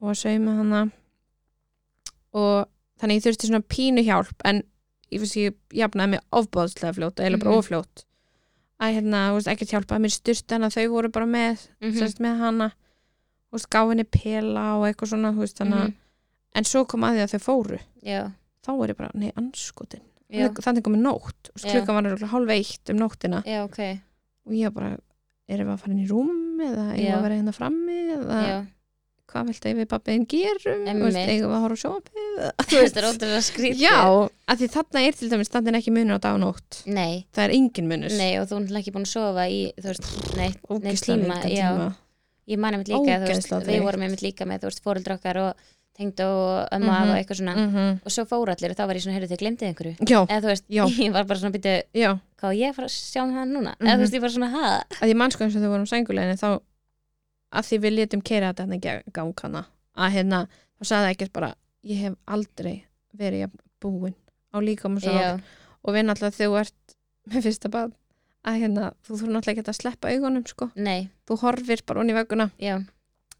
[SPEAKER 2] og var sauma hana og þannig ég þurfti svona pínu hjálp en ég finnst ég jafnaði mig ofbóðslega fljótt eða bara
[SPEAKER 1] Mhm.
[SPEAKER 2] ofljótt að hérna, þú veist, ekkert hjálpa að mér styrst hana þau voru bara með,
[SPEAKER 1] mm
[SPEAKER 2] sérst með hana þú veist, gá henni pela og eitthvað svona, þú veist, þannig
[SPEAKER 1] Mhm.
[SPEAKER 2] að en svo kom að því að þau fóru
[SPEAKER 1] já,
[SPEAKER 2] þá er ég bara, nei, anskotin
[SPEAKER 1] já,
[SPEAKER 2] þannig komið nótt og
[SPEAKER 1] Já.
[SPEAKER 2] klukkan var örugglega hálf eitt um nóttina
[SPEAKER 1] já, ok
[SPEAKER 2] og ég var bara, erum við að fara inn í rúm eða eigum við
[SPEAKER 1] Já.
[SPEAKER 2] að vera hérna frammi eða
[SPEAKER 1] Já,
[SPEAKER 2] hvað vilt að við pappiðin gerum Þú veist,
[SPEAKER 1] Einmitt.
[SPEAKER 2] eigum við að horfa á sjónvarpið eða-
[SPEAKER 1] þú veist, það er ótrúlega skrítið
[SPEAKER 2] já, af því þarna er til dæmis þannig ekki munur á dag og nótt
[SPEAKER 1] Nei,
[SPEAKER 2] það er engin munur
[SPEAKER 1] Nei og þú er náttúrulega ekki búin að sofa í þú veist, neitt, neitt
[SPEAKER 2] Ógeðslega
[SPEAKER 1] tíma,
[SPEAKER 2] lengan
[SPEAKER 1] já, ég man einmitt líka þú veist,
[SPEAKER 2] Ógeðslega
[SPEAKER 1] við
[SPEAKER 2] þreytt.
[SPEAKER 1] vorum einmitt líka með þú veist, fóreldra okkar og tengd og ömmu af
[SPEAKER 2] Mhm.
[SPEAKER 1] og eitthvað svona
[SPEAKER 2] Mhm.
[SPEAKER 1] og svo fóru allir og þá var ég svona, heyrðu þið glemdið einhverju
[SPEAKER 2] já,
[SPEAKER 1] eða þú veist,
[SPEAKER 2] Já.
[SPEAKER 1] ég var bara svona býttu
[SPEAKER 2] já
[SPEAKER 1] hvað á ég að fara að sjá um það núna eða þú
[SPEAKER 2] Mhm.
[SPEAKER 1] veist, ég var svona, ha,
[SPEAKER 2] að því mannsko eins og þau vorum sængulegin þá, að því við létum keira þetta hérna gang hana að hérna, þá sagði ekkert bara ég hef aldrei verið jafn búin á líkam og svo
[SPEAKER 1] já,
[SPEAKER 2] og við náttúrulega þegar þú ert með fyrsta bad að hérna, þú þurfum náttúrulega ekki að sleppa augunum sko,
[SPEAKER 1] nei,
[SPEAKER 2] þú horfir bara onni í vegguna
[SPEAKER 1] já,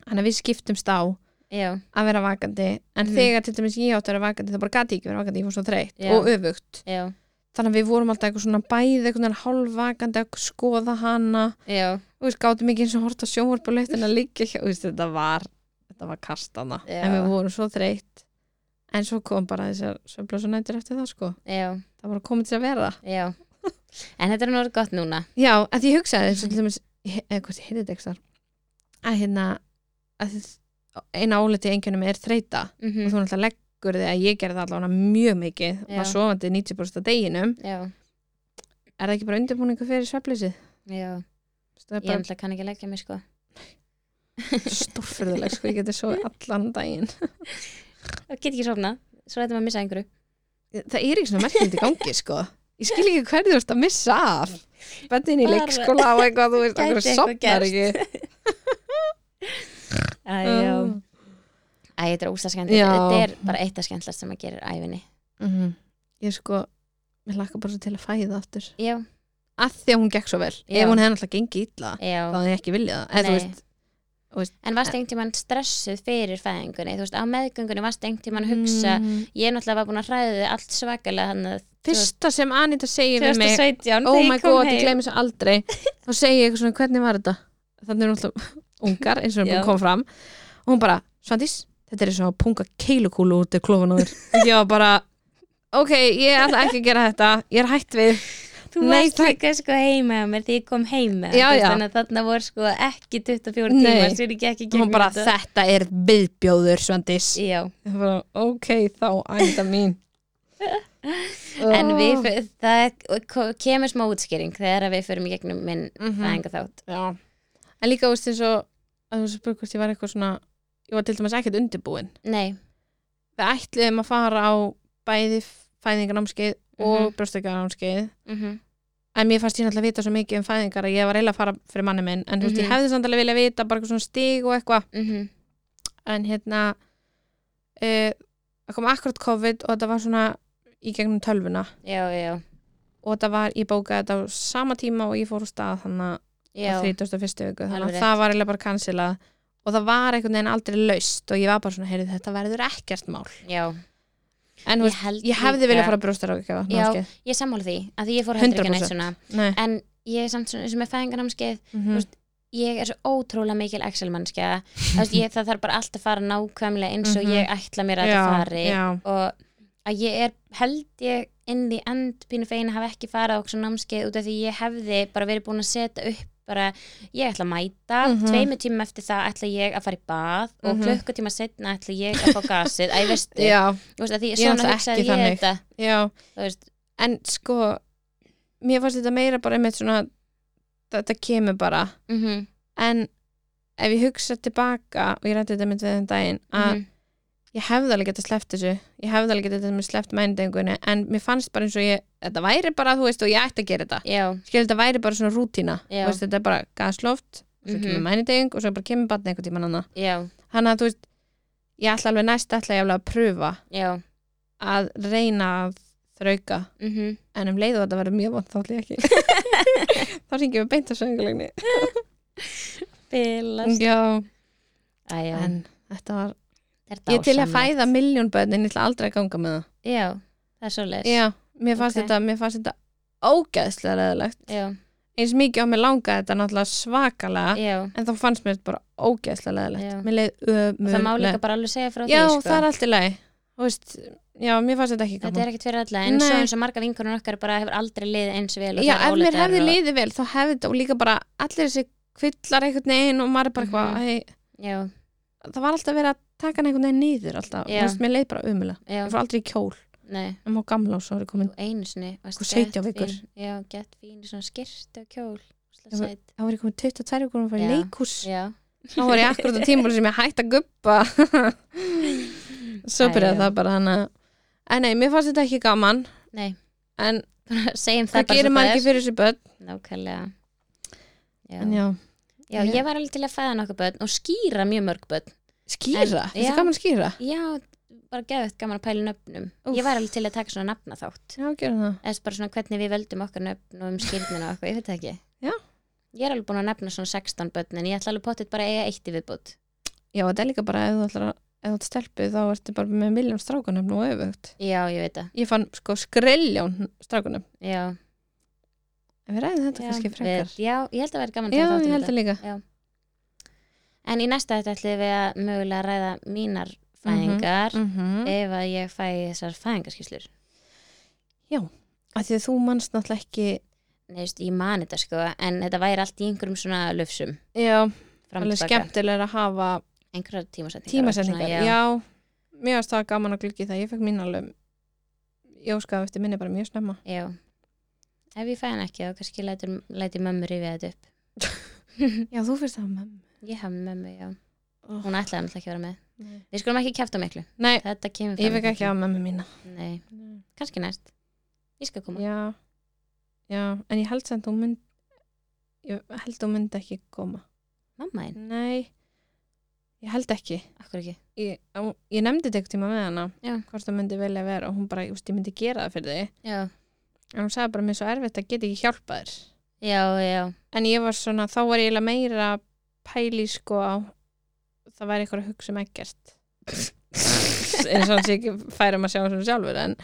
[SPEAKER 2] þannig að við skiptumst á að
[SPEAKER 1] já
[SPEAKER 2] vera vakandi en
[SPEAKER 1] Mhm.
[SPEAKER 2] þegar til dæmis ég átt að vera vakandi þá bara gati ekki vera vakandi, ég fór svo þreytt
[SPEAKER 1] Já.
[SPEAKER 2] og öfugt
[SPEAKER 1] já,
[SPEAKER 2] þannig að við vorum alltaf eitthvað svona bæði eitthvað hálfvakandi að skoða hana
[SPEAKER 1] já,
[SPEAKER 2] og við gátum ekki eins og horta sjónvarpuleitt en að líka hjá, þú veist, þetta var þetta var kastana,
[SPEAKER 1] Já.
[SPEAKER 2] en við vorum svo þreytt en svo kom bara þessar sömblösa nættur eftir það sko,
[SPEAKER 1] já,
[SPEAKER 2] það var komið til að vera
[SPEAKER 1] já en þetta er nú orðið gott núna
[SPEAKER 2] Já, að því ég hugsaði eins og til dæmis ég- eða hvort ég heyrði þetta ekstar að hérna að þið- eina áliti einkjörnum er þreita og
[SPEAKER 1] Mhm.
[SPEAKER 2] þú náttúrulega leggur þig að ég gerði það allavega mjög mikið
[SPEAKER 1] Já.
[SPEAKER 2] var sofandi 90% af deginum
[SPEAKER 1] já,
[SPEAKER 2] er það ekki bara undirbúningu fyrir svefleysi?
[SPEAKER 1] já,
[SPEAKER 2] Það er
[SPEAKER 1] ég
[SPEAKER 2] bara
[SPEAKER 1] náttúrulega kann ekki að leggja mig sko
[SPEAKER 2] stórfyrðuleg sko, ég geti sofið allan daginn
[SPEAKER 1] og get ekki sofna, svo þetta maður að missa einhverju
[SPEAKER 2] Það er ekki svona merkjönd í gangi sko Ég skil ekki hverju þú ert að missa af Böndin í
[SPEAKER 1] Bara-
[SPEAKER 2] leikskóla og eitthvað þú veist,
[SPEAKER 1] Gæti
[SPEAKER 2] okkur
[SPEAKER 1] eitthvað
[SPEAKER 2] sopnar
[SPEAKER 1] gerst.
[SPEAKER 2] ekki
[SPEAKER 1] Æ, já, Æ, þetta er óslega skemmt
[SPEAKER 2] Já.
[SPEAKER 1] Þetta er bara eitt af skemmtlast sem maður gerir æfinni
[SPEAKER 2] Mhm. Ég sko, mér lakka bara svo til að fæða aftur
[SPEAKER 1] Já,
[SPEAKER 2] að því að hún gekk svo vel
[SPEAKER 1] Já.
[SPEAKER 2] ef hún hefði náttúrulega gengið illa þá
[SPEAKER 1] já
[SPEAKER 2] hefði ég ekki viljað það eða þú
[SPEAKER 1] Nei.
[SPEAKER 2] veist,
[SPEAKER 1] En varst einhvern tímann stressuð fyrir fæðingunni Þú veist, á meðgöngunni varst einhvern tímann að hugsa
[SPEAKER 2] Mm.
[SPEAKER 1] Ég náttúrulega var búin að hræða þið allt svakalega hann að
[SPEAKER 2] fyrsta sem Anita segir við mig
[SPEAKER 1] 2017
[SPEAKER 2] oh
[SPEAKER 1] þegar
[SPEAKER 2] my
[SPEAKER 1] ég kom
[SPEAKER 2] god, ég
[SPEAKER 1] heim.
[SPEAKER 2] glemir svo aldrei þá segir ég eitthvað svona, hvernig var þetta þannig er hún alltaf ungar eins og
[SPEAKER 1] Já.
[SPEAKER 2] hún kom fram og hún bara, Svandís, þetta er eins og að punga keilukúlu út af klófan á þér og ég var bara, ok, ég ætla ekki að gera þetta ég er hætt við
[SPEAKER 1] þú
[SPEAKER 2] Nei,
[SPEAKER 1] varst
[SPEAKER 2] það-
[SPEAKER 1] líka sko heima hjá mér þegar ég kom heima
[SPEAKER 2] Já, já.
[SPEAKER 1] þannig að þarna voru sko ekki 24
[SPEAKER 2] Nei.
[SPEAKER 1] tímar sem ég gekk ekki
[SPEAKER 2] Hún
[SPEAKER 1] gegnum
[SPEAKER 2] bara,
[SPEAKER 1] þetta.
[SPEAKER 2] þetta er viðbjóður, Svendis.
[SPEAKER 1] Já,
[SPEAKER 2] Ég bara, ok, þá ænda mín. Oh.
[SPEAKER 1] en við, fyr- það ko- kemur smá útskýring þegar að við förum í gegnum minn
[SPEAKER 2] Mhm.
[SPEAKER 1] fæðinga þátt
[SPEAKER 2] Já. En líka, þú veist, eins og, að þú spurði hvort ég var eitthvað svona, ég var til dæmis ekkert undirbúin.
[SPEAKER 1] Nei,
[SPEAKER 2] Við ætluðum að fara á bæði fæðingarnámskeið og
[SPEAKER 1] Mhm.
[SPEAKER 2] brjóstakjarnámskeið.
[SPEAKER 1] mm
[SPEAKER 2] En mér fannst ég náttúrulega vita svo mikið um fæðingar að ég var eiginlega að fara fyrir manni minn. En þú veist, ég
[SPEAKER 1] Mhm.
[SPEAKER 2] hefði samt alveg vilja vita bara eitthvað svona stig og eitthvað. en hérna eh, það kom akkurat COVID og þetta var svona í gegnum tölvuna
[SPEAKER 1] já, já,
[SPEAKER 2] og þetta var, ég bókaði þetta á sama tíma og ég fór úr stað þannig
[SPEAKER 1] já,
[SPEAKER 2] að 31. viku þannig
[SPEAKER 1] Alveg
[SPEAKER 2] að það var eiginlega bara cancelað og það var einhvern veginn aldrei laust og ég var bara svona, heyrðu þetta verður ekkert mál
[SPEAKER 1] já.
[SPEAKER 2] en þú veist,
[SPEAKER 1] held
[SPEAKER 2] ég hefði
[SPEAKER 1] líka-
[SPEAKER 2] viljað fara brjóstar
[SPEAKER 1] Já.
[SPEAKER 2] á ekki
[SPEAKER 1] Ég sammála því, að því ég fór heldur ekki
[SPEAKER 2] 100%.
[SPEAKER 1] neitt svona
[SPEAKER 2] Nei.
[SPEAKER 1] En ég er samt svona, sem er fæðingarnámskeið
[SPEAKER 2] Mhm.
[SPEAKER 1] veist, ég er svo ótrúlega mikil Excel-mannskja það þarf bara allt að fara nákvæmlega eins og
[SPEAKER 2] Mhm.
[SPEAKER 1] ég ætla mér að
[SPEAKER 2] Já,
[SPEAKER 1] þetta fari
[SPEAKER 2] já,
[SPEAKER 1] og að ég er held ég inn í end pínu fegin að hafa ekki farið á okkur námskeið út af því ég hefði bara verið búin að setja upp bara, ég ætla að mæta
[SPEAKER 2] Mhm.
[SPEAKER 1] tveimur tímum eftir það ætla ég að fara í bað og
[SPEAKER 2] Mhm.
[SPEAKER 1] klukkutíma setna ætla ég að fá gasið, að ég veistu
[SPEAKER 2] já,
[SPEAKER 1] Þú veist, að því
[SPEAKER 2] Ég er
[SPEAKER 1] svona
[SPEAKER 2] náttúrulega
[SPEAKER 1] hugsaði
[SPEAKER 2] ekki
[SPEAKER 1] ég
[SPEAKER 2] þannig.
[SPEAKER 1] þetta
[SPEAKER 2] já
[SPEAKER 1] þú veist,
[SPEAKER 2] en sko mér fannst þetta meira bara einmitt svona þetta kemur bara
[SPEAKER 1] mm
[SPEAKER 2] en ef ég hugsa tilbaka og ég rætti þetta mynd við þenn daginn að
[SPEAKER 1] Mhm.
[SPEAKER 2] ég hefði alveg getað sleppt þessu ég hefði alveg getað þetta sleppt mændingunni en mér fannst bara eins og ég þetta væri bara, þú veist, og ég ætti að gera þetta
[SPEAKER 1] já,
[SPEAKER 2] skil þetta væri bara svona rútína
[SPEAKER 1] Já.
[SPEAKER 2] Þú veist, þetta er bara gasloft, svo
[SPEAKER 1] Mhm.
[SPEAKER 2] kemur mænding og svo bara kemur batni einhvern tímann annað
[SPEAKER 1] já,
[SPEAKER 2] þannig að þú veist, ég ætla alveg næst ætla ég alveg að pröfa
[SPEAKER 1] já
[SPEAKER 2] að reyna að þrauka
[SPEAKER 1] mm
[SPEAKER 2] en um leið og þetta verður mjög vond þá ætla ég ekki þá ringjum við beint að söngulegni
[SPEAKER 1] Bilast
[SPEAKER 2] já,
[SPEAKER 1] Æjá,
[SPEAKER 2] en þetta var
[SPEAKER 1] þetta
[SPEAKER 2] Ég er til að fæða miljón börn en ég ætla aldrei að ganga með það.
[SPEAKER 1] Já, það er svoleiðis
[SPEAKER 2] Já, mér fannst
[SPEAKER 1] Ok.
[SPEAKER 2] þetta, mér fannst þetta ógæðslega reðilegt.
[SPEAKER 1] já,
[SPEAKER 2] Eins mikið á mig langaði þetta náttúrulega svakalega,
[SPEAKER 1] já.
[SPEAKER 2] en þá fannst mér þetta bara ógæðslega reðilegt.
[SPEAKER 1] Já.
[SPEAKER 2] Mér leið
[SPEAKER 1] Og það má líka
[SPEAKER 2] ömurlega.
[SPEAKER 1] bara alveg segja frá
[SPEAKER 2] Já,
[SPEAKER 1] því sko.
[SPEAKER 2] það er allt í lagi. Þú veist, já, mér fannst þetta ekki
[SPEAKER 1] Þetta
[SPEAKER 2] gaman.
[SPEAKER 1] er ekkert fyrir alla, en
[SPEAKER 2] Nei.
[SPEAKER 1] svo eins og marga vinkurinn okkar bara hefur aldrei liðið eins vel og
[SPEAKER 2] Já,
[SPEAKER 1] það er
[SPEAKER 2] ef mér
[SPEAKER 1] ólítar
[SPEAKER 2] hefði
[SPEAKER 1] og-
[SPEAKER 2] liðið vel, þá hefði þetta og líka bara allir þessi kvillar einhvern veginn og maður er bara eitthvað,
[SPEAKER 1] Mhm.
[SPEAKER 2] mm
[SPEAKER 1] Já,
[SPEAKER 2] það var alltaf verið að taka hann einhvern veginn niður alltaf.
[SPEAKER 1] Já.
[SPEAKER 2] Þú veist, mér leið bara umulega.
[SPEAKER 1] já,
[SPEAKER 2] Ég fór aldrei í kjól.
[SPEAKER 1] nei
[SPEAKER 2] Ég má gamla og svo er ég komin.
[SPEAKER 1] Þú einu sinni varst
[SPEAKER 2] Hvað, 17
[SPEAKER 1] gett
[SPEAKER 2] vikur?
[SPEAKER 1] fín- Já, gett fín, í svona skyrst og kjól Ósla
[SPEAKER 2] Já,
[SPEAKER 1] sæt.
[SPEAKER 2] Þá var ég komin 22 vikur og fór í
[SPEAKER 1] Já.
[SPEAKER 2] leikhús.
[SPEAKER 1] Já,
[SPEAKER 2] þá var ég akkurat á tímul sem ég hætti að guppa svo
[SPEAKER 1] Æ,
[SPEAKER 2] byrjaði
[SPEAKER 1] já.
[SPEAKER 2] það bara hana en nei, mér fannst þetta ekki gaman
[SPEAKER 1] Nei.
[SPEAKER 2] en
[SPEAKER 1] segjum það,
[SPEAKER 2] það
[SPEAKER 1] bara
[SPEAKER 2] gerir
[SPEAKER 1] svo
[SPEAKER 2] maður
[SPEAKER 1] það
[SPEAKER 2] ekki
[SPEAKER 1] er
[SPEAKER 2] fyrir þessu börn
[SPEAKER 1] Nákvæmlega Já.
[SPEAKER 2] en já,
[SPEAKER 1] já, ég var alveg til að fæða nokkuð börn og skýra mjög mörg börn
[SPEAKER 2] skýra,
[SPEAKER 1] En-
[SPEAKER 2] þetta
[SPEAKER 1] já.
[SPEAKER 2] er gaman að skýra
[SPEAKER 1] Já, bara geðvægt gaman að pæla í nöfnum
[SPEAKER 2] Úff.
[SPEAKER 1] Ég var alveg til að taka svona nafna þátt
[SPEAKER 2] já, gerum það
[SPEAKER 1] eða bara svona hvernig við völdum okkar nöfn og um skýrnina og eitthvað, ég veit það ekki
[SPEAKER 2] Já.
[SPEAKER 1] Ég er alveg búin að nefna svona 16 börn en ég ætla alveg pottitt bara að eiga eitt í viðbútt
[SPEAKER 2] já, þetta er líka bara ef þú ætlar að ef þú ert stelpu þá ertu bara með miljón strákunum og öfugt
[SPEAKER 1] Já, ég veit það
[SPEAKER 2] ég fann sko skrilljón strákunum
[SPEAKER 1] Já,
[SPEAKER 2] en við ræðum þetta
[SPEAKER 1] já,
[SPEAKER 2] kannski frekar
[SPEAKER 1] já, ég held að vera gaman að
[SPEAKER 2] já,
[SPEAKER 1] taka þátt
[SPEAKER 2] ég
[SPEAKER 1] um
[SPEAKER 2] held
[SPEAKER 1] þetta.
[SPEAKER 2] það líka
[SPEAKER 1] En í næsta þetta ætlum við að mögulega ræða mínar fæðingar
[SPEAKER 2] mm -hmm.
[SPEAKER 1] ef að ég fæ þessar fæðingarskýslur
[SPEAKER 2] að því að þú manst náttúrulega ekki
[SPEAKER 1] Nei, þú veist, ég man þetta sko en þetta væri allt í einhverjum svona löfsum
[SPEAKER 2] já,
[SPEAKER 1] fram og
[SPEAKER 2] alveg
[SPEAKER 1] tilbaka.
[SPEAKER 2] skemmtilega að hafa
[SPEAKER 1] einhverjar tímasetningar
[SPEAKER 2] tímasetningar,
[SPEAKER 1] Svona,
[SPEAKER 2] já. mér varst það gaman að gluggi það, ég fekk mín alveg ég óskaði eftir minni bara mjög snemma
[SPEAKER 1] Já. Ef ég fæ hann ekki þá kannski lætur, lætur mömmu rifið þetta upp.
[SPEAKER 2] já, þú fyrst það mamma
[SPEAKER 1] Ég hef mömmu, já.
[SPEAKER 2] Oh.
[SPEAKER 1] Hún ætlaði náttúrulega ekki að vera með.
[SPEAKER 2] nei,
[SPEAKER 1] Við skulum ekki kæfta miklu.
[SPEAKER 2] nei
[SPEAKER 1] Þetta kemur
[SPEAKER 2] ég fekk ekki á mamma mína
[SPEAKER 1] Nei, kannski næst. Ég skal koma.
[SPEAKER 2] já, já, en ég held sem þú mynd ég held þú mynd ekki koma
[SPEAKER 1] Mamma einn,
[SPEAKER 2] nei, ég held ekki
[SPEAKER 1] akkur ekki.
[SPEAKER 2] ég, á- ég nefndi þetta eitthvað tíma með hana
[SPEAKER 1] Já.
[SPEAKER 2] hvort það myndi velja að vera og hún bara, ég, veist, ég myndi gera það fyrir þig
[SPEAKER 1] Já,
[SPEAKER 2] en hún sagði bara, mér er svo erfitt að geta ekki hjálpa þér
[SPEAKER 1] já, já.
[SPEAKER 2] en ég var svona, þá var ég eiginlega meira að pæli sko á- það væri eitthvað að hugsa um ekkert eins og hann sé ekki færum að sjá sem sjálfur en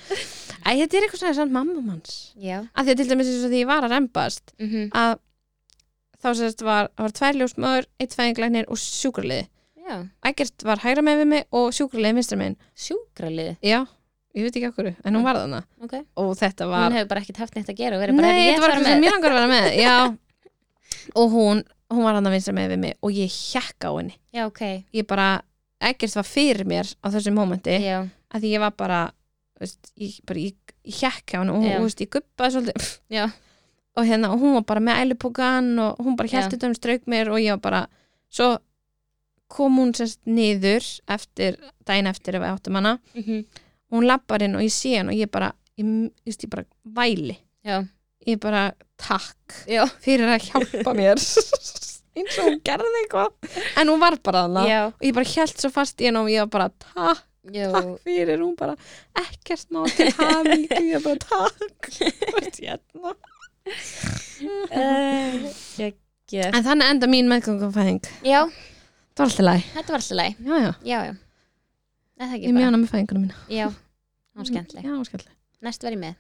[SPEAKER 2] Æ, þetta er eitthvað svona samt mamma manns
[SPEAKER 1] Já.
[SPEAKER 2] af því að til dæmis eins og því ég var að rembast
[SPEAKER 1] Mm
[SPEAKER 2] að þá sérst var, það var tvær ljósmöður, eitt fæðinglæknir og sjúkraliði
[SPEAKER 1] Já.
[SPEAKER 2] ekkert var hægra með við mig og sjúkraliði vinstra megin
[SPEAKER 1] Sjúkralið.
[SPEAKER 2] já, ég veit ekki okkur, en hún var þarna
[SPEAKER 1] ok
[SPEAKER 2] og þetta var
[SPEAKER 1] Hún hefur bara ekkert haft neitt að gera og verið bara
[SPEAKER 2] Nei,
[SPEAKER 1] "Heyrðu,
[SPEAKER 2] þetta var
[SPEAKER 1] ég
[SPEAKER 2] eitthvað
[SPEAKER 1] fara
[SPEAKER 2] sem
[SPEAKER 1] með."
[SPEAKER 2] mér langar að vera með Já, og hún hún var hann að vinsa með við mig og ég hjekka á henni
[SPEAKER 1] Já, ok
[SPEAKER 2] ég bara, ekkert var fyrir mér á þessu mómenti,
[SPEAKER 1] Já,
[SPEAKER 2] að því ég var bara þú veist, ég, bara, ég, ég hjekka á henni og hún,
[SPEAKER 1] Já.
[SPEAKER 2] þú veist, ég guppaði svolítið
[SPEAKER 1] Já.
[SPEAKER 2] og hérna, og hún var bara með ælupókan og hún bara
[SPEAKER 1] Já.
[SPEAKER 2] hjælti þetta um strauk mér og ég var bara, svo kom hún sérst niður eftir, daginn eftir ef við áttum hana
[SPEAKER 1] mhm,
[SPEAKER 2] og hún lappar inn og ég sé hann og ég bara, ég, ég, ég bara væli
[SPEAKER 1] já,
[SPEAKER 2] ég bara takk
[SPEAKER 1] já,
[SPEAKER 2] fyrir að hjálpa mér eins og hún gerði eitthvað en hún var bara þarna
[SPEAKER 1] já,
[SPEAKER 2] og ég bara held svo fast í henn og ég var bara takk,
[SPEAKER 1] já,
[SPEAKER 2] takk fyrir hún bara ekkert má til hafi ég bara takk Þú ert hérna. Eh,
[SPEAKER 1] já, já.
[SPEAKER 2] en þannig enda mín meðgöngumfæðing
[SPEAKER 1] já,
[SPEAKER 2] það var alltaf læg
[SPEAKER 1] þetta var alltaf læg
[SPEAKER 2] já, já.
[SPEAKER 1] Já, já, Er það
[SPEAKER 2] ég
[SPEAKER 1] ekki
[SPEAKER 2] er mjög
[SPEAKER 1] bara
[SPEAKER 2] hana með fæðinguna mína
[SPEAKER 1] Já, hún var skemmtileg
[SPEAKER 2] já, hún var skemmtileg
[SPEAKER 1] Næst verð ég með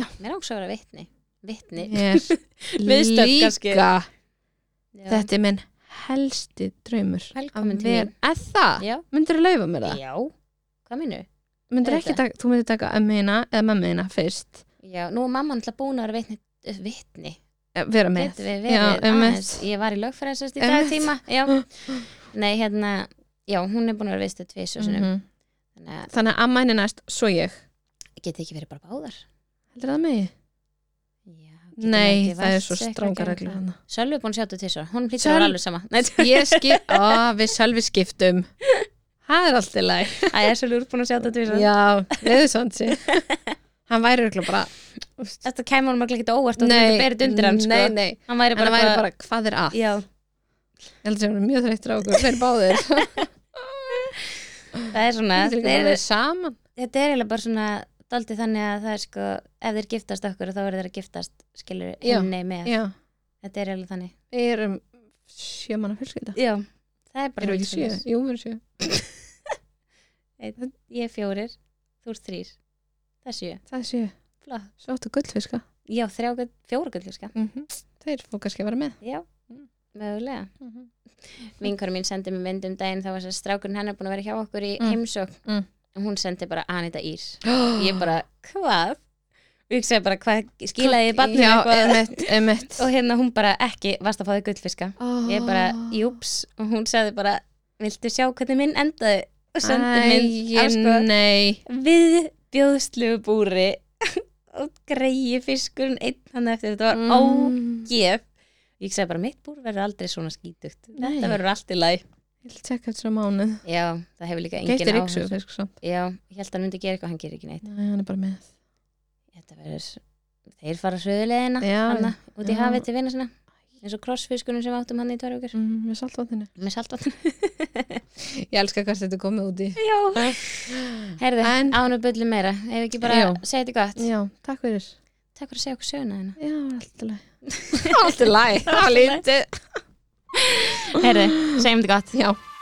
[SPEAKER 2] Já.
[SPEAKER 1] Mér ángs að vera vitni Vitni
[SPEAKER 2] Ég
[SPEAKER 1] Viðstödd
[SPEAKER 2] er
[SPEAKER 1] kannski.
[SPEAKER 2] líka
[SPEAKER 1] Já.
[SPEAKER 2] þetta er minn helsti draumur
[SPEAKER 1] Velkomin
[SPEAKER 2] að
[SPEAKER 1] til
[SPEAKER 2] vera-
[SPEAKER 1] mín.
[SPEAKER 2] Er það?
[SPEAKER 1] Já,
[SPEAKER 2] myndir að laufa mér það?
[SPEAKER 1] já, hvað mínu?
[SPEAKER 2] myndir ekki
[SPEAKER 1] Auðvitað.
[SPEAKER 2] taka, þú myndir taka ömmuðina eða mammuðina fyrst
[SPEAKER 1] Já, nú er mamman alltaf búin að vera vitni eh, Vitni,
[SPEAKER 2] eh, vera með
[SPEAKER 1] getur við
[SPEAKER 2] já, um
[SPEAKER 1] verið aðeins
[SPEAKER 2] einmitt.
[SPEAKER 1] Ég var í lögfræðsast í
[SPEAKER 2] Einmitt.
[SPEAKER 1] dagtíma Já, nei, hérna Já, hún er búin að vera viðstöð tvis og sinnum
[SPEAKER 2] Mhm.
[SPEAKER 1] Þannig að
[SPEAKER 2] þannig að amma henni næst, svo ég
[SPEAKER 1] geti ekki verið bara báðar
[SPEAKER 2] heldur það megi?
[SPEAKER 1] Já, getur
[SPEAKER 2] nei,
[SPEAKER 1] ekki
[SPEAKER 2] það er
[SPEAKER 1] vært
[SPEAKER 2] svo
[SPEAKER 1] sig eitthvað
[SPEAKER 2] stráka
[SPEAKER 1] að gera
[SPEAKER 2] reglur
[SPEAKER 1] það.
[SPEAKER 2] hann
[SPEAKER 1] Sölvi er búin að sjá þetta tvisar, hún hlýtur að
[SPEAKER 2] Sölv-
[SPEAKER 1] vera alveg sama Nei,
[SPEAKER 2] ég skip, á, við sjálfi skiptum það er allt í læg
[SPEAKER 1] Það er svolítið úrbúin að sjá þetta tvisar
[SPEAKER 2] já, leðu svonsi hann væri örugglega bara
[SPEAKER 1] Þetta kæmur hann ekki óvart og þetta berið undir hann sko.
[SPEAKER 2] nei, nei,
[SPEAKER 1] Hann væri
[SPEAKER 2] en
[SPEAKER 1] bara,
[SPEAKER 2] hann væri bara hvað er að
[SPEAKER 1] Já,
[SPEAKER 2] ég heldur sem hann er mjög þreyttur á okkur, þeir báðir
[SPEAKER 1] það er svona
[SPEAKER 2] þeir
[SPEAKER 1] þeir,
[SPEAKER 2] eru saman
[SPEAKER 1] Þetta er eiginlega bara svona daldið þannig að það er sko ef þeir giftast okkur þá eru þeir að giftast skilur
[SPEAKER 2] Já,
[SPEAKER 1] henni með
[SPEAKER 2] já,
[SPEAKER 1] Þetta er eiginlega þannig
[SPEAKER 2] við erum sjö manna fjölskylda
[SPEAKER 1] Já, það er bara
[SPEAKER 2] erum við
[SPEAKER 1] svolítið
[SPEAKER 2] ekki sjö?
[SPEAKER 1] svoleiðis.
[SPEAKER 2] jú, við erum sjö
[SPEAKER 1] Ég er fjórir, þú ert þrýr Það er sjö
[SPEAKER 2] það er sjö,
[SPEAKER 1] Flá.
[SPEAKER 2] svo áttu gullfiska
[SPEAKER 1] Já, þrjá, gull- fjóra gullfiska
[SPEAKER 2] mm -hmm. þeir fór kannski að vera með
[SPEAKER 1] sko. Já,
[SPEAKER 2] Mm.
[SPEAKER 1] mögulega
[SPEAKER 2] mm -hmm.
[SPEAKER 1] vinkar mín sendi mér mynd um daginn þá var þess að strákurinn hennar búin að vera hjá okkur í
[SPEAKER 2] Mm.
[SPEAKER 1] heimsókn
[SPEAKER 2] Mm.
[SPEAKER 1] og hún sendi bara Anita Ír ég bara, hvað? og ég segi bara, hvað skilaði ég barninu
[SPEAKER 2] já,
[SPEAKER 1] eitthvað
[SPEAKER 2] emitt, emitt
[SPEAKER 1] og hérna hún bara, ekki, varst að fá þig gullfiska ég bara, júps, og hún sagði bara viltu sjá hvernig minn endaði og sendi mynd af sko
[SPEAKER 2] nei
[SPEAKER 1] við bjóðslugu búri og greiði fiskurinn einn hann eftir þetta var mm. ágef ég segi bara, mitt búr verður aldrei svona skítugt
[SPEAKER 2] Nei.
[SPEAKER 1] þetta verður allt í lagi
[SPEAKER 2] ég vil tekka þetta svo mánuð
[SPEAKER 1] Já, það hefur líka engin
[SPEAKER 2] gæti ríksu
[SPEAKER 1] áhrif.
[SPEAKER 2] fisk samt
[SPEAKER 1] Já, ég held að hann myndi gera eitthvað, hann gerir ekki neitt.
[SPEAKER 2] nei, hann er bara með
[SPEAKER 1] Þetta verður, þeir fara söðulegina,
[SPEAKER 2] Já,
[SPEAKER 1] hann út í
[SPEAKER 2] já.
[SPEAKER 1] hafið til vinna sinna. Eins og krossfiskunum sem við áttum hann í tvær vikur.
[SPEAKER 2] mm, með saltvatninu
[SPEAKER 1] Með saltvatn.
[SPEAKER 2] ég elska hvað þetta er komið út í
[SPEAKER 1] Já. Herðu,
[SPEAKER 2] En-
[SPEAKER 1] ánum byrlu meira. Ef ekki bara
[SPEAKER 2] Já.
[SPEAKER 1] segja þetta gott.
[SPEAKER 2] já, takk fyrir
[SPEAKER 1] Takk fyrir að segja okkur söguna þina.
[SPEAKER 2] já, alltaf læg alltaf læg, það var lítið
[SPEAKER 1] Herðu, segjum þetta gott.
[SPEAKER 2] já